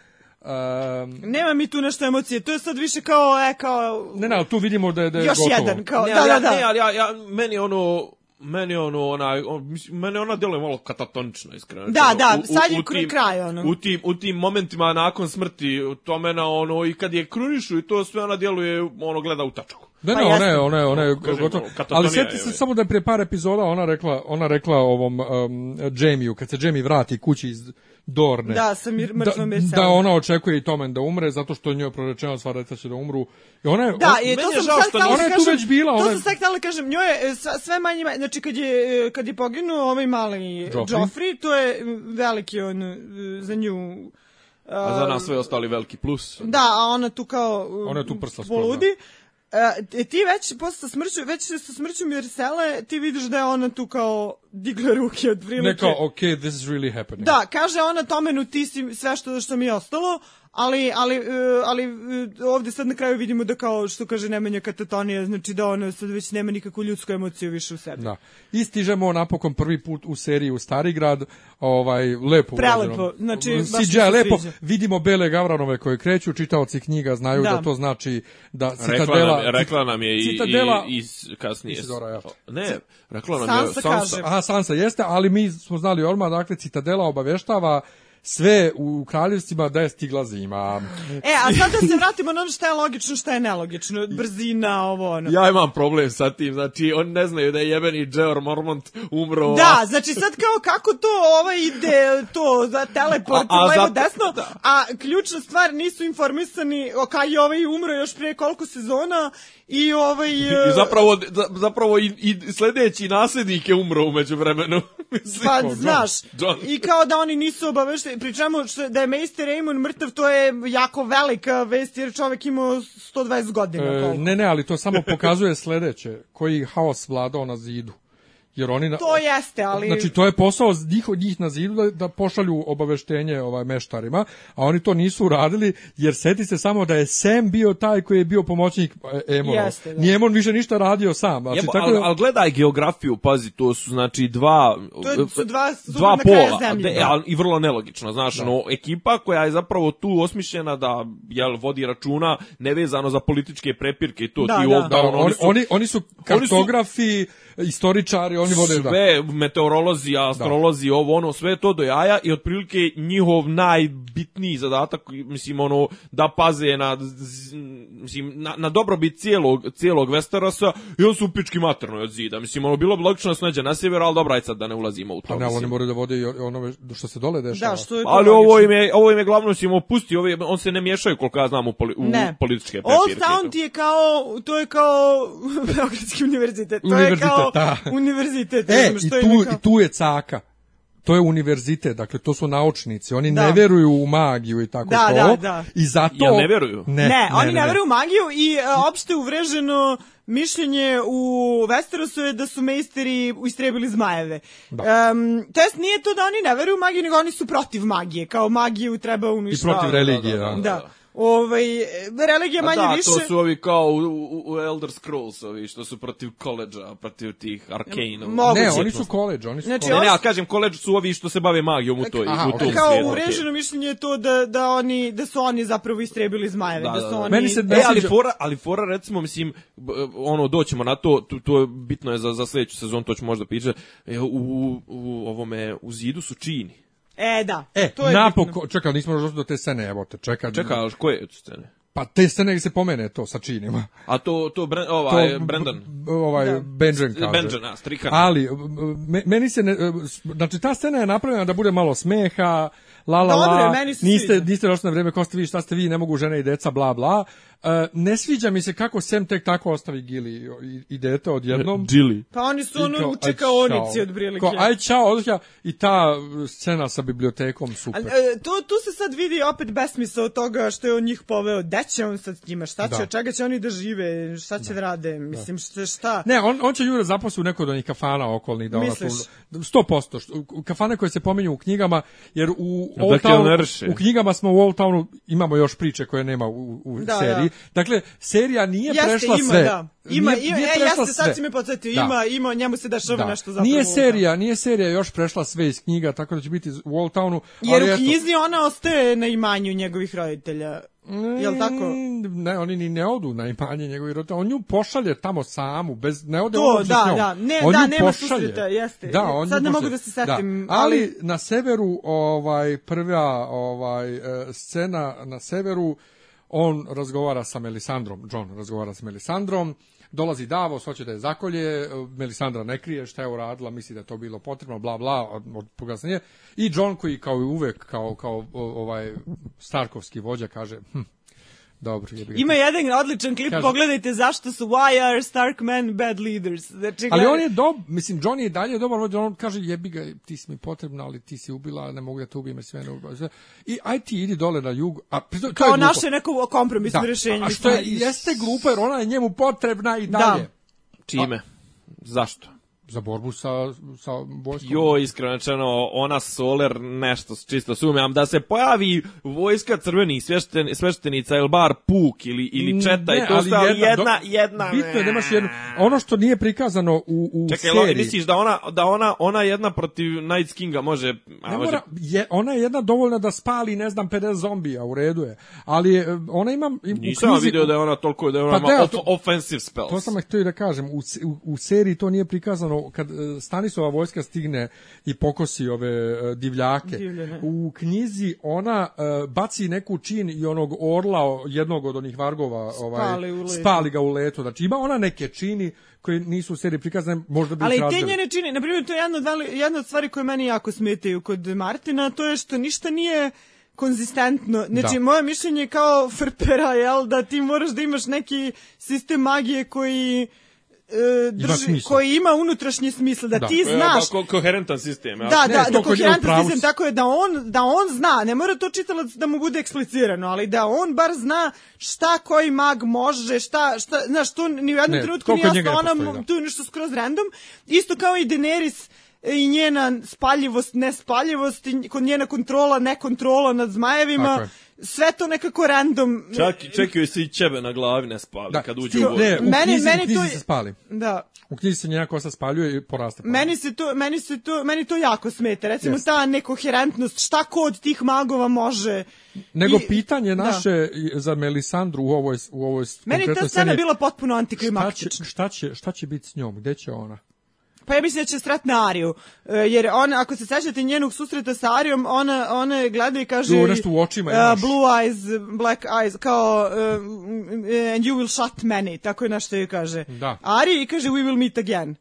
Um,
Nema mi tu nešto emocije, to je sad više kao, e, kao,
ne, ne, ali tu vidimo da je, da je
još
gotovo.
jedan, kao,
Ne,
da,
ali
da,
ja,
da.
Ne, ali ja, ja, meni ono, meni ono, onaj, on, mislim, meni ona djeluje malo katatonično, iskreno.
Da,
Ono,
da, sad je
u
kr- kraj, ono.
U tim, u tim momentima nakon smrti Tomena, ono, i kad je krunišu i to sve, ona djeluje, ono, gleda u tačku.
Da, ne,
Pa
ona je, ona je, ona je
Kažem,
gotovo.
katatonija
Ali
je,
sjeti se
je.
samo da je prije par epizoda ona rekla, ona rekla ovom um, Jamie-u, kad se Jamie vrati kući iz Dorne.
Da, sa mir- mrtvom
da,
Mercedes.
da ona očekuje i Tomen da umre, zato što njoj je prorečeno sva deca će da umru. I ona je,
Da,
on-
i
meni
to
je
sam
žao
sad
što
htjela
nije- Ona
da
je tu
kažem,
već bila,
To
ona je-
sam sad htjela da kažem, njoj je e, sva- sve manje, manje- znači kad je, e, kad je poginuo ovaj mali
Joffrey.
Joffrey, to je m, veliki on e, za nju... e,
A za nas sve ostali veliki plus.
Da, a ona tu kao... e,
Ona je tu prsa sklona.
Poludi. E, ti već posle sa smrću, već sa smrću Mircele, ti vidiš da je ona tu kao digla ruke od prilike.
ne kao, ok, this is really happening.
Da, kaže ona Tomenu ti si sve što, što mi je ostalo, ali, ali, e, ali e, ovde sad na kraju vidimo da kao što kaže Nemanja katatonija, znači da ona sad već nema nikakvu ljudsku emociju više u sebi.
Da. I stižemo napokon prvi put u seriji u Starigrad, ovaj, lepo
Prelepo,
urađeno.
znači, baš mi
CGI
se
lepo,
sviđa.
vidimo bele gavranove koje kreću, čitaoci knjiga znaju da,
Da.
to znači da
Rekla
citadela...
nam, rekla nam je i,
citadela,
i, i kasnije.
Isidora, ja.
Ne, rekla nam je
Sansa
Sansa.
kaže.
Aha, Sansa jeste, ali mi smo znali odmah, dakle, Citadela obaveštava sve u kraljevstvima da je stigla zima.
E, a sad da se vratimo na ono šta je logično, šta je nelogično, brzina, ovo ono.
Ja imam problem sa tim, znači on ne znaju da je jebeni Geor Mormont umro.
Da, znači sad kao kako to ovaj ide to za teleport
A- a
levo
zato-
desno,
da.
a ključna stvar nisu informisani o kaj je ovaj umro još prije koliko sezona i ovaj...
I
e,
zapravo, za- zapravo i, i sljedeći nasljednik je umro umeđu vremenu.
Pa
John.
znaš,
John.
i kao da oni nisu obavešteni, pričamo što, da je Meister Raymond mrtav, to je jako velika vest jer čovek imao 120 godina.
E,
koliko.
ne, ne, ali to samo pokazuje sledeće, koji haos vladao na zidu. Jer oni na,
To jeste, ali...
Znači, to je posao njih, njih na zidu da, da pošalju obaveštenje ovaj, meštarima, a oni to nisu uradili, jer seti se samo da je Sam bio taj koji je bio pomoćnik e, Emonov.
Jeste, da.
Nije Emon više ništa radio sam. Znači,
Jebo,
tako
ali,
da,
ali gledaj geografiju, pazi, to su znači dva,
To su dva- su
dva
na kraju
pola
zemlje,
de-
da.
ali i vrlo nelogično. Znaš, ono, ekipa koja je zapravo tu osmišljena da jel, vodi računa nevezano za političke prepirke i to.
Da,
ti
da.
ovdje,
Da,
ono,
oni, oni, oni su
oni su-
kartografi, istoričari, oni vode da.
sve meteorolozi, astrolozi, ovo ono, sve je to do jaja i otprilike njihov najbitniji zadatak, mislim ono da paze na z- mislim na, na dobrobit cijelog cijelog Westerosa i on su pički materno od zida. Mislim ono bilo bi logično da se nađe na sjever, al dobra aj sad da ne ulazimo u to.
Pa ne, ali oni
mislim.
moraju da vode i ono što se dole dešava.
Da, što je to
Ali ovo
logično.
im je, ovo im je glavno im opusti, ovi, on se ne miješaju koliko ja znam u, poli, u
Ne.
političke
Old
prepirke.
Town ti je kao, to je kao Beogradski univerzitet. To
Univerzitet,
je kao
da.
univerzitet.
E,
ne znam,
i
što je
tu,
kao-
i tu je caka. To je univerzitet, dakle to su naučnici, oni
Da.
ne veruju u magiju i tako
Da,
to.
da, da.
I zato
Jel ne vjeruju?
Ne,
Ne, oni ne, veruju u magiju i e, opšte uvreženo mišljenje u Westerosu je da su mejsteri istrebili zmajeve.
Da.
Em, to jest nije to da oni ne veruju u magiju, nego oni su protiv magije. Kao magiju treba
I
uništiti.
protiv
da,
religije,
da,
da.
Da. Ovaj, e, religija
A
manje
da,
više...
to su ovi kao u, u, u Elder Scrolls, ovi što su protiv koleđa, protiv tih Arcane.
Moguće.
Ne, oni su koleđ, oni su
Znači,
koleđ.
Ne, ne,
Još-
ali kažem, koleđ su ovi što se bave magijom u toj,
Aha,
u tom
okej.
kao
svijetu.
uvreženo mišljenje je to da, da, oni, da su oni zapravo istrebili zmajeve.
Da,
Da,
da,
su
da.
oni...
Meni se
E, ali
sviđa.
fora, ali fora recimo, mislim, b- ono, doćemo na to, to, to je bitno je za, za sljedeću sezon, to ću možda piće, e, u, u, u ovome, u zidu su čini.
E, da.
E,
to je bitno.
napokon, čekaj, nismo došli do te scene, evo te, čekaj.
Čekaj, ali koje je od scene?
Pa te scene gdje se pomene to sa činima.
A to, to, Bren,
To,
ovaj,
b-
Brendan.
b- Ovaj,
Pa Da.
Benjen kaže.
Benjan, a, strikan.
Ali, me- meni se ne, znači ta scena je napravljena da bude malo smeha, la la
Dobro je,
la,
meni se
niste,
sviđa.
niste došli na vrijeme, ko ste vi, šta ste vi, ne mogu žene i deca, bla bla. E, ne sviđa mi se kako Sam tek tako ostavi Gili i, i dete odjednom.
Džili.
Pa oni
I
su
kao,
ono u
aj,
čekaonici
čao.
od prilike.
Kao, aj čao, odlična. I ta e, scena sa bibliotekom, super.
Ali, e, to, tu se sad vidi opet besmisao toga što je on njih poveo. Da će on sad s njima? Šta će?
Da.
Od čega će oni da žive? Šta će da, rade? Mislim, šta? šta?
Ne, on, on će Jure zaposli u nekoj od onih kafana okolnih. Da ona
Misliš?
tu- 100%. što- Kafane koje se pominju u knjigama, jer u
Dakle,
Old Townu-
ne reši.
u knjigama smo u Old Townu, imamo još priče koje nema u, u
Da,
seriji.
da.
Dakle, serija nije
Jeste,
prešla
ima,
sve.
da. Ima,
Nije-
ima,
nije
e,
prešla
jeste, sad
sve.
si me podsjetio.
Da.
Ima, ima, njemu se dešava
Da.
nešto zapravo.
Nije
da.
serija, nije serija još prešla sve iz knjiga, tako da će biti u Old Townu. ali
Jer u
eto.
knjizi ona ostaje na imanju njegovih roditelja. Jel tako?
Mm, Ne, oni ni ne odu na imanje njegovih roditelja. On nju pošalje tamo samu, bez, ne ode
To,
on uopšte
da,
s njom.
da. Ne,
on
da,
nju
nema
pošalje.
susreta, jeste.
Da, on
Sad
nju
ne mogu
pošalje.
da se setim,
Da.
ali-
Ali, na severu, ovaj, prva ovaj, eh, scena na severu, on razgovara sa Melisandrom, John razgovara sa Melisandrom, dolazi Davos, hoće da je zakolje, eh, Melisandra ne krije šta je uradila, misli da je to bilo potrebno, bla bla, od, od pogasnije. I John koji kao i uvek, kao, kao o- ovaj Starkovski vođa kaže, hm, dobro, jebi ga.
Ima jedan odličan klip,
Kaže-
pogledajte zašto su Why are Stark men bad leaders. Znači,
Ali
gledaj-
on je dob, mislim, John je i dalje dobar vođa, on kaže jebi ga, ti si mi potrebna, ali ti si ubila, ne mogu da te ubijem, jer sve ne ubila. sve. I aj ti idi dole na jug, a pri- to, to je
Kao
glupo.
naše neko kompromisno
Da.
rješenje.
A što je,
mislim,
jeste glupo, jer ona je njemu potrebna i dalje.
Čime? Zašto?
Za borbu sa, sa vojskom.
Jo, iskreno rečeno, ona Soler nešto čisto sumnjam da se pojavi vojska crvenih svešten, sveštenica ili bar puk ili ili četa i
Mm, Ne,
to
ali
sve, ali jedna jedna,
do- Bitno je da imaš jednu. Ono što nije prikazano u, u
Čekaj, jel
seriji.
misliš da ona da ona ona jedna protiv Night Kinga može a
Ne
može
mora, je, ona je jedna dovoljna da spali, ne znam, 50 zombija, u redu je. Ali e, ona ima... im- u
Nisam
knjizi-
vidio da je ona toliko da je ona
Pa da,
ima
to-
of- offensive spells.
To sam htio i da kažem, u, se- u, u seriji to nije prikazano, kad e, Stanisova vojska stigne i pokosi ove e, divljake,
Divljane.
u knjizi ona e, baci neku čin i onog orla, o- jednog od onih vargova,
Spali
ovaj,
u letu.
spali ga u letu, znači ima ona neke čini koje nisu u seriji prikazane, možda bi
Ali
ih
i te
razbili.
njene čini, na primjer, to je jedna od, veli- jedna od stvari koje meni jako smetaju kod Martina, to je što ništa nije konzistentno. Znači,
Da.
moje mišljenje je kao frpera, jel, da ti moraš da imaš neki sistem magije koji e, drži,
smisla.
koji ima unutrašnji smisla, da,
Da.
ti
Evo,
znaš
ko- koherentan sistem. ja.
Da,
Ne,
da,
to
da
kod nje u
koherentan
pravu
sistem,
si.
tako je da on, da on zna, ne mora to čitalac da mu bude eksplicirano, ali da on bar zna šta koji mag može, šta, šta znaš, to ni u jednom
Ne,
trenutku
to
nije
kod njega
jasno,
ne
ona,
postoji,
mu-
da.
tu je nešto skroz random, isto kao i Daenerys i njena spaljivost, nespaljivost, i kod njena kontrola, nekontrola nad
Tako
zmajevima,
je.
sve to nekako random.
Čak, čak joj se i ćebe na glavi ne spavi
Da,
kad uđe u
sti-
vojsku.
ne, u
Meni-
knjizi,
meni
u knjizi
to je-
se spali.
Da.
U knjizi se njena kosa spaljuje i poraste. ponovo.
Meni se to, meni se to, meni to jako smeta. Recimo ta nekoherentnost, šta ko od tih magova može.
Nego
I-
pitanje
da.
naše i- za Melisandru u ovoj, u ovoj
Meni je ta
konkretnoj
scena
sceni-
bila potpuno
Šta će,
antiklimaktična.
šta, će, šta će biti s njom? Gde će ona?
Pa ja mislim da će strat na Ariju, e, jer ona, ako se sećate njenog susreta sa Arijom, ona, ona je gleda i kaže...
Jo, nešto u očima
e,
imaš.
Blue eyes, black eyes, kao e, m, and you will shut many, tako je našto je kaže.
Da.
Ari i kaže we will meet again.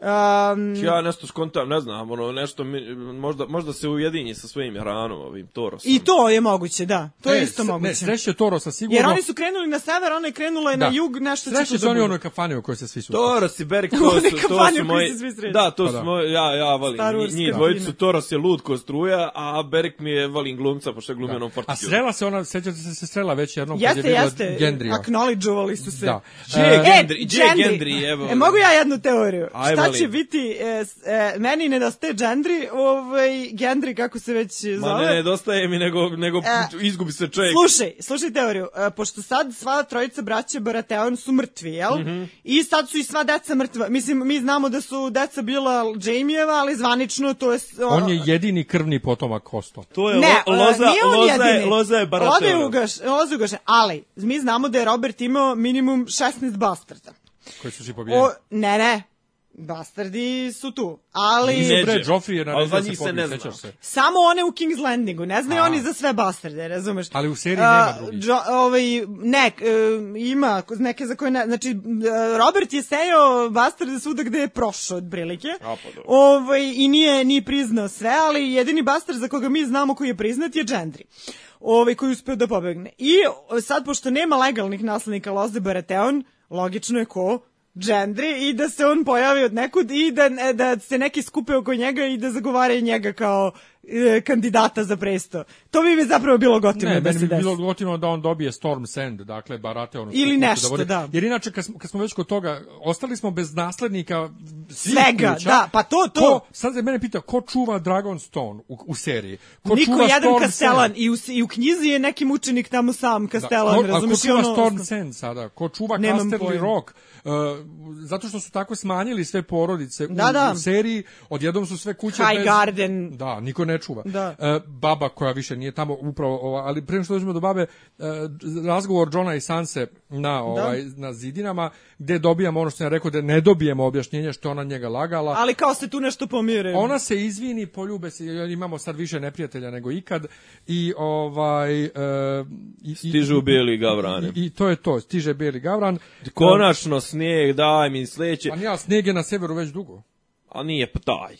Um,
Znači, Ja nešto skontam, ne znam, ono, nešto, mi- možda, možda se ujedinji sa svojim Iranom, ovim Torosom.
I to je moguće, da. To je
E,
isto
s- Ne,
moguće.
sreće Torosa sigurno.
Jer oni su krenuli na sever, ona je
Da.
krenula na jug, nešto će tu
Sreće su
da
oni u
bude.
onoj kafani u kojoj se svi su.
Toros i Berik,
U
to
onoj
su, to
kampanji
su
u kojoj
moji...
se svi sreću.
Da, to
Pa
su
da.
moji, ja, ja volim
Star Wars
njih, njih
kafina.
dvojicu, Toros je lud ko struja, a Berik mi je volim glumca, pošto je glumio onom
Da. A
Fortitude.
srela se ona, sjećate se da se srela već jednom kad je
Jeste,
bila
jeste.
Gendrija.
Acknowledgeovali su se.
Da.
Gdje je Gendri? Gdje je Gendri, evo?
E, mogu ja jednu teoriju?
Aj,
Šta
molim.
će biti, e, s- e, meni nedostaje Gendri, ovaj, Gendri kako se već zove.
Ma ne, nedostaje mi, nego, nego
E,
izgubi se čovjek.
Slušaj, slušaj teoriju. E, pošto sad sva trojica braća Baratheon su mrtvi, jel?
Mhm.
I sad su i sva deca mrtva. Mislim, mi znamo da su deca bila Jamie-eva, ali zvanično to je... s-
On je jedini krvni potomak Kosto.
To je
ne,
lo,
e,
loza,
nije on
loza, je, loza
jedini.
je
Loza je
Baratheonov.
ugaš, loza je ugašena, ali mi znamo da je Robert imao minimum 16 bastarda.
Koji su svi pobijeni.
O, ne, ne, bastardi su tu, ali...
Nisu
Bre,
Neđe.
Joffrey je
Ali za
naredio da
njih
se
se
pobije,
ne zna.
sećaš se.
Samo one u King's Landingu, ne znaju
A.
oni za sve bastarde, razumeš?
Ali u seriji
A,
nema drugih.
Jo, ovaj, ne, k- e, ima neke za koje ne, znači e, Robert je sejao bastarde svuda gde je prošao otprilike.
A, pa dobro.
Ovaj i nije ni priznao sve, ali jedini bastard za koga mi znamo koji je priznat je Gendry. Ovaj koji je uspeo da pobegne. I o, sad pošto nema legalnih naslednika Loze Baratheon, logično je ko Gendry i da se on pojavi od nekud i da, e, da se neki skupe oko njega i da zagovaraju njega kao e, kandidata za presto. To bi mi zapravo bilo gotivno
Ne,
da
meni
se
bi
desi.
bilo gotivno da on dobije Storm Sand, dakle Baratheon.
Ili nešto,
bude-
da.
Jer inače, kad smo, kad smo već kod toga, ostali smo bez naslednika svih
Svega,
kuća.
da, pa to, to.
Ko, sad se mene pita, ko čuva Dragonstone u, u seriji? Ko
Niko
čuva
jedan
Storm
kastelan
Sand?
i u, s- i u knjizi je neki mučenik tamo sam
ko,
kastelan,
a Da, ko
razumiješ?
čuva Storm Sand sada? Ko čuva
Nemam
Casterly
pojma.
Rock? Uh, zato što su tako smanjili sve porodice u,
Da, da.
u seriji, odjednom su sve kuće
High
bez...
Garden.
Da, niko ne čuva.
Da.
E, baba koja više nije tamo upravo ova, ali prema što dođemo do babe, e, razgovor Johna i Sanse
Da.
na ovaj na zidinama gde dobijamo ono što sam ja rekao da ne dobijemo objašnjenje što je ona njega lagala.
Ali kao se tu nešto pomire.
Ona se izvini, poljube se, jer imamo sad više neprijatelja nego ikad i ovaj e, i, i-
Stižu bijeli gavrani.
i, i to je to, stiže Bijeli Gavran. E,
Konačno snijeg, daj mi sljedeće.
Pa nija, snijeg je na severu već dugo.
A nije pa taj.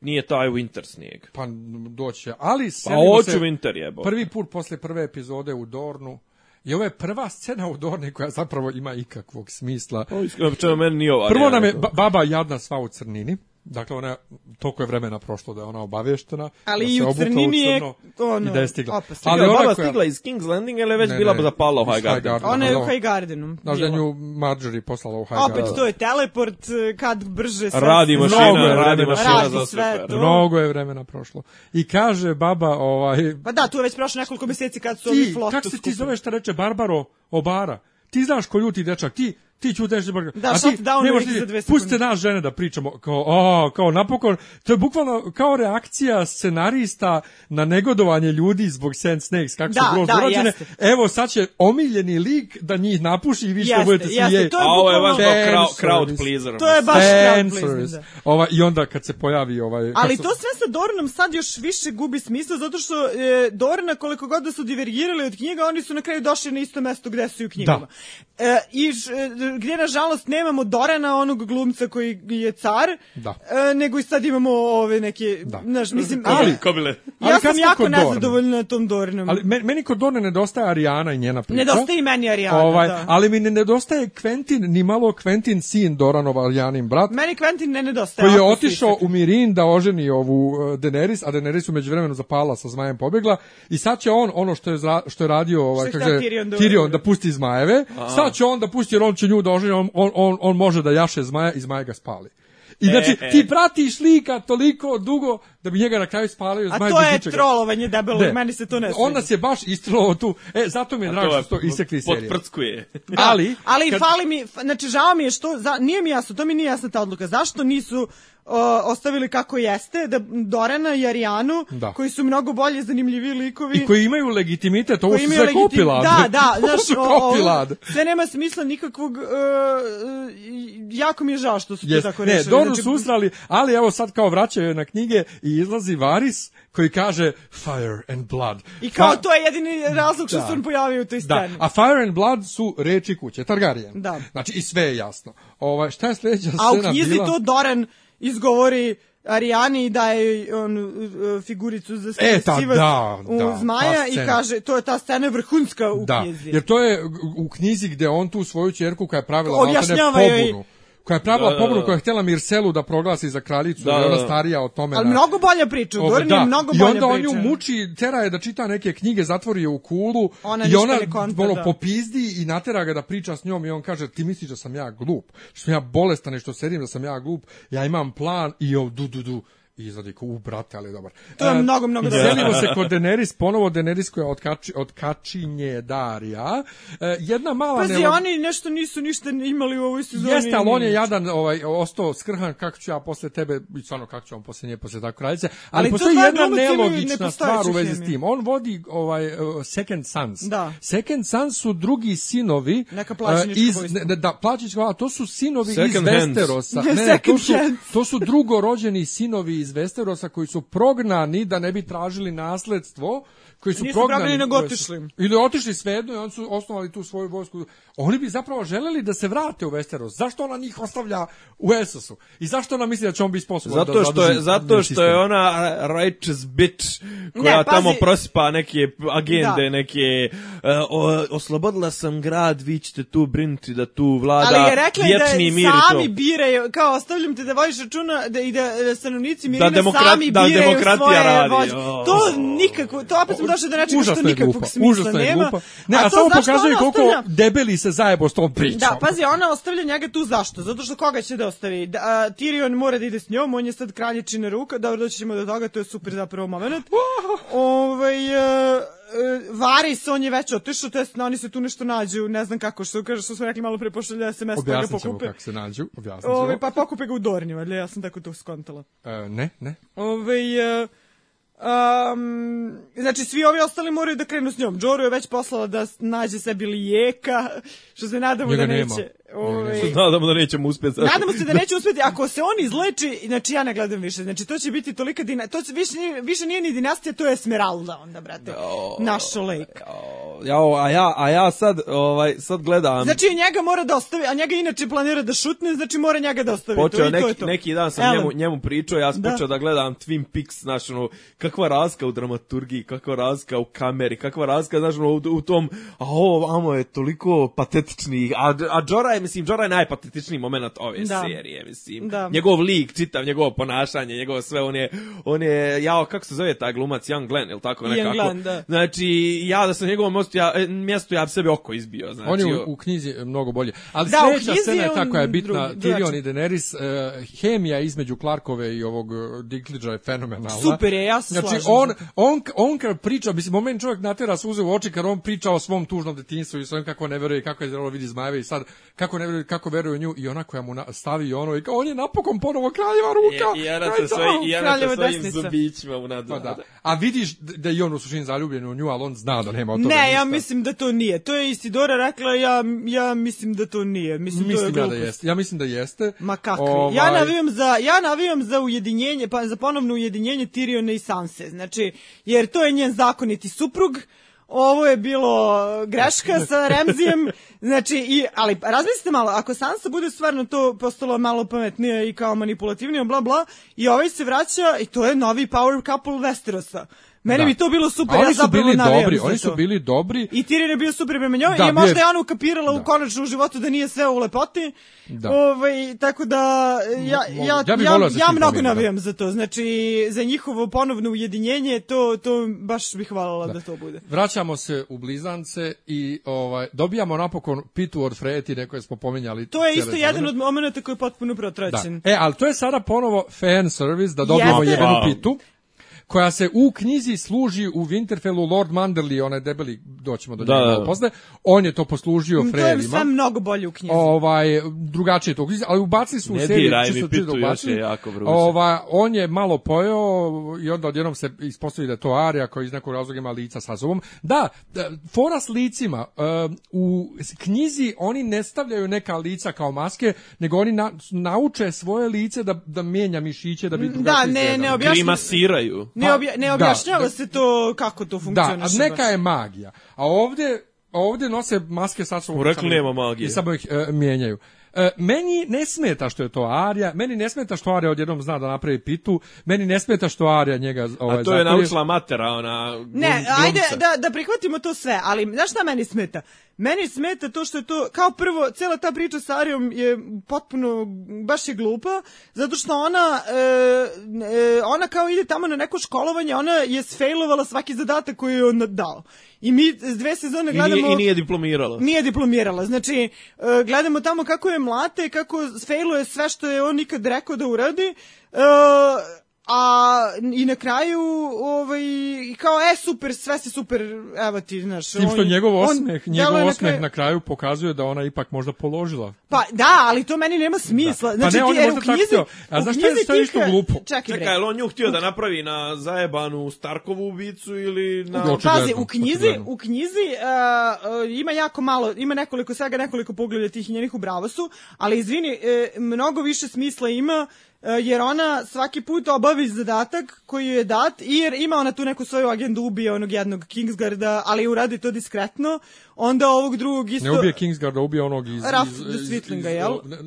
Nije taj winter snijeg.
Pa doće, ali
Pa
selimo
hoću
se-
winter jebo.
Prvi put posle prve epizode u Dornu. I ovo je prva scena u Dorni koja zapravo ima ikakvog smisla.
O, iskreno, čemu meni nije ova.
Prvo
varijanta.
nam je ba- baba jadna sva u crnini. Dakle, ona, toliko je vremena prošlo da je ona obaveštena.
Ali
da
i
se
u
obukla
crnini je,
crno
ono,
I da je stigla.
opasno.
ali
ona koja-
baba stigla iz King's Landing ili je već
Ne,
bila
ne,
zapala u
iz
High Garden?
High Gardena.
Ona je u
ono-
High Gardenu.
Znaš da je
bila.
nju Marjorie poslala u High
Opet,
Garden.
to je teleport, e, kad brže sve...
Radi
se-
mašina,
Mnogo je
radi
vremena.
mašina
Radi
za
sve
sve.
to.
Mnogo je vremena prošlo. I kaže baba, ovaj,
Pa da, tu je već prošlo nekoliko mjeseci kad su ovi
ti,
flotu
kako se ti
skupili.
zoveš šta reče Barbaro Obara? Ti znaš ko ljuti dečak, ti ti ćuteš Barbaro.
Da,
A ti
shutdown
nemaš
uvijek
ti-
za dve sekunde.
Pustite nas žene da pričamo kao o, kao napokon to je bukvalno kao reakcija scenarista na negodovanje ljudi zbog Sand Snakes kako su
Da,
grozno
da,
urađene.
jeste.
Evo sad će omiljeni lik da njih napuši i vi što
Jeste,
budete
jeste,
smijeti.
to
A ovo je baš
bukvalno-
kao crowd, crowd
Fanservice.
pleaser.
To je baš crowd
Fan
pleasing,
service.
da.
Ova, I onda kad se pojavi ovaj... kad
Ali
su-
to sve sa Dornom sad još više gubi smisla, zato što e, Dorna koliko god da su divergirali od knjiga, oni su na kraju došli na isto mesto gde
Da.
su i u knjigama. E, I š- e, gdje nažalost nemamo Dorana, onog glumca koji je car,
Da.
e, nego i sad imamo ove neke,
Da.
znaš, mislim,
Ali-
ali,
Kobile.
ali
ja
kad
sam
smo
jako
kod Dorne?
nezadovoljna tom Dornom.
Ali meni, meni kod Dorne nedostaje Arijana i njena priča.
Nedostaje i meni Arijana,
ovaj,
da.
Ali mi ne nedostaje Quentin, ni malo Quentin sin Doranova Arijanin brat,
Meni Quentin ne nedostaje.
koji je
ovako
otišao u Mirin da oženi ovu uh, Daenerys, a Daenerys u međuvremenu zapala sa zmajem pobjegla i sad će on ono što je za- što je radio ovaj
Što je
kako
htio
se-
Tyrion da uradi.
da pusti zmajeve, sad će on da pusti jer on će nju da oženi, on, on, on, on može da jaše zmaja i zmaj ga spali. I znači,
e.
ti pratiš lika toliko dugo da bi njega na kraju spalio
A
zmaj
to
bez
je
ničega.
trolovanje debelog,
Ne.
meni se to ne sviđa.
Onda se baš istrilo tu. E, zato mi je drago što su to isekli iz serije.
Potprckuje.
Ali,
Da. ali
kad-
fali mi, f- znači žao mi je što, za, nije mi jasno, to mi nije jasna ta odluka, zašto nisu o, ostavili kako jeste, da Dorana i Arijanu,
Da.
koji su mnogo bolje zanimljivi likovi.
I koji imaju legitimitet, ovo
koji
su
imaju
sve
legitim-
kopilad.
Da, da,
ovo
znaš,
su
o- ovo-
kopilad.
sve nema smisla nikakvog, e, e, jako mi je žao što su to
Yes.
tako
ne,
rešili.
dobro
Znači,
su usrali, ali evo sad kao vraćaju je na knjige i izlazi Varis koji kaže Fire and Blood.
I kao
Fa-
to je jedini razlog što
Pa- Da.
se on pojavio u toj
Da,
sceni.
a Fire and Blood su reči kuće, Targaryen.
Da.
Znači i sve je jasno. Ovaj, šta je sljedeća
A u
scena
knjizi
bila?
to Doran izgovori Arijani i daje joj onu e, figuricu za
E, ta,
sivac
da,
u
da, ta
zmaja i
scena.
kaže, to je ta scena vrhunska u
da,
knjizi.
jer to je u knjizi gde on tu svoju čerku koja je pravila maltene
Objašnjava joj.
pobunu. Koja je pravila
Da, da,
pobunu,
da.
koja je htjela Mirselu da proglasi za kraljicu,
Da,
jer je ona
da.
starija o tome.
Ali
na-
mnogo bolja priča, u
Ove, da,
Doranu je mnogo
I
bolja
onda on
priča.
nju muči, tera je da čita neke knjige, zatvori je u kulu
Ona
i
ništa
ona
ne konta,
ono,
da.
popizdi i natera ga da priča s njom i on kaže ti misliš da sam ja glup, što sam ja bolestan i što sedim da sam ja glup, ja imam plan i o du du du i izvadi ko, u brate, ali je dobar.
To je
E,
mnogo, mnogo dobro.
Selimo se kod Daenerys, ponovo Daenerys koja otkači, otkačinje Darija. E, jedna mala...
Pazi,
nelo-
oni nešto nisu ništa imali u ovoj sezoni.
Jeste, ali on je jadan, ovaj, ostao skrhan, kako ću ja posle tebe, i stvarno kako ću on posle nje, posle tako kraljice, ali,
Ali
postoji
to dva
jedna
glumca imaju
nelogična
nepostojeću
stvar u vezi s
hemiju.
tim. On vodi ovaj uh, Second Sons.
Da.
Second Sons su drugi sinovi
Neka
uh,
plaćenička
iz,
vojska.
ne, da, plaćenička, a to su sinovi
Second
iz
hands.
Westerosa.
Ne,
Ne, ne, to
second
su,
hands.
to su drugorođeni sinovi iz Westerosa koji su prognani da ne bi tražili nasledstvo koji su
Nisu
prognani,
prognani, nego
koji su-
otišli.
ili otišli svejedno i oni su osnovali tu svoju vojsku. Oni bi zapravo želeli da se vrate u Westeros. Zašto ona njih ostavlja u Essosu? I zašto ona misli da će on biti sposoban
Zato
da
što je
zadrži
zato
njen
što je
sistem?
ona righteous bitch koja
Ne, pazi.
tamo prosipa neke agende,
Da.
neke e, o, oslobodila sam grad, vi ćete tu brinuti da tu
Pa
vlada
ali je rekla i da
vječni mir i to.
sami biraju, kao ostavljam te da vodiš računa da, i da, da stanovnici Mirina
demokrat-
sami
da
biraju
demokratija
svoje
radi.
vođe.
O.
To nikako, to opet sam došla da nečega što
Užasno je
nikakvog
glupa,
smisla
užasno je
nema.
glupa. Ne, a,
to
samo
znaš što
pokazuje
ona
koliko
ostavlja-
debeli se zajebo s tom pričom.
Da, pazi, ona ostavlja njega tu zašto? Zato što koga će da ostavi? Da, a, Tyrion mora da ide s njom, on je sad kraljičina ruka, dobro doći ćemo do toga, to je super zapravo moment. Ovaj, e, e, Varis, on je već otišao, to jest oni se tu nešto nađu, ne znam kako, što, kaže, što smo rekli malo pre, pošalja SMS pa ga
Objasnit ćemo
pokupe.
kako se nađu. Objasnit ćemo.
Ove, pa pokupe ga u Dornju, ali ja sam tako to skontala.
E, ne, ne.
Ove, e, Um, znači, svi ovi ostali moraju da krenu s njom. Joru je već poslala da s- nađe sebi lijeka, što se nadamo
Njega
da
nema.
neće. Ove,
Nadamo da nećemo uspjeti.
Nadamo se da neće uspjeti. Ako se on izleči, znači ja ne gledam više. Znači to će biti tolika dina... To će, više, nije- više nije ni dinastija, to je Esmeralda onda, brate.
Da.
Našo lejka.
Jao, a ja, a ja sad, ovaj, sad gledam.
Znači njega mora da ostavi, a njega inače planira da šutne, znači mora njega da ostavi. to,
Počeo
i to je
neki,
to.
neki dan sam
Ellen.
njemu, njemu pričao, ja sam
Da.
počeo da gledam Twin Peaks, znaš, ono, kakva razka u dramaturgiji, kakva razka u kameri, kakva razka, znaš, ono, u, u tom, a ovo vamo je toliko patetični, a, a Jorah je, mislim, Jorah je najpatetičniji moment ove
Da.
serije, mislim.
Da.
Njegov lik, čitav, njegovo ponašanje, njegovo sve, on je, on je, jao, kako se zove taj glumac, Young Glenn, ili tako
Ian
nekako.
Glenn, da.
Znači, ja da sam na njegovom mjestu, ja, e, mjestu, ja bi sebi oko izbio, znači.
On je u, u knjizi mnogo bolje. Ali
Da,
da,
u
sljedeća
knjizi
scena je
je
ta
on
koja je bitna.
drugi-
Tyrion
drugačiji.
i Daenerys, e, hemija između Clarkove i ovog e, Dinklidgea je fenomenalna.
Super je, ja se
Znači,
slažem.
on, on, on kad priča, mislim, moment čovjek natera suze u oči kad on priča o svom tužnom detinstvu i svojim kako ne veruje, kako je zrelo vidi zmajeve i sad kako ne veruje, kako veruje u nju i ona koja mu na, stavi ono i kao, on je napokon ponovo kraljeva ruka.
I, i ona
kraljica,
sa svojim,
au.
i ona sa
kraljeva
svojim
desnica.
zubićima u nadu.
Pa da. A vidiš d- da je i on u suštini zaljubljen u nju, ali on zna da nema od toga
Ne,
ništa.
ja mislim da to nije. To je Isidora rekla, ja, ja mislim da to nije. Mislim,
Mislim
to
ja
je
da
glupost.
jeste. Ja mislim da jeste.
Ma kakvi.
Ovaj,
Ja navijam za ja navijam za ujedinjenje, pa za ponovno ujedinjenje Tiriona i Sanse. Znači, jer to je njen zakoniti suprug. Ovo je bilo uh, greška sa Remzijem. Znači, i, ali razmislite malo, ako Sansa bude stvarno to postalo malo pametnija i kao manipulativnija, bla bla, i ovaj se vraća i to je novi power couple Westerosa. Meni
Da.
bi to bilo super,
A
ja
oni su
zapravo
bili
navijam
dobri,
za
oni
to.
su bili dobri.
I Tyrion je bio super prema njoj
Da,
i možda
bio je-
je ona ukapirala u konačnom životu da nije sve u lepoti.
Da.
Ovaj, tako da ja,
Mo-
ja,
ja
ja,
bih
ja,
voleo da se njih
mnogo
promijeni,
navijam za to. Znači, za njihovo ponovno ujedinjenje, to, to baš bih hvalala da. to bude.
Vraćamo se u blizance i ovaj dobijamo napokon pitu od Fretine koje smo pominjali.
To je
cijele
isto
sezone.
jedan od momenata
E,
koji je potpuno protraćen.
Da. E, ali to je sada ponovo fan service da dobijemo
Jeste.
jednu
Wow.
pitu koja se u knjizi služi u Winterfellu Lord Manderly, onaj debeli, doćemo do
Da,
njega
da,
malo
da.
posle, on je to poslužio
Mm, To je
Frejevima.
sve mnogo bolje u knjizi.
Ovaj drugačije to, ali ubacili su u
Ne
seriju
diraj mi
čisto čisto
pitu, još
ubacili.
je jako vruće.
Ova on je malo pojeo i onda odjednom se ispostavi da je to Arija koja iz nekog razloga ima lica sa sobom. Da, da, fora s licima em, u s- knjizi oni ne stavljaju neka lica kao maske, nego oni na- nauče svoje lice da da mijenja mišiće da bi
da,
drugačije
ne, ne
izgledalo.
objašnjava,
Grimasiraju.
ne, obja, ne
da,
objašnjava
da.
se to kako to
Da,
funkcioniše.
a neka
baš.
je magija. A ovdje, a ovdje nose maske sa sobom.
U rekli
Samo-
nema magije.
I samo ih e, mijenjaju. E, meni ne smeta što je to Arija, meni ne smeta što Arija odjednom zna da napravi pitu, meni ne smeta što Arija njega ovaj,
A to je
zakolje.
naučila matera, ona
Ne,
glum-
ajde
glumca.
da, da prihvatimo to sve, ali znaš šta meni smeta? Meni smeta to što je to, kao prvo, cijela ta priča sa Arijom je potpuno, baš je glupa, zato što ona, e, e, ona kao ide tamo na neko školovanje, ona je sfejlovala svaki zadatak koji je on dao. I mi s dve sezone
I
gledamo...
nije, i nije diplomirala.
Nije diplomirala. Znači, e, gledamo tamo kako je mlate, kako failuje sve što je on nikad rekao da uradi. e, a i na kraju ovaj kao e super sve se super evo ti znaš
S tim što
on-
njegov
on
osmeh, njegov
deluje
osmeh
kraju-
na kraju pokazuje da ona ipak možda položila.
pa da ali to meni nema smisla
Da. Pa
znači
ne, on
ti
je
jer
možda
u
tako
knjizi
htio. A
u
znaš šta je-
knjizi
šta je
ti
išlo
ka-
glupo?
čekaj bre.
Čekaj, je li on nju htio da napravi na zajebanu Starkovu ubicu ili na...
Oči-
Pazi,
Očigledno,
u knjizi,
očigledno.
u knjizi uh, uh, ima jako malo, ima nekoliko, svega nekoliko pogleda tih njenih u Bravosu, ali izvini, e, mnogo više smisla ima e, jer ona svaki put obavi zadatak koji joj je dat i jer ima ona tu neku svoju agendu, ubije onog jednog Kingsgarda, ali uradi to diskretno, onda ovog drugog isto...
Ne ubije Kingsgarda, ubije onog iz...
Raf
iz- iz-
Switlinga,
iz-
jel?
ne-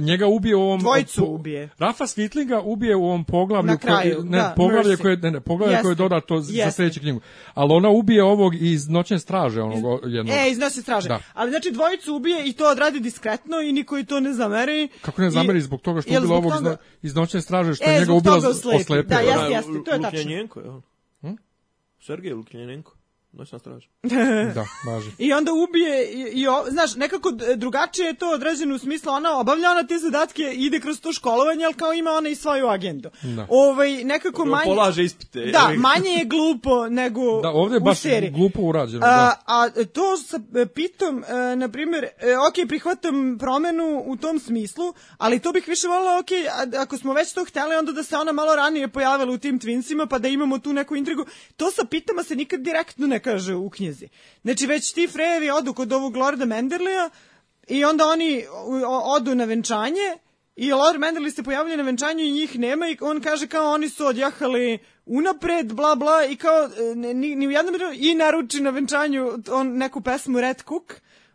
Njega ubije u ovom...
Dvojicu ubije.
Rafa Svitlinga ubije u ovom poglavlju...
Na kraju,
koje, ne,
da,
poglavlje
Mercy.
koje, ne, ne, poglavlje
Jeste.
koje je dodato z- za
Jeste.
sljedeću knjigu. Ali ona ubije ovog iz Noćne straže, onog jednog.
E, iznosi straže.
Da.
Ali znači dvojicu ubije i to odradi diskretno i niko i to ne zameri.
Kako ne zameri zbog toga što je ubila ovog iz no- iz Noćne straže, što
E,
je njega
zbog
ubila
toga
z-
oslepi.
oslepila.
Da, jeste,
Ona je
jeste, to je
Lu-
tačno.
Lukljanjenko, je on. Hm? Sergej Lukljanjenko. Noćna straža.
Da, važi.
I onda ubije, i, i o- znaš, nekako d- drugačije je to određeno u smislu, ona obavlja ona te zadatke, ide kroz to školovanje, ali kao ima ona i svoju agendu.
Da.
Ovaj, nekako manje...
Polaže ispite. je
Da,
li?
manje je glupo nego
Da, ovdje je
u
baš
seriji.
glupo urađeno.
A,
da.
a to sa e, pitom, e, na primjer, e, ok, prihvatam promenu u tom smislu, ali to bih više volila, ok, a- ako smo već to hteli, onda da se ona malo ranije pojavila u tim twinsima, pa da imamo tu neku intrigu. To sa pitama se nikad direktno ne kaže u knjizi. Znači, već ti frejevi odu kod ovog Lorda Menderlija i onda oni o- o- odu na venčanje i Lord Menderly se pojavlja na venčanju i njih nema i on kaže kao oni su odjahali unapred, bla bla i kao e, ni, ni ni u jednom trenutku- i naruči na venčanju on neku pesmu Red Cook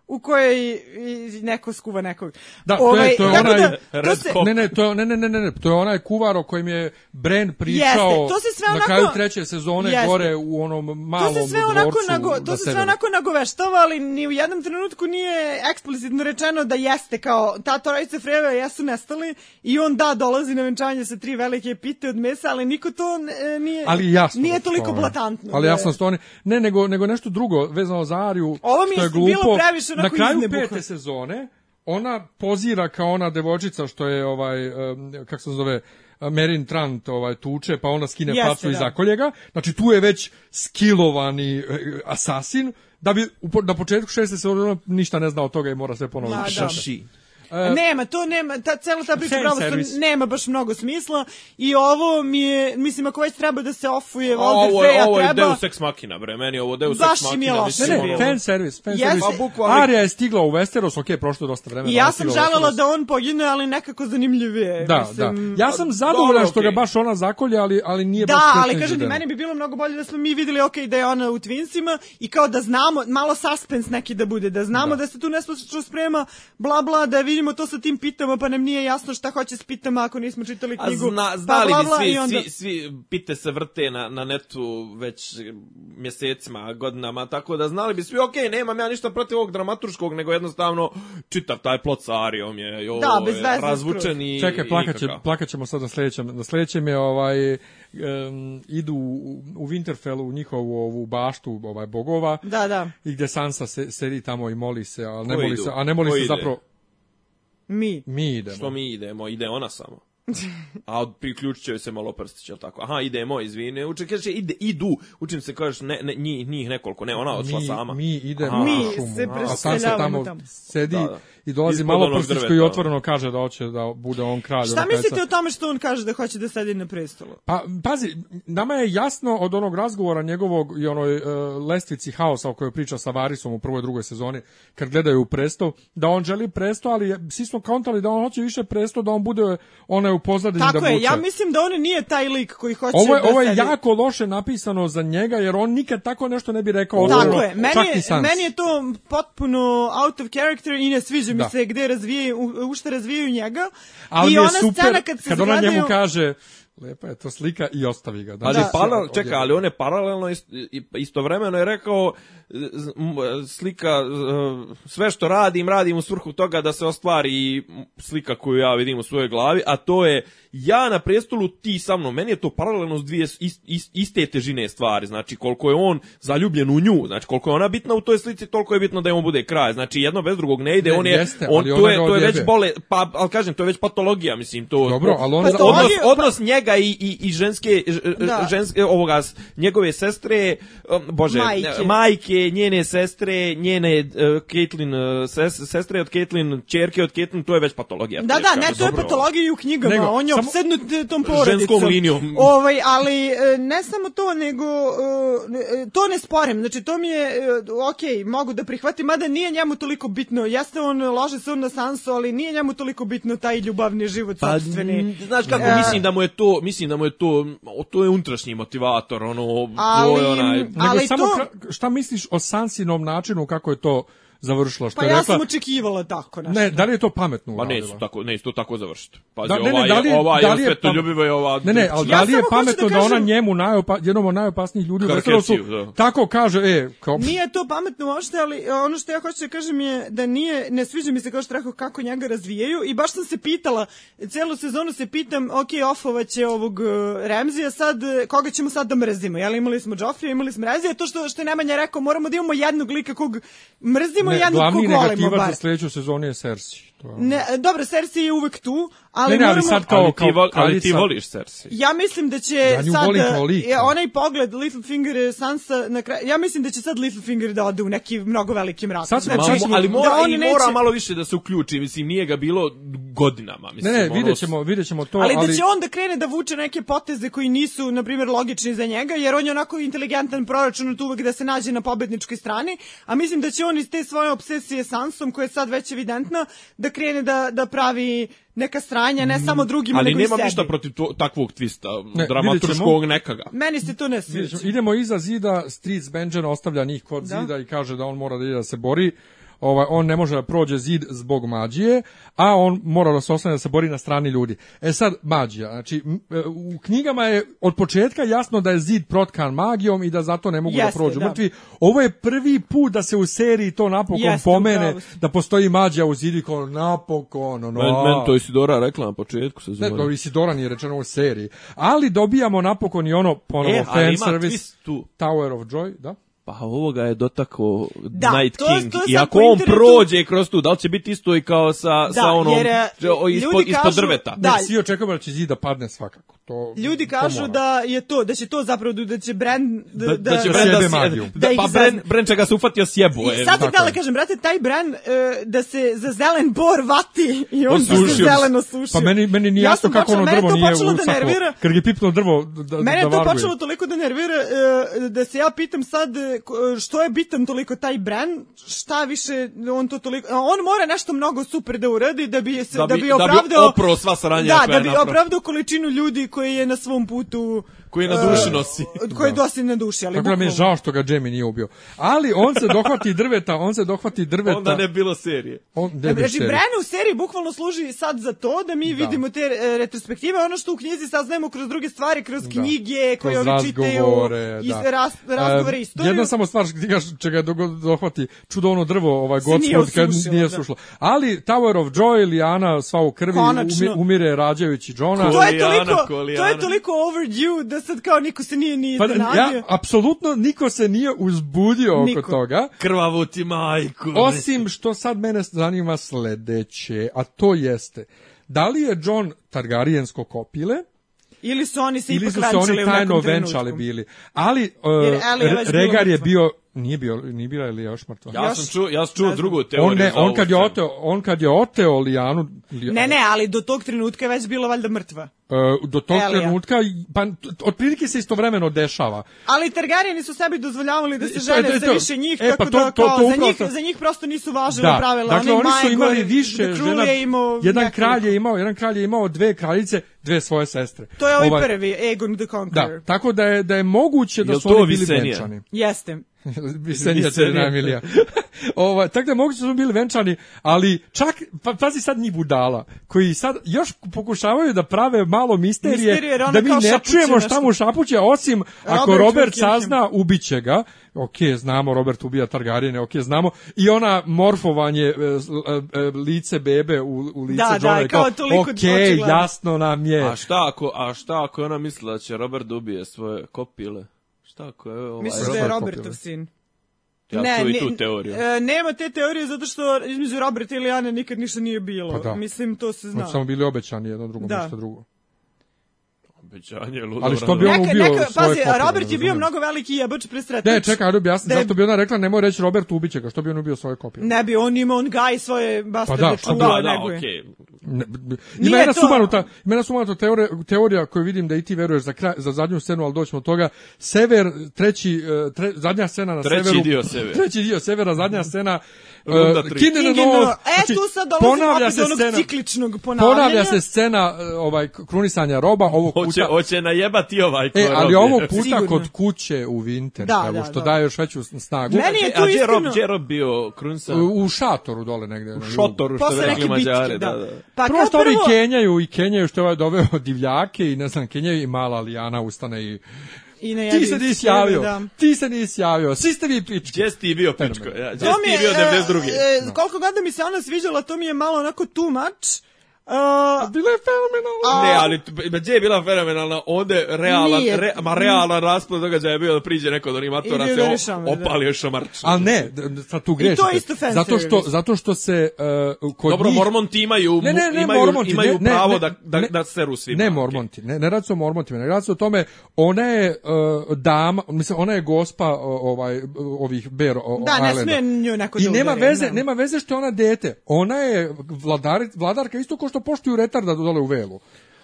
u kojoj i- neko skuva nekog.
Da, to je- to je
tako
onaj
da, to
Red
se,
Cook.
Ne, ne, to je, ne, ne, ne, ne, ne, to je onaj kuvar o kojem je Bren pričao
Jeste, to se sve
na
onako-
kraju treće sezone
Jeste.
gore u onom malom
to se sve
dvorcu da
onako nago,
na
to se sve
severu.
onako nagoveštava, ali ni u jednom trenutku nije eksplicitno rečeno da jeste kao ta trojica freva jesu nestali i on da dolazi na venčanje sa tri velike pite od mesa, ali niko to e, nije
Ali jasno.
nije
su to,
toliko
ono.
blatantno.
Ali
Da.
jasno su to oni. Ne, nego, nego nešto drugo vezano za Ariju.
Ovo mi
što
je
je glupo.
bilo previše onako
Na kraju
iznebuka.
pete sezone ona pozira kao ona devojčica što je ovaj, em, kako se zove, Merin Trant ovaj, tuče, pa ona skine
Jeste,
pacu i
da.
zakolje ga. Znači tu je već skilovani e, asasin da bi u po- na početku šeste sezone ona ništa ne zna od toga i mora sve ponovno.
Ma, da.
Šaši.
Nema, to nema, ta cela ta priča
Fan
pravo
service.
nema baš mnogo smisla i ovo mi je, mislim, ako već treba da se ofuje Walter
Ovo je,
Freya,
ovo je
treba...
Deus Ex Machina, bre. Meni je ovo Deus
Baš
Ex
mi je
Machina.
loše.
Ne,
mislim,
ne,
ono-
fan service, fan
Jeste.
service.
Pa,
bukvalno-
Arija je stigla u Westeros, ok, prošlo je dosta vremena.
I
ona
ja
je
sam
stigla u
želela
Westeros.
da on pogine, ali nekako
Da,
zanimljivije.
da.
mislim. pa,
Ja sam zadovoljan
dobro,
što ga
okej.
baš ona zakolje, ali, ali nije baš
Da, ali
Kirsten
kažem ti,
Dunst.
meni bi bilo mnogo bolje da smo mi videli, ok, da je ona u Twinsima i kao da znamo, malo suspens neki da bude, da znamo da, se tu nespočno sprema, bla bla, da vidimo to sa tim pitama, pa nam nije jasno šta hoće s pitama ako nismo čitali
A
knjigu.
zna,
pa,
znali
bla,
bi
bla,
svi,
i onda...
svi, svi pite se vrte na, na netu već e, mjesecima, godinama, tako da znali bi svi, okej, nemam ja ništa protiv ovog dramaturškog, nego jednostavno čitav taj plot sa Arijom je, jo,
Da, bez veze
razvučen i
Čekaj,
i
plakaće,
nikakav.
plakaćemo sad na sljedećem. Na sljedećem je ovaj em, idu u, u Winterfellu u njihovu ovu baštu ovaj bogova
Da, da,
i gdje Sansa se, sedi tamo i moli se, ali ne
Ko
moli
idu?
se, a ne moli
Ko
se
ide?
zapravo
mi.
mi idemo.
Što mi idemo, ide ona samo. A od- priključit će joj se malo prstić, jel tako? Aha, idemo, izvini. Uče, kaže, ide, idu. Učim se, kažeš, ne, ne, njih, njih nekoliko. Ne, ona otišla sama.
Mi idemo
Aha.
mi
Mi
u šumu.
se
a Sam se
preseljavamo
tamo,
tamo.
sedi
Da, da.
i dolazi
Ispod
malo
onog
prstić
drveta,
koji
da.
otvoreno kaže da hoće da bude on kralj.
Šta
ono,
mislite
kraljica.
o tome što on kaže da hoće da sedi na prestolu?
Pa, pazi, nama je jasno od onog razgovora njegovog i onoj e, lestvici haosa o kojoj priča sa Varisom u prvoj drugoj sezoni, kad gledaju u presto, da on želi presto, ali je- svi smo kontali da on hoće više presto, da on bude onaj u pozadini da
Tako
vuče.
je, ja mislim da on nije taj lik koji hoće
Ovo je,
da
ovo je
sedi.
jako loše napisano za njega, jer on nikad tako nešto ne bi rekao.
Tako
otvoreno,
je, meni
čak i
je,
Sans.
meni je to potpuno out of character i ne sviđa mi
Da.
se gde razvijaju, u, u šta razvijaju njega.
Ali
I
je
ona
super
scena kad se
kad ona
zagledaju-
njemu kaže, lepa je to slika i ostavi ga.
Ali
Znači,
paral,
odjednom.
čeka, ali on je paralelno ist- i- istovremeno je rekao z- m- slika z- sve što radim, radim u svrhu toga da se ostvari i slika koju ja vidim u svojoj glavi, a to je ja na prestolu, ti sa mnom. Meni je to paralelno s dvije is- is- iste težine stvari, znači koliko je on zaljubljen u nju, znači koliko je ona bitna u toj slici, toliko je bitno da je on bude kraj. Znači jedno bez drugog ne ide,
Ne,
on je
jeste,
on
ali
to
ona
je
ga
to je već
odjebe.
bole, pa al kažem, to je već patologija, mislim, to
Dobro,
to-
ali on-
odnos,
Patologija-
odnos njega i, i, i ženske, ž-
Da.
ženske ovoga s- njegove sestre um, bože
Majke.
ne, majke njene sestre njene uh, Caitlin uh, ses, sestre od Caitlin ćerke od Caitlin to je već patologija
Da, da, ne, to je patologija i u knjigama,
Nego,
on je
samo-
obsednut e, tom porodicom.
Ženskom linijom.
Ovaj, ali e, ne samo to, nego e, e, to ne sporem, znači to mi je, e, ok, mogu da prihvatim, mada nije njemu toliko bitno, jeste on, lože se on na Sansu, ali nije njemu toliko bitno taj ljubavni život
Pa,
sopstveni.
n- znaš kako,
E.
mislim da mu je to, mislim da mu je to, o, to je unutrašnji motivator, ono, to
Ali-
je onaj...
Nego
Ali
samo
to-
kra- šta misliš o Sansinom načinu kako je to završilo? Što
Pa
je
ja
rekla,
sam očekivala tako, znaš.
Ne, da li je to pametno
Pa
uradila?
neće tako, neće to tako završiti. Pazi,
Da, ne, ne,
ova
da li
je,
je-
ova
da
je,
li je
svetoljubiva i ova...
Ne, ne, ali
Ja
da li je
samo hoću
pametno
da
da ona
kažem-
njemu najopa, jednom od najopasnijih ljudi u Westerosu
Karkeciju, da.
tako kaže, e, kao,
Nije to pametno uopšte, ali e, ono što ja hoću da kažem je da nije, ne sviđa mi se kao što rekao kako njega razvijaju i baš sam se pitala, celu sezonu se pitam, ok, ofovaće ovog e, Remzija, sad e, koga ćemo sad da mrzimo, jel imali smo Joffrey, imali smo Remzija, to što, što je Nemanja rekao, moramo da imamo jednog lika kog mrzimo i
ne,
jednog kog
glavni
volimo
negativac
bar.
za sledeću sezonu je Cersei. To je-
Ne, e, dobro, Cersei je uvek tu, ali,
Ne, ne, ali
moramo...
sad kao-
ali ti, vo- ali ti
kraljica.
voliš Cersei.
Ja mislim da će
Ja nju
sad
volim kao lika.
da.
je onaj pogled Littlefinger Sansa na kraju. Ja mislim da će sad Littlefinger da ode u neki mnogo veliki mrak.
Sad smo-
Ma,
Znači,
mo- ali mora,
da on
i
neće-
mora malo više da se uključi, mislim, nije ga bilo godinama.
Ne,
Mislim,
ne,
ono,
vidjet ćemo, vidjet ćemo to,
ali,
ali...
da će on da krene da vuče neke poteze koji nisu, na primjer, logični za njega, jer on je onako inteligentan proračunat uvek da se nađe na pobedničkoj strani, a mislim da će on iz te svoje obsesije Sansom, koja je sad već evidentna, da krene da, da pravi neka sranja, ne samo drugima,
Mm, Ali
nego i
nemam
sebi.
ništa protiv to, takvog twista,
Ne, vidjet
dramaturškog
ćemo.
nekaga.
Meni se to ne
Vidjet
sviđa.
ćemo. Idemo iza zida, Streets Benjen ostavlja njih kod
Da.
zida i kaže da on mora da ide da se bori. Ovaj, on ne može da prođe zid zbog mađije, a on mora da se ostane da se bori na strani ljudi. E sad, mađija. Znači, m, e, u knjigama je od početka jasno da je zid protkan magijom i da zato ne mogu
Jeste,
da prođu
da.
mrtvi. Ovo je prvi put da se u seriji to napokon
Jeste,
pomene,
upravo si.
da postoji mađija u zidu i kao napokon. Ono,
Men,
a.
men to Isidora rekla na početku se
Ne, pa dobro, Isidora nije rečeno u seriji. Ali dobijamo napokon i ono ponovo
E, ali
fan
ima
service.
twist tu.
Tower of Joy, da?
Pa ovoga je dotako
Da,
Night
to-
King.
to sam
I ako
po
on
internetu-
prođe kroz tu, da li će biti isto i kao sa, sa onom
jer, e,
že- o,
ljudi
ispod, ispod
kažu-
drveta?
Da.
Da, svi očekujemo da će zid da padne svakako. To,
Ljudi
to
kažu
mora.
da je to, da će to zapravo, da će brand... Da,
Da, da će Bran
sjebe
da, se-
magiju.
da,
Da ih
pa
zazna.
Bren, Bren će ga se ufatio sjebo.
I sad sam
tako
htjela
je.
kažem, brate, taj bran e, da se za zelen bor vati i on da
Osušio
se
se.
zeleno sušio.
Pa meni, meni nije
Ja
jasno
sam
kako ono
počela-
drvo
Mene
nije
je to počelo da
usaklo.
nervira.
Kad je pipno drvo da, da,
Mene
da
je to
varuje.
počelo toliko da nervira e, da se ja pitam sad e, ko- e, što je bitan toliko taj bran, šta više on to toliko... a On mora nešto mnogo super da uradi da bi, se,
Da
da
bi-
bi,
da bi
opravdao...
oprao sva sranja
Da,
koja
da
je
bi
napravio.
opravdao količinu ljudi koji je na svom putu...
Koji je na
e,
duši nosi.
Koji je dosta na duši, ali
Tako da mi je
bukvalno.
žao što ga Jamie nije ubio. Ali on se dohvati drveta, on se dohvati drveta.
Onda ne bi bilo serije.
on, ne bi
Znači,
da serije.
Bran u seriji bukvalno služi sad za to da mi vidimo te e, retrospektive, ono što u knjizi saznajemo kroz druge stvari, kroz knjige koje
Da. kroz
oni čitaju,
razgovore,
iz,
da.
ras, razgovore,
E,
istoriju.
Jedna samo stvar što ti kažeš, čega dogo- dohvati čudo ono drvo, ovaj
Se nije
Godsport kad
osušilo,
nije
da.
sušlo. Ali Tower of Joy, Liana sva u krvi
Konačno.
umi- umire rađajući Johna.
To je,
Kolijana,
toliko, to
kolijana.
je toliko overdue da sad kao niko se nije ni
Pa
iznenadio.
ja, apsolutno niko se nije uzbudio
Niko.
oko toga.
Krvavu ti majku.
Osim što sad mene zanima sledeće, a to jeste da li je John Targaryensko kopile,
Ili su oni se
ili
ipak
su se oni
venčali u
tajno
nekom trenutku.
venčali bili. Ali,
Jer
uh,
Ellie je već
Re-
bila
Regar je
mrtva.
bio, nije bio, nije bila ili još mrtva.
Ja sam čuo, ja sam čuo drugu teoriju.
on, ne,
za
on
ovu
kad je
scenu.
oteo, on kad je oteo Lijanu, Li-
Ne, ne, ali do tog trenutka je već bila valjda mrtva.
uh, do tog
Elija.
trenutka, pa t- otprilike se istovremeno dešava.
Ali Targaryeni su sebi dozvoljavali da
E,
se
to
žene
je- to je
sa
to.
više njih,
E, pa
tako
to-
da
to-
kao
to
za,
upravo
njih,
sam-
za njih prosto nisu važila pravila. da
Dakle,
Onaj
oni su
Maegor,
imali više
The Cruel
žena.
je imao
jedan
nekoliko.
kralj je imao, jedan kralj je imao dve kraljice, dve svoje sestre.
To je ovaj,
Ovaj,
prvi, Aegon the Conqueror.
Da, tako da je, da je moguće da
Jel
su
to
oni bili
Visenija?
venčani.
Jeste.
Visenija
Visenija.
Cerina Emilija. Ova, tako da je moguće da su bili venčani, ali čak, pa pazi sad njih budala, koji sad još pokušavaju da prave malo misterije,
Misterije, jer ona
da mi
kao
ne
šapuće
čujemo šta
nešto.
mu šapuće, osim ako
Robert
Robert
Wilkinson.
sazna, ubiće ga. Ok, znamo, Robert ubija Targaryene, ok, znamo. I ona morfovanje e, s- e, e, lice bebe u, u lice
Da, da,
Johna.
kao toliko
ok,
očigledno."
jasno nam je.
A šta ako, a šta ako je ona mislila da će Robert da ubije svoje kopile? Šta ako je ovaj...
Misliš da je
Robert
Robertov
Popović.
sin?
Ja čuo i tu teoriju.
da- e, nema te teorije zato što između Roberta i Lijane nikad ništa nije bilo.
Pa da.
Mislim, to se
Oni
zna.
su Samo bili obećani jedno drugom,
Da.
ništa drugo.
Obećanje, ludo.
Ali što
vrano.
bi on ubio svoje
pazi,
kopile,
Robert je bio
razumijem.
mnogo veliki jebač presretač.
Ne, čekaj, ajde objasni,
Da je-
zašto bi ona rekla, nemoj reći Robert ubiće ga, što bi on ubio svoje kopije?
Ne bi, on imao on gaj svoje bastarde
Pa da, šta
Da,
čuva,
da,
neguje.
okej.
Ne, b- ima
Nije
jedna
to-
sumanuta, ima jedna sumanuta teorija, teorija koju vidim da i ti veruješ za, kraj, za zadnju scenu, ali doćemo od toga. Sever, treći, e, tre, zadnja scena na
Treći
severu.
dio severa.
Treći dio severa, zadnja scena. e,
Runda tri.
King in the
King in the
North.
North. E, tu sad dolazimo opet do onog cikličnog ponavljanja.
Ponavlja se scena e, ovaj, krunisanja roba ovog
Hoće,
puta.
hoće najebati ovaj ko
E, ali
robi.
ovog puta
Sigurno.
kod kuće u Winterfell,
Da, da,
što
da.
daje još veću snagu.
Meni je
E, A
tu
gdje je Rob,
iskreno...
gdje je Rob bio krunsan? U
U u šatoru dole negde. na jugu.
šotoru, što bi
Posle
rekli
neke bitke,
mađari.
da.
Da, da.
Pa
Prvo
kao
što ovi
prvo,
kenjaju i kenjaju što je ovaj doveo divljake i ne znam, kenjaju i mala Lijana ustane i
i na
ti
jedin
se nisi
sjebe,
javio,
da.
ti se nisi javio, svi ste vi pički.
Gdje si ti bio, pičko? Ja, Gdje
To
si
mi
ti bio
je, e,
92.
e, Koliko god da mi se ona sviđala, to mi je malo onako too much. Uh,
Bilo je fenomenalno.
Ne, ali t- ma gdje je bila fenomenalna, ovdje realan,
Nije.
re, ma realan rasplet događaja je bio da priđe neko do animatora,
Ide
se
da
o,
rešava, da.
opalio šamarč.
Ali ne, d- d- sad tu grešite.
to je isto fan
zato što,
service.
zato što se uh, kod
Dobro,
njih...
Mormonti imaju,
Ne, ne, ne,
imaju,
Mormonti,
imaju
ne, ne,
pravo
ne,
da, da,
ne.
da seru svima.
Ne Mormonti, ne, ne radi se o Mormontima, ne radi se o tome, ona je uh, dama, mislim, ona je gospa o- ovaj, ovih Ber o,
da, ne
Islanda.
smije nju neko
I
da
nema
udari,
veze,
da.
nema veze što je ona dete. Ona je vladari, vladarka isto kao što poštuju retarda da dole u velu.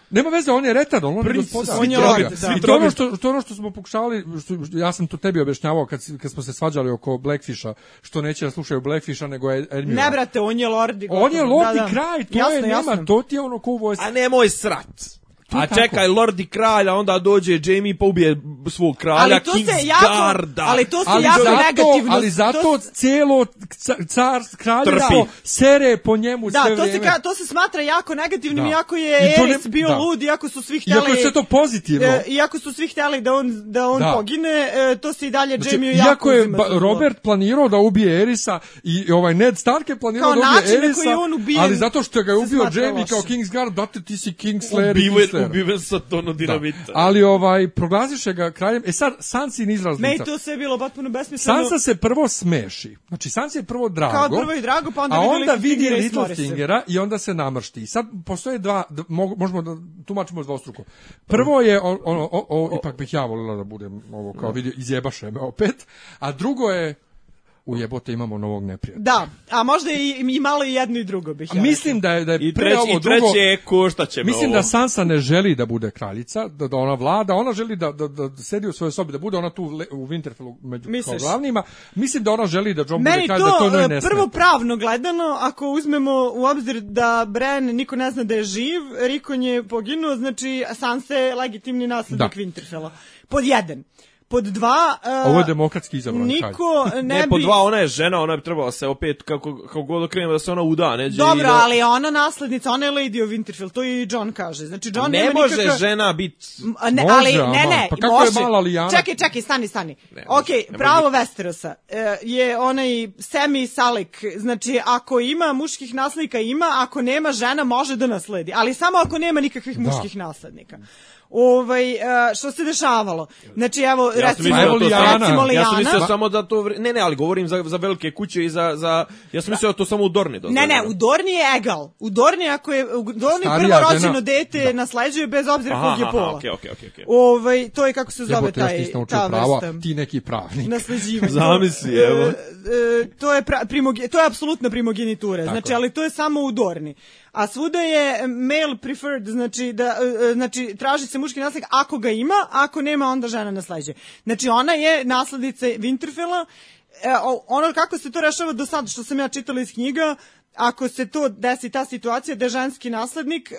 Nema veze, on je retard, on je
Princ,
gospodar.
on je
Da.
lord, da.
I to je ono što, što je ono što smo pokušavali, što, što- ja sam to tebi objašnjavao kad, si- kad smo se svađali oko Blackfisha, što neće da slušaju Blackfisha nego je Edmure.
Ne, brate, on je lord. i
on je
gotovo,
lord
da, da.
i kraj, to
Jasno,
je, nema,
jasno.
to ti je ono ko u vojsci.
A nemoj srat. A
tako.
čekaj, Lord i kralj, a onda dođe Jamie pa ubije svog kralja,
Ali to se jako,
Kingsguarda.
ali to se
Ali
jako
zato,
negativno.
ali zato
to,
cijelo ca- car, kraljevstvo
Trpi.
sere po njemu
da,
sve
to se
vrijeme.
ka, to se smatra jako negativnim,
Da.
iako
I
je
to ne-
Eris bio
da.
lud, iako su svi htjeli
Iako je sve to pozitivno.
E, iako su svi htjeli da on, da on
Da.
pogine, e, to se i dalje
Znači,
Jamie jako
iako je
uzima
ba-
za zlo.
Robert planirao da ubije Erisa i ovaj Ned Stark je planirao
Kao
da
način
ubije
na koji je
Erisa,
on ubijen
ali zato što ga je
se
ubio
smatra
Jaime
lošim.
kao Kingsguard, date ti si Kingslayer i
ubiven,
Kingslayer.
ubiven sa
Da.
tono dinamita.
Ali ovaj, proglasiše ga kraljem. E sad, Sansin
Ne, i
izraznica.
to sve je bilo potpuno besmisleno.
Sansa se prvo smeši. Znači, Sansa je prvo drago.
Kao prvo i drago, pa onda
a
vidi
onda vidi
Littlefingera i smori se.
Littlefingera i onda se namršti. I sad postoje dva, d- mo- možemo da tumačimo dvostruko. Prvo je, o- ono, o, o, ipak bih ja volila da budem ovo, kao vidi, izjebaše me opet. A drugo je, u jebote imamo novog neprijatelja.
Da, a možda i, i malo i jedno i drugo bih ja.
Mislim da je, da je
I,
pre
treć,
ovo
I treće
drugo...
je košta će me
Mislim
ovo.
da Sansa ne želi da bude kraljica, da, da ona vlada, ona želi da, da, da sedi u svojoj sobi, da bude ona tu le- u Winterfellu među kao
Misliš?
glavnima. Mislim da ona želi da Jon bude
Meni
kralj, da to
to,
njoj
e,
ne smeta.
prvo pravno gledano, ako uzmemo u obzir da Bran niko ne zna da je živ, Rikon je poginuo, znači Sansa je legitimni naslednik
Da.
Winterfella. Pod jedan. Pod dva... e,
Ovo je demokratski izabran kralj.
Niko ne,
Ne,
bi...
po dva, ona je žena, ona bi trebala se opet, kako, kako god okrenemo da se ona uda, neđe i
Dobro,
da...
ali je ona naslednica, ona je Lady of Winterfell, to i John kaže. Znači, John
Ne
nema
može
nikakav...
žena biti...
M, a Ne,
Može,
ali, ne,
aman,
ne,
pa kako je
može.
mala Lijana?
Čekaj, čekaj, stani, stani.
Ne može,
ok,
ne može
pravo Westerosa e, je onaj Semi Salik. Znači, ako ima muških
Da.
naslednika, ima, ako nema žena, može da nasledi. Ali samo ako nema nikakvih muških naslednika. ovaj, a, što se dešavalo. Znači, evo,
Ja sam
recimo,
mislio da
Evo
to
Lijana.
samo-
recimo
Ja sam
Lijana.
mislio samo da to... vri- Ne, ne, ali govorim za, za velike kuće i za... za ja sam mislio da to samo u Dorni
Ne,
dozvoljeno.
ne, u Dorni je egal. U Dorni, ako je, u Dorni
Starija
prvo rođeno
žena- Da.
dete nasleđuje bez obzira
Aha,
kog je
aha,
pola.
okej, okej, okej, okej.
Ovaj, to je kako se zove
Jebote, ja ti
taj,
nisam naučio
ta
prava,
vrsta.
ti neki pravnik.
nasleđivanje.
Zamisli,
To-
evo.
e, e, to je pra, primoge- to je apsolutna primogenitura. Znači, ali to je samo u Dorni. A svuda je male preferred, znači da e, e, znači traži se muški naslednik ako ga ima, a ako nema onda žena nasleđuje. Znači ona je naslednica Winterfella. E, o- ono kako se to rešava do sada što sam ja čitala iz knjiga, ako se to desi ta situacija da je ženski naslednik e,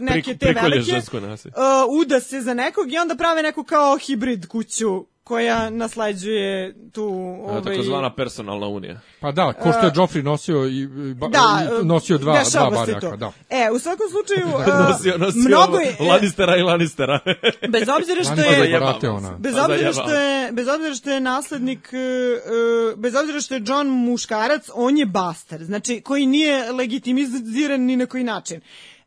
neke
Prik-
te
Da, prikolje
velike
žensko nasilje.
uh, uda se za nekog i onda prave neku kao hibrid kuću koja nasleđuje tu
E,
ovaj,
Takozvana personalna unija.
Pa da, ko što je Joffrey nosio, i, i ba,
E, Da,
i pa- nosio dva,
dešava
dva
se
barjaka.
to.
Da.
E, u svakom slučaju,
Nosio,
uh,
nosio
mnogo je,
Lannistera i Lannistera.
bez obzira što
Lannistera
je,
i
Zajebamo
brate
se.
Pa ona.
bez
Pa
obzira
zajebamo
što je, bez obzira što je naslednik, e, e, bez obzira što je John muškarac, on je bastar, znači koji nije legitimiziran ni na koji način.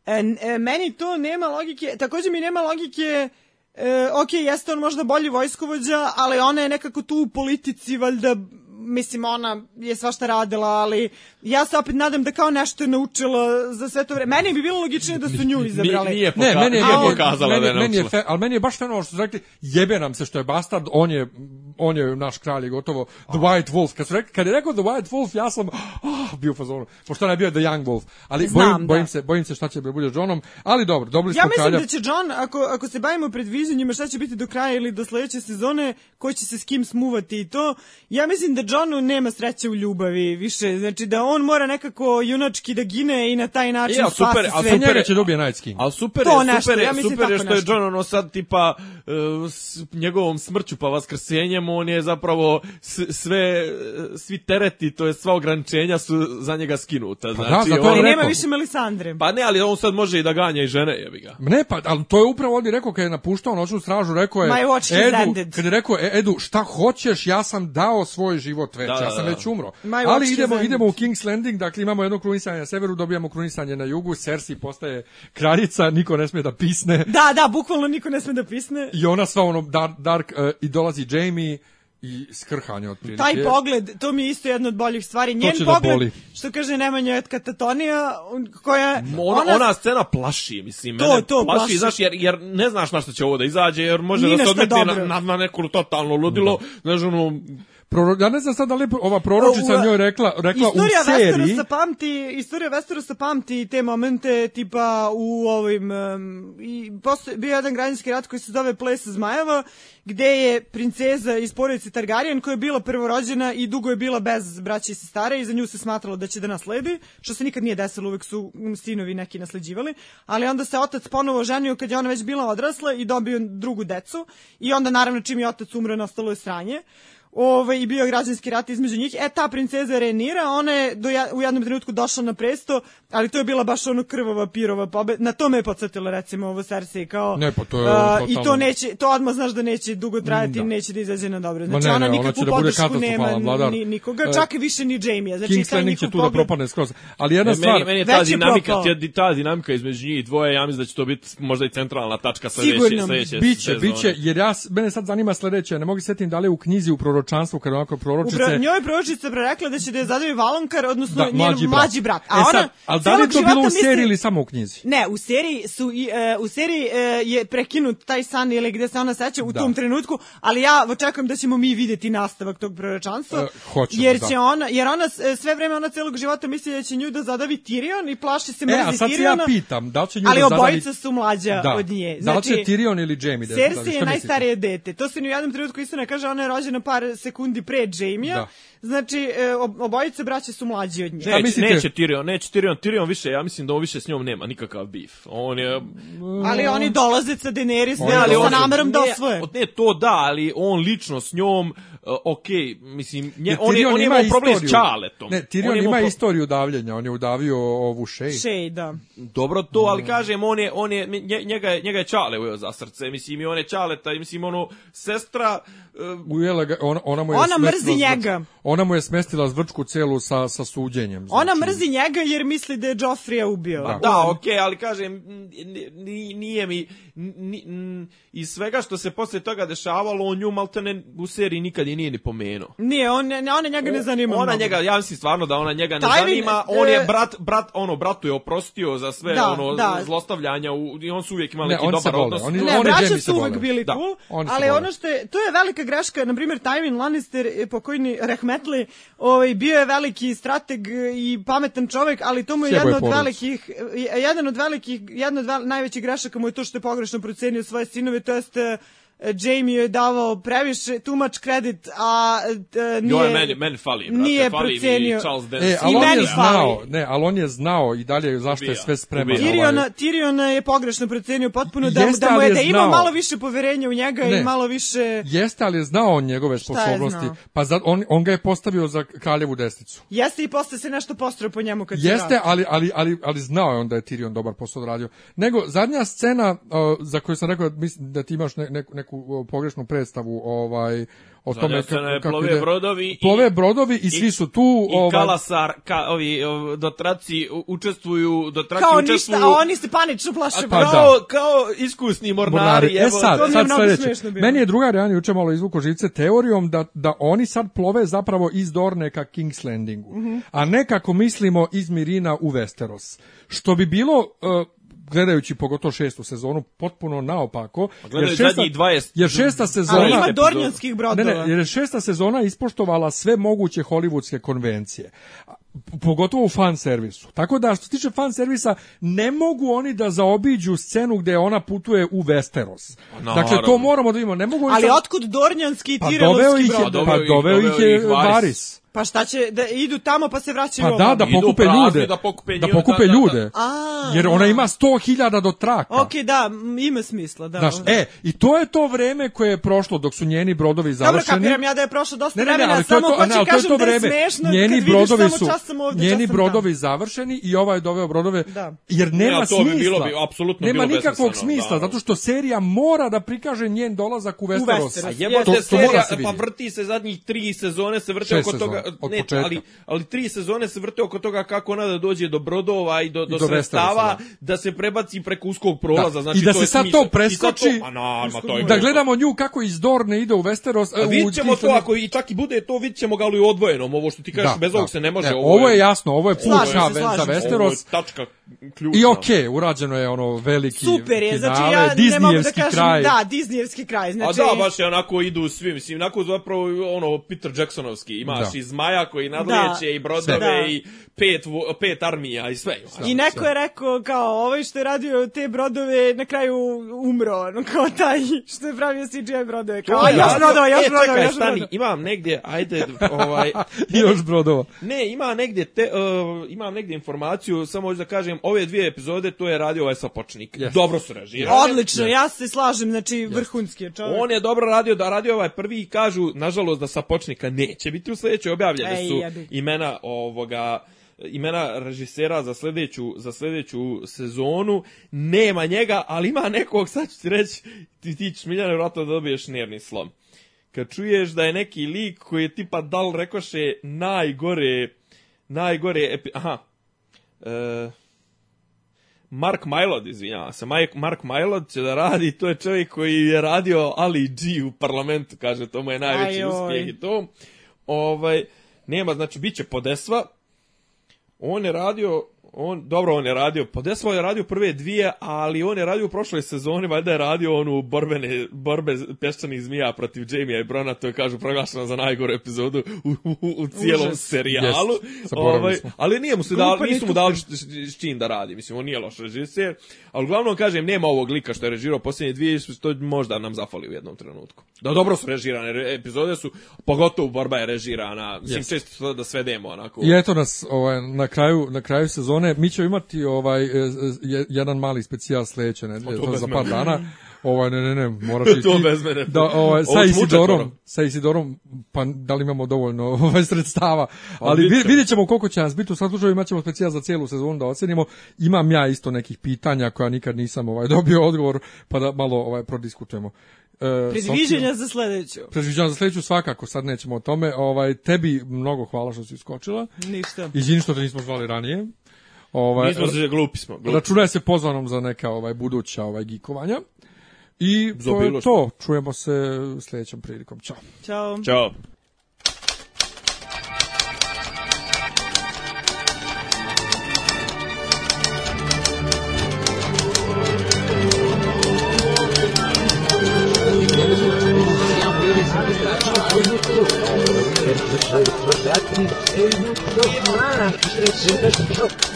E, n- e, meni to nema logike, takođe mi nema logike E, ok, jeste on možda bolji vojskovođa, ali ona je nekako tu u politici, valjda, mislim, ona je svašta radila, ali ja se opet nadam da kao nešto je naučila za sve to vreme. Meni bi bilo logičnije da su nju izabrali.
Nije, poka
Ne, meni je,
nije
meni,
pokazala da je
meni, meni je
naučila.
fe, ali meni je baš fenomenalno što su rekli, jebe nam se što je bastard, on je, on je naš kralj i gotovo, The White Wolf. Kad, su rekli, kad je rekao The White Wolf, ja sam ah, bio u fazonu, pošto ne bio je The Young Wolf. Ali
Znam,
bojim,
da.
bojim, se, bojim se šta će da bude s Johnom, ali dobro, dobili smo
Ja mislim
kralja.
da će John, ako, ako se bavimo predviđanjima šta će biti do kraja ili do sledeće sezone, ko će se s kim smuvati i to, ja mislim da Johnu nema sreće u ljubavi više. Znači da on mora nekako junački da gine i na taj način
E, ali
spasi
super, ali
sve.
Za
super
njega će dobije Night King.
Ali super
To
je,
nešto,
super je,
ja mislim
super je
tako
što je
nešto.
John ono sad tipa e, s njegovom smrću pa vaskrsenjem on je zapravo s, sve, e, svi tereti, to je sva ograničenja su za njega skinuta.
da,
Znači,
zato
on,
je
Ali nema
rekao.
više Melisandre.
Pa ne, ali on sad može i da ganja i žene, jebi ga.
Ne, pa, ali to je upravo ovdje rekao kad je napuštao noćnu stražu, rekao je,
My watch has
Edu,
ended.
kad je rekao, "E, Edu, šta hoćeš, ja sam dao svoj život već,
Da, da,
ja sam
da.
već umro.
My watch
ali
has
idemo,
ended.
idemo u King's Landing, dakle imamo jedno krunisanje na severu, dobijamo krunisanje na jugu, Cersei postaje kraljica, niko ne smije da pisne,
Da, da, bukvalno niko ne sme da pisne.
i ona sva ono, dar- dark, eh, i dolazi Jamie, i skrhanje otprilike.
Taj pogled, to mi je isto jedna od boljih stvari. Njen
će da
pogled,
boli.
što kaže Nemanja od Katatonija, on- koja...
Ona, ona, ona scena plaši, mislim,
To,
mene
to,
plaši,
plaši.
znaš, jer, jer ne znaš na što će ovo da izađe, jer može
Ni
da
na
se
šta
odmetne na,
dobro.
na, na neku totalno ludilo, znaš, ono,
Proro- ja ne znam sad da li je ova proročica
U,
njoj rekla, rekla u
Istorija
seriji,
Westerosa pamti, istorija Westerosa pamti te momente tipa u ovim um, i posle, bio je jedan građanski rat koji se zove Ples Zmajeva gde je princeza iz porodice Targaryen koja je bila prvorođena i dugo je bila bez braća i sestara i za nju se smatralo da će da nasledi, što se nikad nije desilo, uvek su mm, sinovi neki nasleđivali, ali onda se otac ponovo ženio kad je ona već bila odrasla i dobio drugu decu i onda naravno čim je otac umre nastalo je sranje ovaj, i bio je građanski rat između njih. E, ta princeza Renira, ona je do ja, u jednom trenutku došla na presto, ali to je bila baš ono krvava pirova pobeda. Na to me je podsjetila recimo ovo Cersei kao...
Ne, pa to je
a, I
totalno-
to neće, to odmah znaš da neće dugo trajati i neće da izađe na dobro. Znači,
ne,
ona
ne, ona
nikakvu
će da bude
podršku
katastrofalan
nema
vladar.
ni, nikoga,
E,
čak i više ni Jaime. Znači,
King's
taj
Landing će
njihov
tu da
pogled-
propane skroz. Ali jedna
Ne,
stvar...
meni, meni je ta
već je
dinamika,
propao.
ta, ta dinamika između njih dvoje, ja mislim da će to biti možda i centralna tačka sledeće,
Sigurno.
sledeće
Biće,
sezone.
biće, jer ja, s- mene sad zanima sledeće, ne mogu se setim da li je u knjizi u proročanstvu, kada onako
U
proročice...
pro, njoj je proročica prerekla da će da je zadavi Valonkar, odnosno
da,
njen mlađi brat. A
e
ona,
sad, ali da li je
celog
to
života
bilo u seriji
misli-
ili samo u knjizi?
Ne, u seriji su i, e, u seriji e, je prekinut taj san ili gde se ona seća u
Da.
tom trenutku, ali ja očekujem da ćemo mi videti nastavak tog proročanstva.
E, hoćemo,
jer
da.
će ona, jer ona s- e, sve vreme ona celog života misli da će nju da zadavi Tyrion i plaši se mrzi
E, a sad se ja
Tyriona,
pitam, da li će nju
ali
da zadavi-
obojica su mlađa
Da.
od nje.
Da li
Znači,
će Tyrion ili Jaime da- da- šta
Cersei je
mislite?
najstarije dete. To se ni u jednom trenutku istina kaže, ona je rođena par sekundi pre Jaime-a.
Da.
Znači, e, ob- obojice braće su mlađi od nje.
Šta
Neće,
mislite?
neće Tyrion, neće Tyrion, Tyrion više, ja mislim da on više s njom nema nikakav bif. On je...
Ali oni dolaze sa Daenerys
Ne, ali
sa
on-
namerom da
ne,
osvoje.
Ne, to da, ali on lično s njom, ok, mislim, nje, on, je, on je imao problem s Čaletom.
Ne, Tirion
On je
ima
imao pro-
istoriju davljenja, on je udavio ovu šej.
Shade, da.
Dobro to, ali kažem, on je, on je, nje- njega, je- njega je Čale ujeo za srce, mislim, i on je Čaleta, i mislim, ono, sestra, e,
Ujela ga, ona, ona mu je
Ona mrzi
smestila zvrč-
njega.
ona mu je smestila zvrčku celu sa, sa suđenjem. Znači.
Ona mrzi njega jer misli da je Joffrija ubio.
Da.
Da, okej, ali kažem, n- n- nije mi, n- n- iz svega što se posle toga dešavalo, on nju maltene u seriji nikad i nije ni pomenuo.
Nije, on, ne- ona njega ne zanima.
Ona
mnogo.
njega, ja mislim stvarno da ona njega ne
Tyrion,
zanima, on je
e,
brat, brat, ono, bratu je oprostio za sve
Da,
ono
da.
zlostavljanja u, i on su uvijek imali
Ne,
neki
oni se
dobar
vole,
odnos.
oni-
Ne,
i
braća
Jamie se
su uvek
vole.
bili
Da,
cool,
oni se
ali
vole.
ono što je, to je velika greška, na primjer Tywin Lannister, eh, pokojni Rahmetli, ovaj, bio je veliki strateg eh, i pametan čovek, ali to mu je
Sjebao je
jedan od
porodicu.
velikih, eh, jedan od velikih, jedan od vel- najvećih grešaka mu je to što je pogrešno procenio svoje sinove, to jest eh, Jamie je davao previše tumač kredit, a eh, nije...
Joj, meni, meni fali, brate,
nije
fali
procenio.
mi Charles Dance.
E, ali
I
on
meni
je
fali.
znao, ne, ali on je znao i dalje zašto je
Ubija,
sve spremano.
ubija.
Ovaj,
Tiriona, Tiriona je pogrešno procenio potpuno da, mu-
Jeste,
da mu
ali
je,
je
da ima
znao.
malo više poverenja u njega
Ne.
i malo više...
Jeste, ali je znao on njegove
je
sposobnosti.
znao?
Pa za, on, on ga je postavio za kraljevu desnicu.
Jeste i posle se nešto postrao po njemu kad se
Jeste,
vrati.
ali, ali, ali, ali znao je on da je Tyrion dobar posao odradio. Nego, zadnja scena uh, za koju sam rekao mislim, da ti imaš ne, neku, neku uh, pogrešnu predstavu ovaj, o
Zadnja
tome ka-
scena je
kako
plove
ide.
brodovi i-
plove brodovi i, svi su tu. ovaj,
I Kalasar, ka, ovi, ovi dotraci u- učestvuju, dotraci
Kao ništa,
učestvuju...
a oni se panično plaše.
Pa
brate.
da.
kao, kao iskusni mornari,
Mornari. E
evo,
sad,
to mi je
sad
mnogo
sledeće.
smešno bilo.
Meni je drugar Jan juče malo izvuko živce teorijom da, da oni sad plove zapravo iz Dorne ka King's Landingu,
Mhm.
a ne kako mislimo iz Mirina u Westeros. Što bi bilo... uh, gledajući pogotovo šestu sezonu, potpuno naopako.
gledajući
jer šesta-
zadnjih 20
Jer šesta sezona...
Ali ima
Epizoda.
dornjanskih brodova.
da, Ne, ne, jer je šesta sezona ispoštovala sve moguće hollywoodske konvencije. A, p- Pogotovo u fan servisu. Tako da, što se tiče fan servisa, ne mogu oni da zaobiđu scenu gde ona putuje u Westeros.
Pa naravno.
dakle, to moramo da imamo. Ne mogu oni
Ali
sad-
otkud Dornjanski i
pa doveo
Tirelovski
ih je,
brod?
brod.
pa doveo ih je
Varis.
Varis.
Pa šta će, da idu tamo pa se vraćaju
Pa da,
ovamo?
da
Idu
pokupe
prazni,
ljude.
da pokupe
da
nju-
pokupe
da, da,
ljude.
A, da.
Jer ona ima 100.000 do traka.
Ok, da, m, ima smisla, da.
Znaš, e, i to je to vreme koje je prošlo dok su njeni brodovi
Dobro,
završeni.
kapiram ja da je prošlo dosta vremena,
ali to je
samo
to-
hoću
ne, ali to je
kažem
to
da je
vreme.
smešno
njeni
kad vidiš
brodovi
samo
su,
čas sam ovdje,
njeni
čas sam
brodovi
tamo.
završeni i ovaj je doveo brodove,
Da.
jer nema
Ne, a to bi
smisla.
bilo bi- apsolutno
nema
bilo
nikakvog
besmisleno,
smisla,
da.
zato što serija mora da prikaže njen dolazak u Westeros.
Westeros. A
Jebote,
To- to mora
serija,
se
pa
vidjeti.
vrti se zadnjih tri sezone, se vrte
Šest
oko
sezona,
toga,
od
ne,
početka.
ali, ali tri sezone se vrte oko toga kako ona da dođe do brodova i do, do,
do
sredstava,
Westerosa,
da se prebaci preko uskog prolaza,
Da.
znači
I da
to
se
je
sad
smisao.
to
I sad
preskoči,
to, a na, ma, to je
Da
glupo.
gledamo nju kako iz Dorne ide u Westeros.
A
u
vidit ćemo to,
Kingston-
ako i čak i bude to, vidit ćemo ga ali u odvojenom, ovo što ti kažeš,
Da,
bez
da.
ovog se ne može.
E, ovo je jasno, ovo je put
Slažem se,
ka- za
slažem se.
ovo je
Westeros.
tačka ključna.
I okej, urađeno je ono veliki
Super je,
finale,
znači ja ne mogu da
Disneyevski
kažem,
kraj.
da, Disneyevski kraj, znači...
A da, baš je onako idu svi, mislim, onako zapravo ono Peter Jacksonovski, imaš
Da.
i zmaja koji nadleće
Da.
i brodove
Sve.
i pet, vo- pet armija i sve.
Da.
imaš.
I neko je rekao kao ovaj što je radio te brodove na kraju umro, ono kao taj što je pravio CGI brodove.
Da.
Kao,
To
a
je
još
radio-
brodova, još
E,
brodova,
čekaj,
još
stani,
brodova.
imam negdje, ajde, ovaj,
I još brodova.
ne, ima negdje, te, uh, imam negdje informaciju, samo hoću da kažem, ove dvije epizode to je radio ovaj sapočnik.
Jeste.
Dobro su režirali.
Odlično, ja se slažem, znači vrhunski je čovjek.
On je dobro radio da radio ovaj prvi i kažu, nažalost, da sapočnika neće biti u sljedećoj. Objavljene
Ej,
su
jebi.
imena ovoga imena režisera za sljedeću, za sljedeću sezonu. Nema njega, ali ima nekog, sad ću ti reći, ti, ti ćeš Miljane vratno da dobiješ nerni slom. Kad čuješ da je neki lik koji je tipa dal rekoše najgore, najgore, epi, aha, e, Mark Mylod, izvinjavam se, Mike- Mark Mylod će da radi, to je čovjek koji je radio Ali G u parlamentu, kaže, to mu je najveći
Ajoj.
uspjeh i to. Ovaj, nema, znači, bit će Podesva, on je radio, on, dobro, on je radio, Podesva je radio prve dvije, ali on je radio u prošloj sezoni, valjda je radio onu borbene, borbe peščanih zmija protiv Jamie i Brona, to je, kažu, proglašena za najgoru epizodu u, u, u cijelom
Užas.
serijalu.
Jest, zaboravili smo.
ovaj, ali nije mu se dali,
Glupan je
nisu mu dali š- š- s čim da radi, mislim, on nije loš režiser, ali uglavnom kažem, nema ovog lika što je režirao posljednje dvije, što možda nam zafali u jednom trenutku. Da, dobro su režirane re- epizode su, pogotovo borba je režirana, mislim,
Jest.
često to da svedemo onako.
I eto nas ovaj, na, kraju, na kraju sezone. Mi ćemo imati ovaj, e, e, je- jedan mali specijal sledeće nedelje,
to
to je
bez
za par
mene.
dana. Ovaj, ne, ne, ne, morate
To bez mene.
Da, ovaj,
Ovo
sa
ću
Isidorom,
mučet,
sa Isidorom, pa da li imamo dovoljno ovaj, sredstava. Ali
bit
vi-
će.
vidjet ćemo koliko će nas biti. U svakom slučaju imat ćemo specijal za cijelu sezonu da ocenimo. Imam ja isto nekih pitanja koja nikad nisam ovaj, dobio odgovor, pa da malo ovaj, prodiskutujemo. E,
Predviđenja za sledeću.
Predviđanja za sledeću svakako, sad nećemo o tome. Ovaj, tebi mnogo hvala što si skočila.
Ništa.
Izvini što te nismo zvali ranije. Ovaj,
Nismo se, glupi smo. Glupi.
Računaj se pozvanom za neka ovaj buduća ovaj gikovanja. I
Za
to je
bilo šta.
to. Čujemo se sljedećom prilikom. Ćao.
Ćao.
Ćao.
Dopisi iz Disneylanda.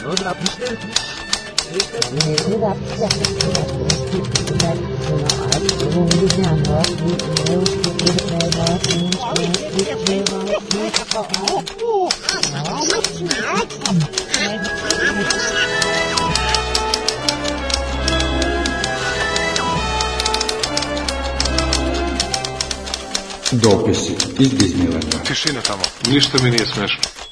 Tišina tamo. Ništa mi nije smešno.